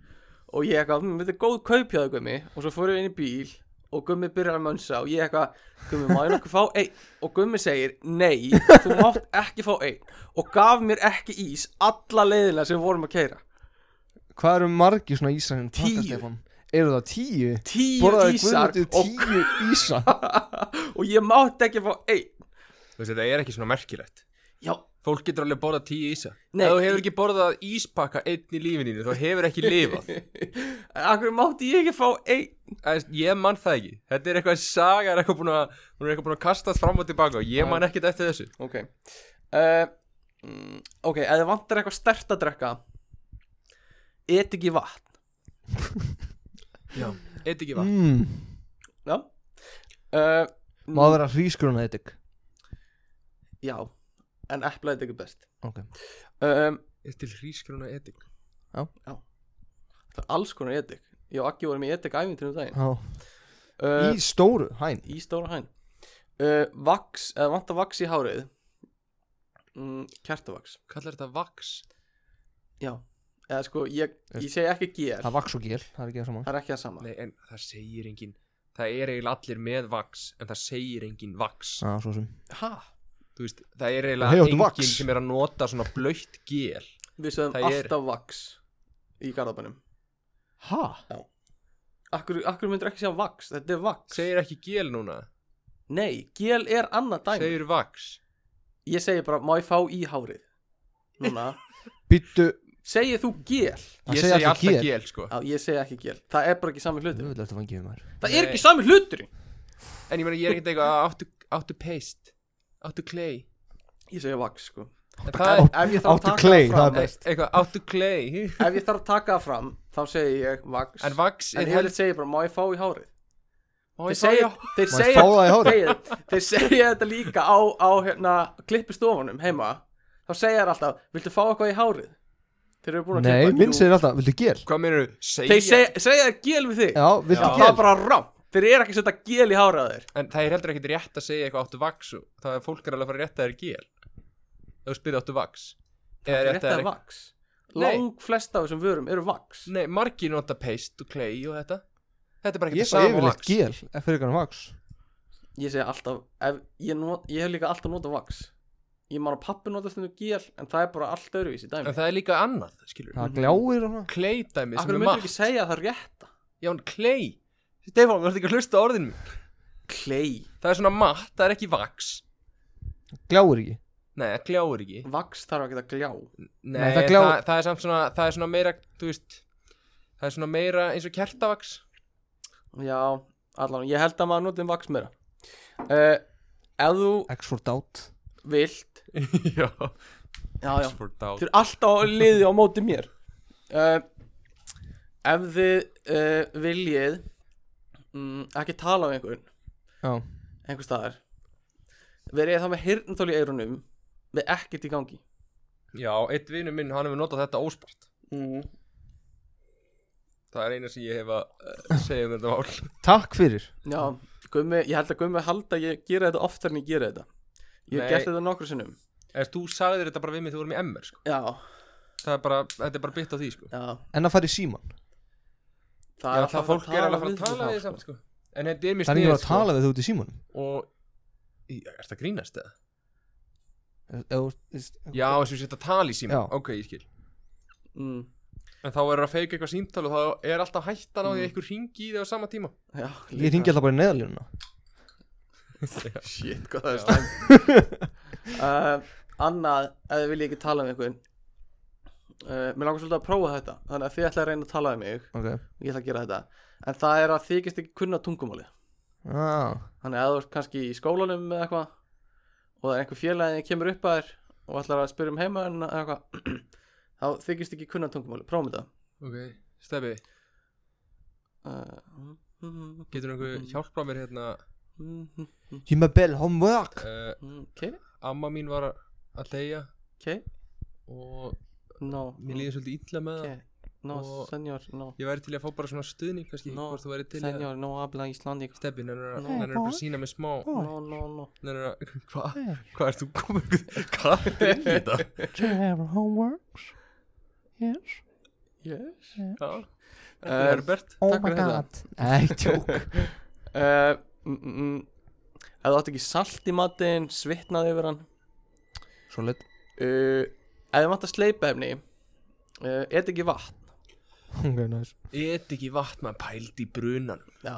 Speaker 3: Og ég eitthvað, "Mm, þetta er góð kaup hjá þau Gummi Og svo fórum við inn í bíl Og Gummi byrjar að mönsa Og ég eitthvað, Gummi, má ég nokkuð fá einn? Og Gummi segir, nei, þú mátt ekki fá einn Og gaf mér ekki ís Alla leiðina sem við vorum að keira
Speaker 4: Hvað eru margir svona ísar hérna? Takk,
Speaker 3: Tíu.
Speaker 4: Stefán. Eru það tíu?
Speaker 3: tíu
Speaker 4: Borðaði
Speaker 3: ísar
Speaker 4: Guðmundur
Speaker 3: og,
Speaker 4: tíu ísa
Speaker 3: og ég mátti ekki fá einn
Speaker 2: Þú veist, þetta er ekki svona merkilegt
Speaker 3: já,
Speaker 2: Fólk getur alveg borðað tíu ísa
Speaker 3: Nei,
Speaker 2: Ef þú hefur
Speaker 3: í-
Speaker 2: ekki borðað íspakka einn í lífininu Þú hefur ekki lifað
Speaker 3: en akkur mátti ég ekki fá einn
Speaker 2: Æst, Ég mann það ekki Þetta er eitthvað saga er eitthvað búin að, Hún er eitthvað búin að kastast fram og tilbaka og Ég mann ekkert eftir þessu
Speaker 3: ok uh, mm, ok, ef þið vantar eitthvað stert að drekka et ekki vatn
Speaker 2: Eitt ekki vatn
Speaker 4: mm.
Speaker 3: já uh,
Speaker 4: Má vera hrískuruna þetta
Speaker 3: já, en eplaði þetta ekki best
Speaker 4: Ok.
Speaker 3: um,
Speaker 2: Eitt til hrísgruna edik
Speaker 3: það er alls konar etik ég og Akki vorum í etik æfintrinu daginn
Speaker 4: Já.
Speaker 3: uh,
Speaker 4: Í stóru hæn
Speaker 3: í stóra hæn uh, vaks, eða vantar vaks í hárið mm, kertavaks
Speaker 2: Kallar þetta vaks?
Speaker 3: Já, eða sko, ég, ég segi ekki GL
Speaker 4: Það vaks og gél, það er ekki það sama
Speaker 3: Það er ekki það sama
Speaker 2: Nei, en það segir engin Það er eiginlega allir með vaks En það segir engin vaks
Speaker 4: Já, svo sem
Speaker 3: Hæ?
Speaker 2: Þú veist, það er
Speaker 4: Hey,
Speaker 2: eiginlega
Speaker 4: áttu
Speaker 2: engin
Speaker 4: vax?
Speaker 2: sem er að nota svona blöytt gél
Speaker 3: Við sögum
Speaker 2: Það er-
Speaker 3: alltaf vaks í garðabænum
Speaker 4: Ha?
Speaker 3: Akkur, akkur myndir ekki segja vaks, þetta er vaks
Speaker 2: Segir ekki gél núna
Speaker 3: Nei, GL er annað dæmi
Speaker 2: Segir vaks
Speaker 3: Ég segi bara, má ég fá í hárið? Núna,
Speaker 4: Býttu
Speaker 3: segir þú GL?
Speaker 4: Það
Speaker 2: Ég
Speaker 4: segja
Speaker 2: segi
Speaker 4: allir
Speaker 2: alltaf
Speaker 4: gél.
Speaker 2: gél, sko
Speaker 3: Já, ég segi ekki GL, það er bara ekki sami
Speaker 4: Þú
Speaker 3: hlutur
Speaker 4: vil eftir að fangja um þær
Speaker 3: Það er
Speaker 2: Mm, Nei.
Speaker 3: ekki sami hlutur
Speaker 2: En ég meina, ég er ekkert eitthvað "Ah, áttu, áttu paste Áttu clay
Speaker 3: Ég segi vaks, sko
Speaker 2: En það er
Speaker 3: Ef ég þarf að
Speaker 4: áttu
Speaker 3: taka
Speaker 4: clay,
Speaker 3: það
Speaker 4: það
Speaker 3: fram
Speaker 4: er
Speaker 2: Nei, eitthvað áttu clay
Speaker 3: Ef ég þarf að taka það fram, þá segi ég vaks
Speaker 2: En vaks
Speaker 3: En
Speaker 2: er
Speaker 3: ég segi bara, má ég fá í hárið?
Speaker 2: Má
Speaker 3: Þeir
Speaker 2: ég fá
Speaker 3: segja,
Speaker 2: já?
Speaker 4: Má
Speaker 3: þeir
Speaker 4: ég
Speaker 3: segja
Speaker 4: fá það í hárið?
Speaker 3: þeir, þeir segja þetta líka á, á hérna, klippistofunum heima Þá segja þeir alltaf, viltu fá eitthvað í hárið? Þeir eru búin að
Speaker 4: Nei,
Speaker 3: klippa
Speaker 4: minn
Speaker 3: Jú.
Speaker 4: segir alltaf, viltu gél?
Speaker 2: Hvað meirðu? Segja
Speaker 3: Þeir segja, segja þeir gél við þig
Speaker 4: Já,
Speaker 2: Já.
Speaker 4: viltu
Speaker 3: Það
Speaker 4: gél?
Speaker 3: er bara rám Þeir eru ekki að setja gél í hárið á þeir
Speaker 2: En það er heldur ekkert rétt að segja eitthvað áttu vaks og Það er fólk er alveg að fara að rétta þér gél Þú spyrir áttu vaks Eða
Speaker 3: Þeir
Speaker 2: rétta
Speaker 3: rétta
Speaker 2: þér
Speaker 3: er vaks
Speaker 2: Nei.
Speaker 3: Lang flest af þessum vörum eru vaks
Speaker 2: Nei, margir nota paste og clay og þetta Þetta er bara
Speaker 4: Ég
Speaker 2: ekkert
Speaker 4: fæ
Speaker 2: það sama
Speaker 4: yfirleitt
Speaker 2: vaks
Speaker 4: gél, ef fyrir ykkur vaks
Speaker 3: Ég segja alltaf, ef, ég, not, ég hef líka alltaf notað vaks Ég man að pappi nota stundum gél En það er bara allt öðruvísi
Speaker 2: En
Speaker 3: dæmi
Speaker 2: það er líka annað, skilur
Speaker 4: Það gljáir og það
Speaker 2: Clay dæmið sem
Speaker 3: Akkur
Speaker 2: er
Speaker 3: myndir ekki
Speaker 2: matt
Speaker 3: segja það rétta
Speaker 2: Já, en clay Stefán, þú ert ekki að hlusta á orðinu mín
Speaker 3: Klei
Speaker 2: Það er svona matt, það er ekki vaks
Speaker 4: Gljáir ekki
Speaker 2: Nei, það gljáir ekki Nei,
Speaker 3: Vax þarf að geta gljá
Speaker 4: Nei, það
Speaker 2: það,
Speaker 4: gljáir-
Speaker 2: það, er samt svona, það er svona meira, þú veist Það er svona meira eins og kertavaks
Speaker 3: Já, allan, ég held að maður notið um vax meira uh, Ef þú
Speaker 4: X for doubt
Speaker 3: vilt
Speaker 2: Já,
Speaker 3: Já, já,
Speaker 2: for doubt
Speaker 3: Þið eru alltaf á liði á móti mér uh, Ef þið uh, viljið mm, ekki tala um einhvern
Speaker 4: Já.
Speaker 3: einhver staðar verið þá með hirntól í eyrunum með ekkert í gangi
Speaker 2: Já, eitt vinur minn, hann hefur notað þetta óspart
Speaker 3: mm.
Speaker 2: Það er eina sem ég hef að eh, segja um þetta mál
Speaker 4: Takk fyrir
Speaker 3: Já, gummi, ég held að gummi halda að ég gera þetta oftar en ég gera þetta Ég
Speaker 2: Nei.
Speaker 3: hef gert þetta nokkru sinnum
Speaker 2: En þú sagðir þetta bara við mig þegar þú vorum í MR sko.
Speaker 3: Já,
Speaker 2: Það er bara, þetta er bara bytt á því sko.
Speaker 3: já
Speaker 4: En að fara í síman
Speaker 3: Það
Speaker 2: Já, það
Speaker 3: alltaf
Speaker 2: fólk er alveg að fara að
Speaker 3: við
Speaker 2: tala
Speaker 3: þá,
Speaker 2: við því samt sko. En þetta er mér
Speaker 4: Það er ekki
Speaker 2: sniðið sko,
Speaker 4: að tala við þú út í símanum
Speaker 2: Og, Í, er þetta grínast eða?
Speaker 4: Ef- ef- ef-
Speaker 2: Já, eins og ég setja að tala í síma
Speaker 4: Já.
Speaker 2: Ok, ég skil
Speaker 3: mm,
Speaker 2: En þá er að feika eitthvað símtal og þá er alltaf
Speaker 4: Mm.
Speaker 2: hættan á því að einhver ringi í þig á sama tíma
Speaker 3: já,
Speaker 4: Ég ringi alltaf bara í neðalínuna
Speaker 3: Shit, hvað það er slæmt uh, Annað, ef þið viljið ekki tala um einhvern uh, Mér langar svolítið að prófa þetta Þannig að þið ætla að reyna að tala um mig
Speaker 4: Ok
Speaker 3: Ég ætla að gera þetta En það er að þykist ekki kunna tungumáli
Speaker 4: ah.
Speaker 3: Þannig að þú ert kannski í skólanum eða eitthvað Og það er einhver félagið kemur upp að þér Og ætlar að spyrja um heima eða eitthvað Þá þykist ekki kunna tungumáli Prófum þetta
Speaker 2: Ok, Steffi,
Speaker 3: uh,
Speaker 2: getur einhver hjálpað mér hérna
Speaker 4: You my bell homework
Speaker 2: uh,
Speaker 3: Ok,
Speaker 2: Amma mín var að deyja
Speaker 3: ok
Speaker 2: og
Speaker 3: No,
Speaker 2: mér líður svolítið illa með það
Speaker 3: okay. no,
Speaker 2: Og-
Speaker 3: senor, no
Speaker 2: Ég væri til í að fá bara svona stuðning kannski
Speaker 3: No,
Speaker 2: Hvort þú væri til í að
Speaker 3: Senjor, no habla Íslandi
Speaker 2: Steffi, nennir að
Speaker 3: No.
Speaker 2: nennirðu bara að sína mig smá
Speaker 3: No, no, no
Speaker 2: Nennir að, hvað, hvað ert þú komið Hvað er þetta inn í þetta?
Speaker 1: Do you have homeworks? Yes
Speaker 3: Yes Eh,
Speaker 2: Já, þetta er Herbert
Speaker 1: Oh
Speaker 3: Takk
Speaker 1: my
Speaker 3: fyrir þetta.
Speaker 1: god Nei, tjók
Speaker 3: uh, mm, mm, Ef þú átt ekki salt í matinn, svitnaði yfir hann
Speaker 4: Solid
Speaker 3: uh, Ef þú vant að sleipa efni uh, Et ekki vatn
Speaker 4: Ok, nice
Speaker 2: Ég et ekki vatn maður pælt í brunan
Speaker 3: Já,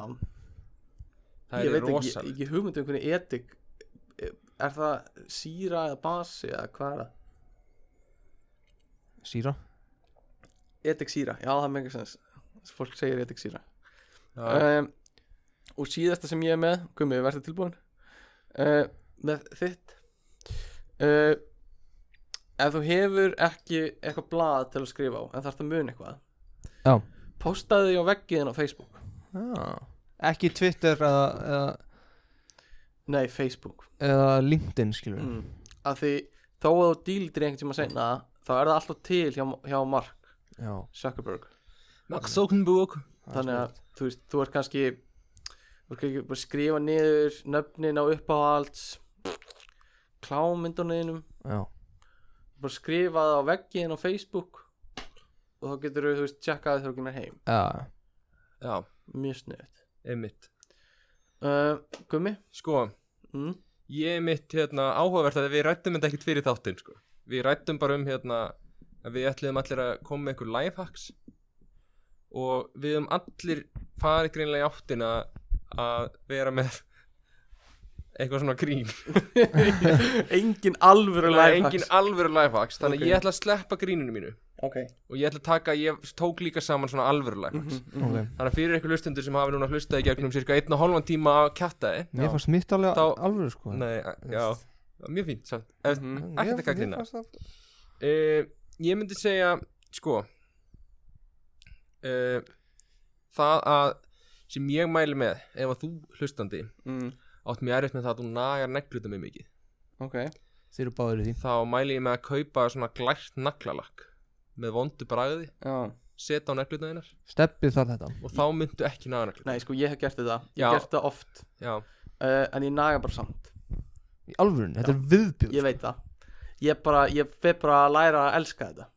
Speaker 2: Það
Speaker 3: ég
Speaker 2: er
Speaker 3: veit ekki,
Speaker 2: rosalegt
Speaker 3: ekki hugmynd um hvernig etik eh, Er það síra eða basi eða hvað er það?
Speaker 4: Síra
Speaker 3: Etik síra, já það er mega sens Fólk segir etik síra
Speaker 2: Já.
Speaker 3: um, og síðasta sem ég er með Gumi, verður tilbúin uh, með þitt uh, ef þú hefur ekki eitthvað blað til að skrifa á en þarf það mun eitthvað
Speaker 4: Já.
Speaker 3: postaðu því á veggiðin á Facebook
Speaker 4: ah. Ekki Twitter eða, eða,
Speaker 3: nei, Facebook
Speaker 4: eða LinkedIn skilur
Speaker 3: mm. að því þó að þú dýldir einhvern tíma seinna þá er það alltaf til hjá, hjá Mark
Speaker 4: Já
Speaker 3: Zuckerberg
Speaker 2: Max Sokkenbúk
Speaker 3: þannig að þú veist, þú ert kannski þú ert kannski bara að skrifa niður nöfnin á uppáhalds klámyndunniðinum
Speaker 4: Já
Speaker 3: bara skrifa það á veggin á Facebook og þá getur þú veist tjekkað þegar þú kemur heim
Speaker 4: Já
Speaker 2: Já,
Speaker 3: mjög sniðut
Speaker 2: einmitt
Speaker 3: uh, Gummi
Speaker 2: Sko,
Speaker 3: mm?
Speaker 2: ég er mitt hérna áhugavert að við rættum þetta ekkert fyrir þáttinn sko. við rættum bara um hérna að við ætliðum allir að koma með einhver lifehacks og við höfum allir farið greinlega í áttina að vera með eitthvað svona grín
Speaker 3: engin alvöru
Speaker 2: Það er
Speaker 3: lifehacks.
Speaker 2: engin alvöru lifehacks þannig
Speaker 3: Ok.
Speaker 2: að ég ætla að sleppa gríninu mínu
Speaker 3: ok
Speaker 2: og ég ætla að taka, ég tók líka saman svona alvöru lifehacks
Speaker 3: Mhm.
Speaker 4: Ok
Speaker 2: þannig að fyrir ykkur hlustundur sem hafi núna hlustað í gegnum cirka einn og hálfan tíma af kjattaði
Speaker 4: Mér fannst mitt alveg
Speaker 2: Þá-
Speaker 4: alveg sko
Speaker 2: nei, já, mjög fínt samt,
Speaker 3: Mhm.
Speaker 2: ekkert
Speaker 4: Mér-
Speaker 2: að gaggrina
Speaker 4: mér fannst það-
Speaker 2: uh, ég myndi segja sko uh, það að sem ég mæli með ef að þú hlustandi
Speaker 3: mm.
Speaker 2: átt mér erfitt með það að þú nagar neglutum með mikið
Speaker 3: ok
Speaker 4: Þeir eru báður í því
Speaker 2: þá mæli ég með að kaupa svona glært naglalakk með vondu bragði
Speaker 3: já
Speaker 2: seta á neglutum þeinar
Speaker 4: Steppið þar þetta
Speaker 2: og þá myndu ekki naga neglutum
Speaker 3: nei sko ég hef gert þetta ég
Speaker 2: Já.
Speaker 3: hef gert það oft
Speaker 2: já,
Speaker 3: uh, en ég naga bara samt
Speaker 4: Í alvörun, þetta er viðbjörn
Speaker 3: ég veit það ég bara ég fer bara að læra að elska þetta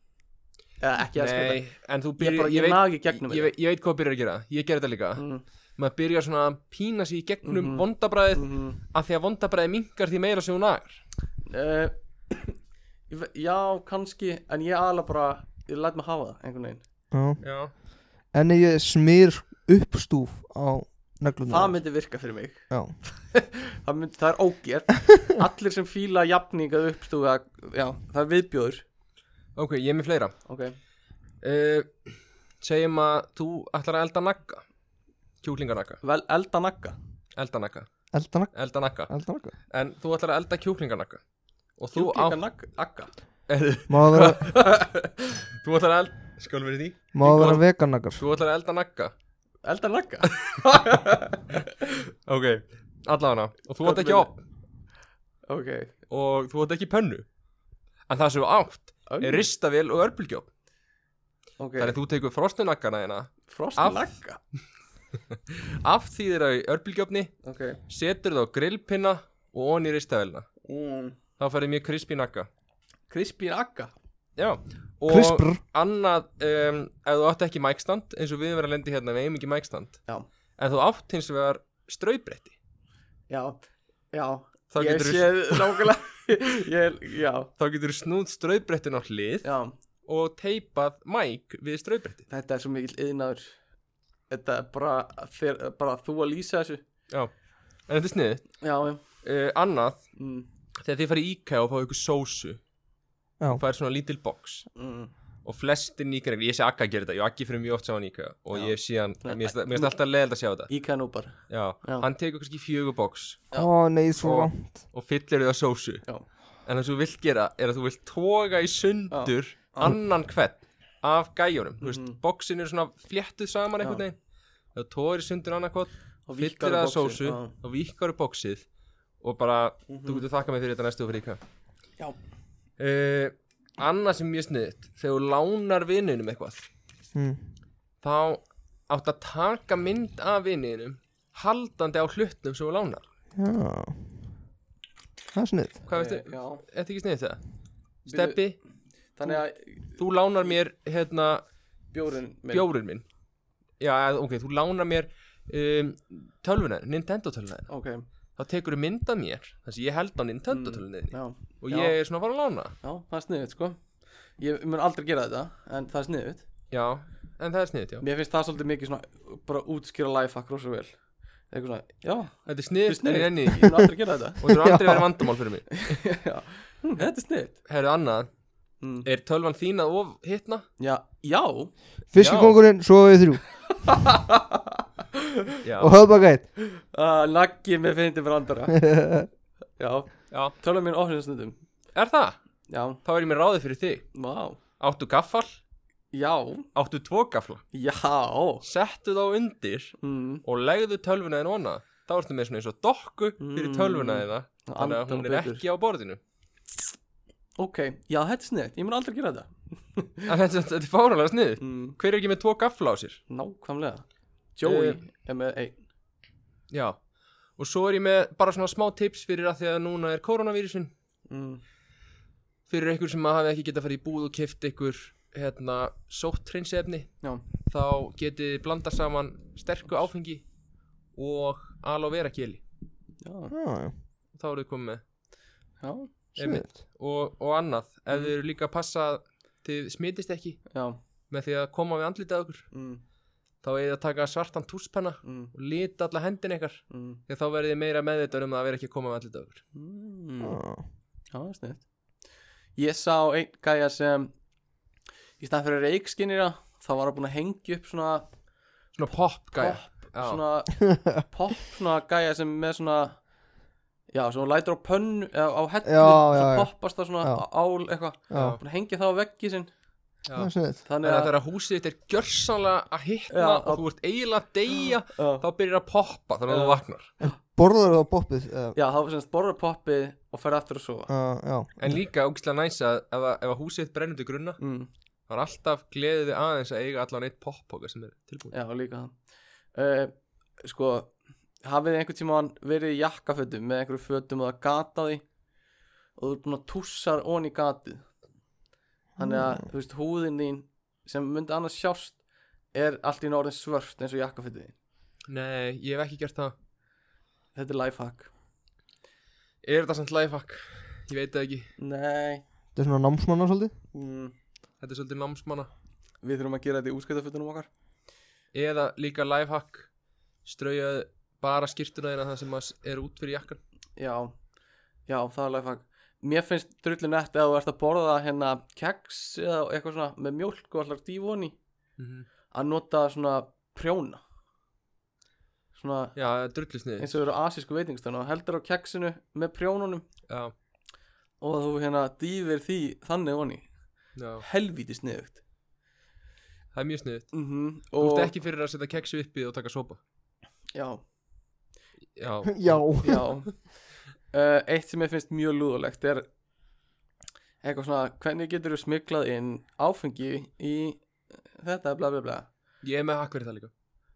Speaker 3: eða ekki að elska
Speaker 2: nei,
Speaker 3: þetta
Speaker 2: en þú
Speaker 3: ég
Speaker 2: byrjar
Speaker 3: bara ég,
Speaker 2: veit-
Speaker 3: naga í gegnum
Speaker 2: ég, veit, ég veit hvað byrjar að gera, ég ger þetta líka
Speaker 3: Mm.
Speaker 2: maður byrjar svona að pína sig í gegnum mm
Speaker 3: Mhm.
Speaker 2: vondabræðið
Speaker 3: mm -hmm.
Speaker 2: af því að vondabræðið mingar því meira sem hún nagar
Speaker 3: uh, ég ve- já, kannski en ég aðla bara, ég læt mig hafa það einhvern veginn
Speaker 4: Já.
Speaker 2: já,
Speaker 4: En ef ég smýr uppstúf á
Speaker 3: það
Speaker 4: neglunum
Speaker 3: myndi virka fyrir mig
Speaker 4: Já.
Speaker 3: það, myndi, það er ógjert allir sem fíla jafninga uppstúga já, það er viðbjóður
Speaker 2: Ok, ég er með fleira
Speaker 3: okay.
Speaker 2: uh, Segjum að þú ætlar að elda nagga Kjúklinganagga
Speaker 3: vel elda nagga
Speaker 2: Elda nagga
Speaker 4: Eldanakka
Speaker 2: Elda nagga
Speaker 4: Eldanakka
Speaker 2: En þú ætlar að elda kjúklinganagga Og þú
Speaker 3: kjúklinga nagga nagga.
Speaker 2: átt
Speaker 4: Má það vera,
Speaker 2: Þú ætlar að elda Skál verið því
Speaker 4: má það vera veganakar
Speaker 2: Þú ætlar að elda nagga
Speaker 3: elda nagga
Speaker 2: Ok Allafana Og þú
Speaker 3: Hvað
Speaker 2: átt ekki
Speaker 3: meinar?
Speaker 2: op
Speaker 3: ok
Speaker 2: Og þú átt ekki pönnu En það sem þú átt Er ristavél og örbulgjóp
Speaker 3: ok
Speaker 2: Þannig að þú tekur frostnu naggana hérna
Speaker 3: frost
Speaker 2: Af-
Speaker 3: nagga
Speaker 2: Af því þeirra í örbulgjópni
Speaker 3: ok
Speaker 2: Setur það á grillpinna Og onni ristavélina
Speaker 3: mm.
Speaker 2: Þá færði mjög krispi nagga
Speaker 3: crispy nagga
Speaker 2: Já Og
Speaker 4: Krispr
Speaker 2: annað um, Ef þú átt ekki mækstand Eins og við verðum að lendi hérna Við eigum ekki mækstand
Speaker 3: Já.
Speaker 2: En þú átt hins vegar Straubretti
Speaker 3: já já
Speaker 2: Þá
Speaker 3: ég
Speaker 2: getur
Speaker 3: sé nákvæmlega ég já
Speaker 2: Þá getur þú snúð straubrettin á hlið
Speaker 3: já
Speaker 2: Og teipað mæk við straubretti
Speaker 3: þetta er svo mikill yðnaður þetta er bara þér bara þú að lýsa þessu
Speaker 2: Já En þetta er snið
Speaker 3: já já.
Speaker 2: uh, Annað
Speaker 3: mm.
Speaker 2: Þegar þið farið í IKEA og fáið ykkur sósu
Speaker 4: Já.
Speaker 2: Og fær svona lítil box
Speaker 3: Mm.
Speaker 2: Og flestir nýkarar Ég sé Akka að gera þetta Ég og Akki fyrir mjög oft sá hann í IKEA Og
Speaker 3: Já.
Speaker 2: ég sé hann
Speaker 3: Nei,
Speaker 2: Mér finnst mér finnst alltaf leðild að sjá þetta
Speaker 3: Íka nú bara
Speaker 2: Já.
Speaker 3: Já.
Speaker 2: Hann tekur kannski fjögur box
Speaker 4: Ó nei, svo
Speaker 2: Og- og fyllir þau að sósu
Speaker 3: Já.
Speaker 2: en það sem þú vilt gera er að þú vilt toga í sundur annan hvern af gæjunum þú
Speaker 3: Mhm.
Speaker 2: veist, bóksin er svona fléttuð saman einhvern veginn það togar í sundur annan hvern
Speaker 3: Og víkkar
Speaker 2: fyllir það að
Speaker 3: úr boxið,
Speaker 2: sósu
Speaker 3: já. Mhm.
Speaker 2: og vikar upp bóksið og bara, þú getur þakka mig fyrir þetta næstu og fyrir ykkar
Speaker 3: Já.
Speaker 2: uh, annað sem mjög sniðt þegar þú lánar vininum eitthvað
Speaker 4: Mm.
Speaker 2: þá átt að taka mynd af vininum haldandi á hlutnum sem þú lánar
Speaker 4: Já Það er snið
Speaker 2: hvað veistu,
Speaker 3: Eh, já.
Speaker 2: er þetta ekki sniðt það? Steppi,
Speaker 3: Þannig að
Speaker 2: þú lánar mér hérna
Speaker 3: bjórin minn
Speaker 2: bjórinn minn já, eða, ok, þú lánar mér um, tölvunar, Nintendo tölvunar
Speaker 3: Ok,
Speaker 2: þá tekur þú mynda mér þannig að ég held á Nintendo tölvunarni
Speaker 3: já,
Speaker 2: og
Speaker 3: Mm. já.
Speaker 2: ég er svona að fara að lána
Speaker 3: já, það er sniðut sko Ég mun aldrei gera þetta, en það er sniðut
Speaker 2: já, en það er sniðt, já
Speaker 3: Mér finnst það svolítið mikið svona Bara útskýra lifehack rosa vel Eitthvað svona, já,
Speaker 2: þetta er
Speaker 3: þetta er
Speaker 2: sniðt, en ég
Speaker 3: sniðut
Speaker 2: enni
Speaker 3: Ég
Speaker 2: ekki
Speaker 3: mun aldrei gera þetta
Speaker 2: og þú eru aldrei verið vandamál fyrir mig
Speaker 3: já. hm, Þetta er sniðut
Speaker 2: herru annað,
Speaker 3: Mm.
Speaker 2: er tölvan þín að of hitna?
Speaker 3: Já, já,
Speaker 4: Fiskikongurinn, svo við þrjú
Speaker 2: já,
Speaker 3: Oh.
Speaker 4: Og höfðbakætt
Speaker 3: uh, naggi með fyndi brandara Já,
Speaker 2: já,
Speaker 3: tölum mín ofnir stundum
Speaker 2: er það?
Speaker 3: Já,
Speaker 2: þá er ég með ráðið fyrir þig
Speaker 3: vá,
Speaker 2: áttu gaffal,
Speaker 3: já,
Speaker 2: áttu tvo gafla
Speaker 3: já
Speaker 2: settu þá undir
Speaker 3: mm.
Speaker 2: og legðu tölvuna þín vona þá ertu með svona eins og dokku fyrir
Speaker 3: Mm.
Speaker 2: tölvuna þína þannig að
Speaker 3: Andan
Speaker 2: hún er
Speaker 3: betur.
Speaker 2: ekki á borðinu
Speaker 3: Ok, já, þetta er sniðut, ég mun aldrei gera þetta
Speaker 2: en þetta, þetta er fáralega snið
Speaker 3: mm.
Speaker 2: hver er ekki með tvo gafla á sér
Speaker 3: Nákvæmlega Joey
Speaker 2: Eh,
Speaker 3: er með einn
Speaker 2: já og svo er ég með bara svona smá tips fyrir að því að núna er koronavírusin
Speaker 3: mm.
Speaker 2: fyrir ykkur sem hafi ekki getað farið í búð og kift ykkur hérna sóttreinsefni
Speaker 3: Já,
Speaker 2: þá getið þið blanda saman sterku áfengi og aloe vera keli
Speaker 3: já,
Speaker 4: Já,
Speaker 2: þá eruð þið komið með
Speaker 3: já,
Speaker 4: já,
Speaker 2: Einmitt.
Speaker 4: snið
Speaker 2: og, og annað ef þið eru líka að passa að þið smitist ekki
Speaker 3: Mm. já
Speaker 2: með því að koma við andlitað okkur
Speaker 3: mm,
Speaker 2: þá eigið þið að taka svartan túspenna
Speaker 3: mm,
Speaker 2: og lita alla hendin ykkar
Speaker 3: mm,
Speaker 2: því að þá verðið þið meira meðvitað um að það vera ekki að koma með andlitað okkur
Speaker 3: mm.
Speaker 4: Já,
Speaker 3: Já, snitt Ég sá einn gæja sem Í stað fyrir reikskinira Þá var hann búin að hengja upp svona
Speaker 2: svona pop gæja
Speaker 3: Pop,
Speaker 2: Já.
Speaker 3: svona Pop, svona gæja sem með svona Já, sem hún lætur á pönnu Eða á hellu,
Speaker 4: Já, já,
Speaker 3: svo
Speaker 4: já.
Speaker 3: poppast það svona
Speaker 4: Já.
Speaker 3: á- ál eitthvað
Speaker 4: já,
Speaker 3: Búin að hengja það á veggi sinn
Speaker 2: Já.
Speaker 4: það er snið
Speaker 2: þannig
Speaker 3: Þannig
Speaker 2: að
Speaker 3: að,
Speaker 2: þegar húsið þitt er gjörsanlega að hitna
Speaker 3: Já,
Speaker 2: og
Speaker 3: og-
Speaker 2: þú ert eiginlega að deyja
Speaker 3: að
Speaker 2: þá byrjar að poppa þannig að
Speaker 3: Já.
Speaker 2: þú vaknar
Speaker 4: Borðar það á boppið eða-
Speaker 3: Já, þá semst borða poppið og fer aftur að sofa
Speaker 4: Já, já
Speaker 2: en líka ógislega næsa að ef, að- ef að húsið þitt brennur til grunna
Speaker 3: mm.
Speaker 2: þá er alltaf gleðið þið aðeins að eiga allan eitt poppoka sem er tilbúin
Speaker 3: Já, líka það uh, Sko, hafið þið einhvern tímann verið í jakkafötum með einhverju fötum og það gata því og þú er búin að tússar onni í gatið Þannig að, þú veist, húðin þín sem myndi annars sjást er allt í norðin svört eins og jakkafötið þín
Speaker 2: nei, ég hef ekki gert það
Speaker 3: Þetta er lifehack
Speaker 2: er þetta samt lifehack? ég veit það ekki
Speaker 3: Nei
Speaker 4: Þetta er svona námsmanna svolítið
Speaker 3: mm.
Speaker 2: þetta er svolítið námsmanna
Speaker 3: Við þurfum að gera þetta í útskættafötunum okkar
Speaker 2: eða líka lifehack straujaði bara skýrtuna þeirra það sem að s- er út fyrir jakkan
Speaker 3: Já, já, það er lifehack Mér finnst drullu nett eða þú ert að borða hérna keks eða eitthvað svona með mjólk og allar dívoni að nota svona prjóna svona
Speaker 2: Já, drullisnið
Speaker 3: eins og eru asísku veitingstæðan og heldur á keksinu með prjónunum
Speaker 2: Já,
Speaker 3: og þú hérna dýfir því þannig voni
Speaker 2: já,
Speaker 3: helvítið sniðugt
Speaker 2: það er mjög sniðut
Speaker 3: mm
Speaker 2: Þú
Speaker 3: og
Speaker 2: ert ekki fyrir að setja keksu uppið og taka sopa
Speaker 3: já,
Speaker 2: Já,
Speaker 4: Já
Speaker 3: já uh, eitt sem ég finnst mjög lúðulegt er eitthvað svona hvernig getur þú smiklað inn áfengi í þetta bla bla bla
Speaker 2: ég er með hakk fyrir það líka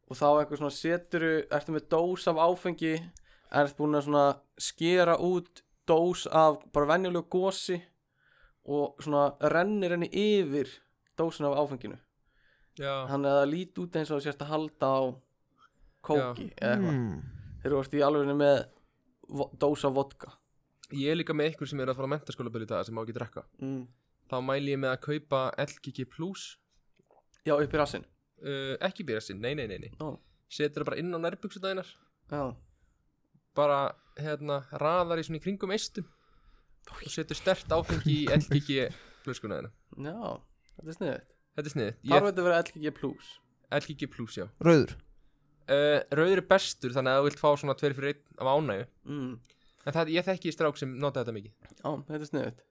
Speaker 3: og þá eitthvað svona seturu ertu með dós af áfengi ert búin að svona skera út dós af bara venjulegu gósi og svona rennir henni yfir dósin af áfenginu
Speaker 2: Já,
Speaker 3: þannig að það lít út eins og þú sérst að halda á kóki eða eitthvað
Speaker 4: mm.
Speaker 3: þegar þú ert í alveg með vo- dós af vodka
Speaker 2: ég er líka með ykkur sem er að fara að mentaskóla byrja í dag sem má ekki drekka
Speaker 3: mm.
Speaker 2: Þá mæli ég með að kaupa LGG Plus
Speaker 3: já upp í rassinn
Speaker 2: uh, Ekki byrja sinn, nei, nei, nei, nei.
Speaker 3: Ó.
Speaker 2: Setur það bara inn á nærbuksudæðinar
Speaker 3: já,
Speaker 2: Bara, hérna, raðar í svona í kringum eistum Og setur stert áfengi í LGG Pluskuna þeirna
Speaker 3: já, þetta er sniðið
Speaker 2: Þetta er sniðut,
Speaker 3: þarf
Speaker 2: ég,
Speaker 3: þetta að vera LGG plus
Speaker 2: LGG Plus, já
Speaker 4: Rauður
Speaker 2: uh, Rauður er bestur þannig að þú vilt fá svona tveir fyrir einn af ánægu
Speaker 3: mm.
Speaker 2: En það, ég þekki strák sem nota þetta mikið
Speaker 3: Já, þetta er sniðut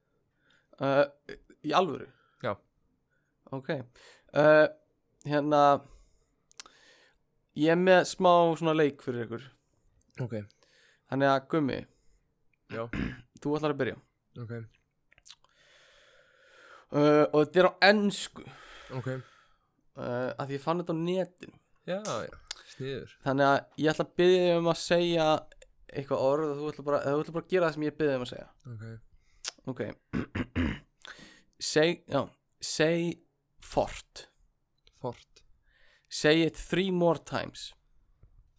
Speaker 3: uh, Í alvöru?
Speaker 2: Já.
Speaker 3: Ok uh, Hérna Ég er með smá svona leik fyrir ykkur
Speaker 2: Ok,
Speaker 3: Þannig að gummi
Speaker 2: Já.
Speaker 3: Þú ætlar að byrja
Speaker 2: ok,
Speaker 3: uh, Og þetta er á ennsku uh,
Speaker 2: ok
Speaker 3: Að ég fann þetta á netinu
Speaker 2: Já, já, sniður
Speaker 3: Þannig að ég ætla að byrja þig um að segja Eitthvað orð og þú ætla bara, þú ætla bara að gera það sem ég byrja þig um að segja
Speaker 2: Ok,
Speaker 3: Ok Seg, já Seg fort
Speaker 2: fort,
Speaker 3: Say it three more times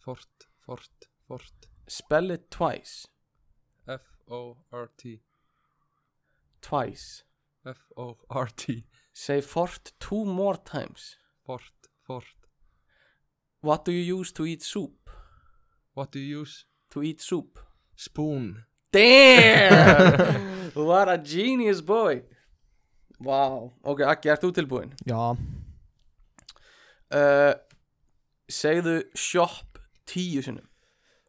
Speaker 2: fort, fort, fort
Speaker 3: Spell it twice
Speaker 2: F-O-R-T
Speaker 3: Twice
Speaker 2: F-O-R-T
Speaker 3: Say fort two more times
Speaker 2: Fort, fort
Speaker 3: What do you use to eat soup?
Speaker 2: What do you use?
Speaker 3: To eat soup
Speaker 2: Spoon
Speaker 3: Damn What a genius boy Wow Ok, Akki, ert þú tilbúin?
Speaker 4: Já
Speaker 3: Uh, segðu shop tíu sinnum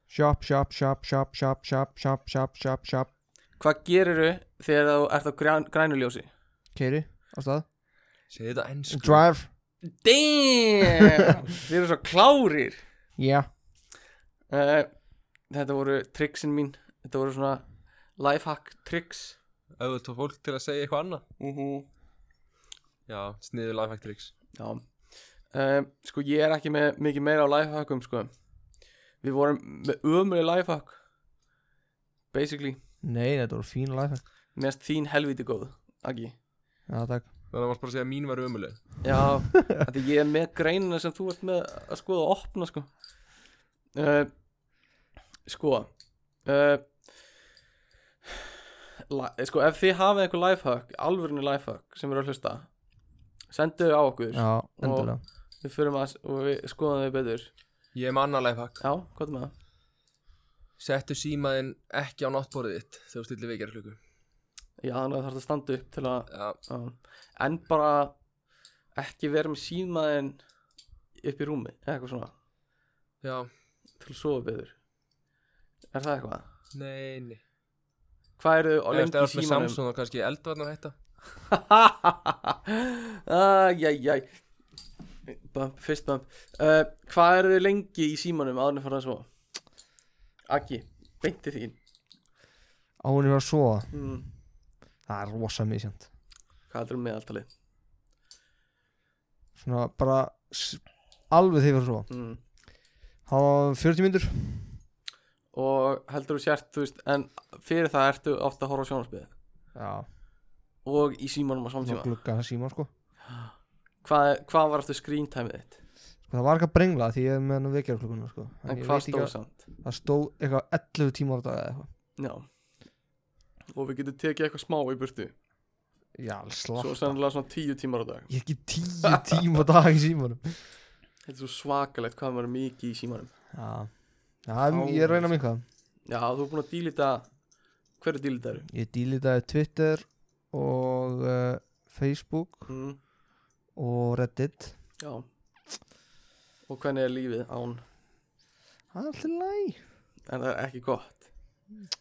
Speaker 4: Shop, shop, shop, shop, shop, shop, shop, shop, shop, shop
Speaker 3: Hvað gerirðu þegar þú ert á grán, grænuljósi?
Speaker 4: Keiri, á stað
Speaker 2: Segðu þetta ennsku
Speaker 4: Drive
Speaker 3: Damn Þið eru svo klárir
Speaker 4: Yeah
Speaker 3: uh, Þetta voru triksin mín Þetta voru svona lifehack triks
Speaker 2: Ef þú tók fólk til að segja eitthvað annað
Speaker 3: mm
Speaker 2: Já, sniður lifehack tricks
Speaker 3: Já um, Sko ég er ekki með mikið meira á lifehackum sko Við vorum með ömri lifehack Basically
Speaker 4: Nei, þetta voru fín life
Speaker 3: Mest þín helviti góð Aggi
Speaker 4: Já, takk
Speaker 2: Þannig að varst bara að segja að mín var ömuleg
Speaker 3: Já af Því ég er með greinina sem þú ert með að skoða og opna sko uh, Sko uh, la, Sko ef þið hafið einhver lifehack Alvörinni lifehack sem eru að hlusta Sendu þau á okkur
Speaker 4: Já, endilega
Speaker 3: Við fyrir maður og við skoðum þau betur
Speaker 2: Ég er með annað lifehack
Speaker 3: Já, hvað er með það?
Speaker 2: Settu símaðinn ekki á náttborðið þitt þegar þú stillir vekjar klukku
Speaker 3: Já, þannig að það þarf að standa upp til að
Speaker 2: Já,
Speaker 3: um, En bara ekki vera með símaðin upp í rúmi eða eitthvað svona
Speaker 2: já,
Speaker 3: til að sofa betur Er það eitthvað?
Speaker 2: nei, nei
Speaker 3: Hvað eru þau á
Speaker 2: Ef
Speaker 3: lengi
Speaker 2: það er
Speaker 3: í
Speaker 2: með
Speaker 3: símanum?
Speaker 2: Samsung og kannski eldvarnar hætta
Speaker 3: Æjæjæ Bump, fyrst bump uh, Hvað eru þau lengi í símanum áður en að fara að svo? Akki, beinti þín
Speaker 4: Áinu var svo
Speaker 3: mm.
Speaker 4: Það er rosa misjönd
Speaker 3: Hvað heldur um meðaltalið?
Speaker 4: Svona bara s- Alveg því var svo
Speaker 3: Mm.
Speaker 4: Það var 40 myndur
Speaker 3: Og heldur þú sért, þú veist En fyrir það ertu ofta að horfa á sjónarspið
Speaker 4: Já
Speaker 3: Og í símanum á
Speaker 4: Svona
Speaker 3: samtíma
Speaker 4: glugga að síma sko
Speaker 3: Hvað, hvað var aftur screen time þitt?
Speaker 4: Sko það var eitthvað brengla því ég er með hann vekjar klukkuna sko
Speaker 3: En
Speaker 4: ég
Speaker 3: hvað
Speaker 4: veit ekki
Speaker 3: stóð
Speaker 4: að-
Speaker 3: samt?
Speaker 4: Það stóð eitthvað 11 tímar á dag eða eitthvað
Speaker 3: Já Og við getum tekið eitthvað smá í burtu
Speaker 4: Já,
Speaker 3: Svo
Speaker 4: slapp
Speaker 3: sennilega svona tíu tímar á dag
Speaker 4: Ég er ekki 10 tíma á dag í símanum
Speaker 3: Þetta er svo svakalegt hvað maður er mikið í símanum
Speaker 4: Já, já
Speaker 3: Þá-
Speaker 4: ég reyna minka
Speaker 3: Já, þú er búin að dílita Hverju dílita eru?
Speaker 4: Ég dýlitaði Twitter og uh, Facebook
Speaker 3: Mm,
Speaker 4: og Reddit
Speaker 3: já Og hvernig er lífið án?
Speaker 4: Það er alltaf læg
Speaker 3: En það er ekki gott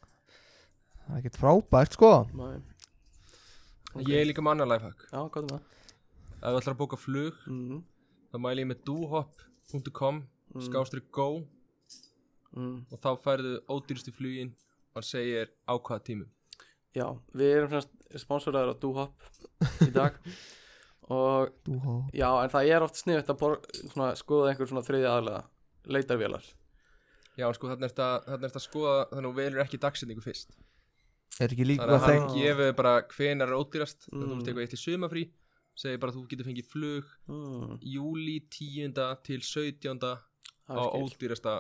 Speaker 4: Það er ekkert frábært sko
Speaker 3: Nei Ok.
Speaker 2: Ég er líka með annar lifehack
Speaker 3: Já, hvað er það?
Speaker 2: Ef þú ætlar að bóka flug
Speaker 3: Mm,
Speaker 2: þá mæli ég með dohop.com
Speaker 3: Mm.
Speaker 2: skástrík go og
Speaker 3: mm.
Speaker 2: þá færðu ódýrstu flugin og hann segir á hvaða tímum
Speaker 3: Já, við erum semst sponsoraður á Dohop í dag og
Speaker 4: Þú hó
Speaker 3: já, en það er oft sniðvægt að bor, svona, skoða einhver svona þriði aðlega leitarvélar
Speaker 2: Já, en sko, þarna er þetta að skoða þannig að þú velur ekki dagsetningu fyrst
Speaker 4: Er ekki líka
Speaker 2: Þannig að hann
Speaker 4: þeng
Speaker 2: gefur bara hvenar er ódýrast mm.
Speaker 3: Mm.
Speaker 2: þú veist eitthvað eitt í sumafrí segir bara að þú getur fengið flug
Speaker 3: mm,
Speaker 2: júli 10. til 17. á
Speaker 3: Það er skil,
Speaker 2: ódýrasta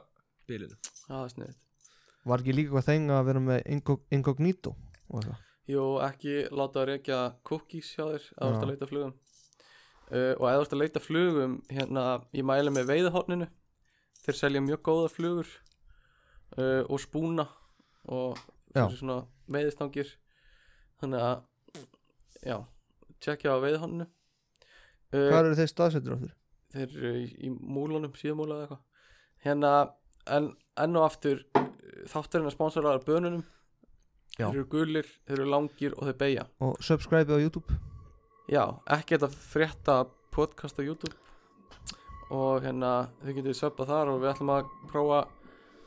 Speaker 2: bilinu
Speaker 3: Já, það er sniðvægt
Speaker 4: Var ekki líka hvað þeng að vera með incog- incognito og eitthvað
Speaker 3: Jú, ekki láta að reykja cookies hjá þér að þú ert
Speaker 4: Já.
Speaker 3: að leita að flugum uh, og að þú ert að leita að flugum hérna, ég mæli með veiðahorninu þeir selja mjög góða flugur uh, og spúna og
Speaker 4: Já.
Speaker 3: þessi svona veiðistangir þannig að já, tjekkja á veiðahorninu uh,
Speaker 4: Hvað eru þeir staðsettur áttur?
Speaker 3: þeir eru í, í múlunum, síðumúla eða eitthvað hérna, en enn og aftur þátturinn er sponsoraðar bönunum
Speaker 4: Já.
Speaker 3: þeir eru gulir, þeir eru langir og þeir beigja
Speaker 4: Og subscribe á YouTube
Speaker 3: já, ekki þetta frétta podcast á YouTube og hérna, þau getur söpað þar og við ætlum að prófa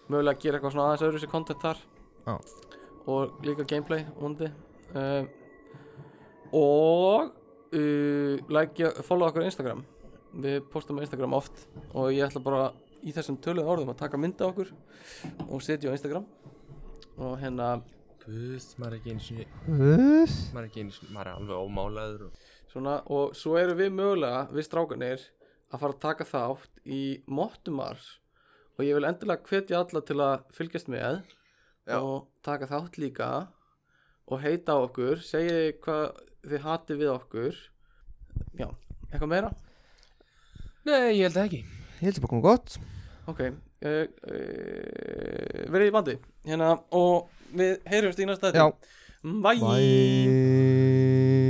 Speaker 3: mögulega að gera eitthvað svona aðeins öðru sér content þar
Speaker 4: Já.
Speaker 3: og líka gameplay undi um, og uh, like, follow okkur á Instagram við postum á Instagram oft og ég ætla bara í þessum töluðu orðum að taka mynda okkur og setja á Instagram og hérna
Speaker 2: Guð, maður er ekki einu sinni
Speaker 4: Uff
Speaker 2: maður er ekki einu sinni, maður er alveg ómálaður og...
Speaker 3: svona, og svo erum við mögulega við strákanir að fara að taka þátt í Mottumars og ég vil endilega hvetja alla til að fylgjast með
Speaker 2: Já.
Speaker 3: og taka þátt líka og heita á okkur, segja hvað þið hatið við okkur já, eitthvað meira
Speaker 2: Nei, ég held það ekki
Speaker 4: Ég heldur bara komið gott
Speaker 3: ok, uh, uh, verið í bandi hérna og við heyrjumst í næsta
Speaker 4: Já
Speaker 3: þetta Bye.
Speaker 4: Bye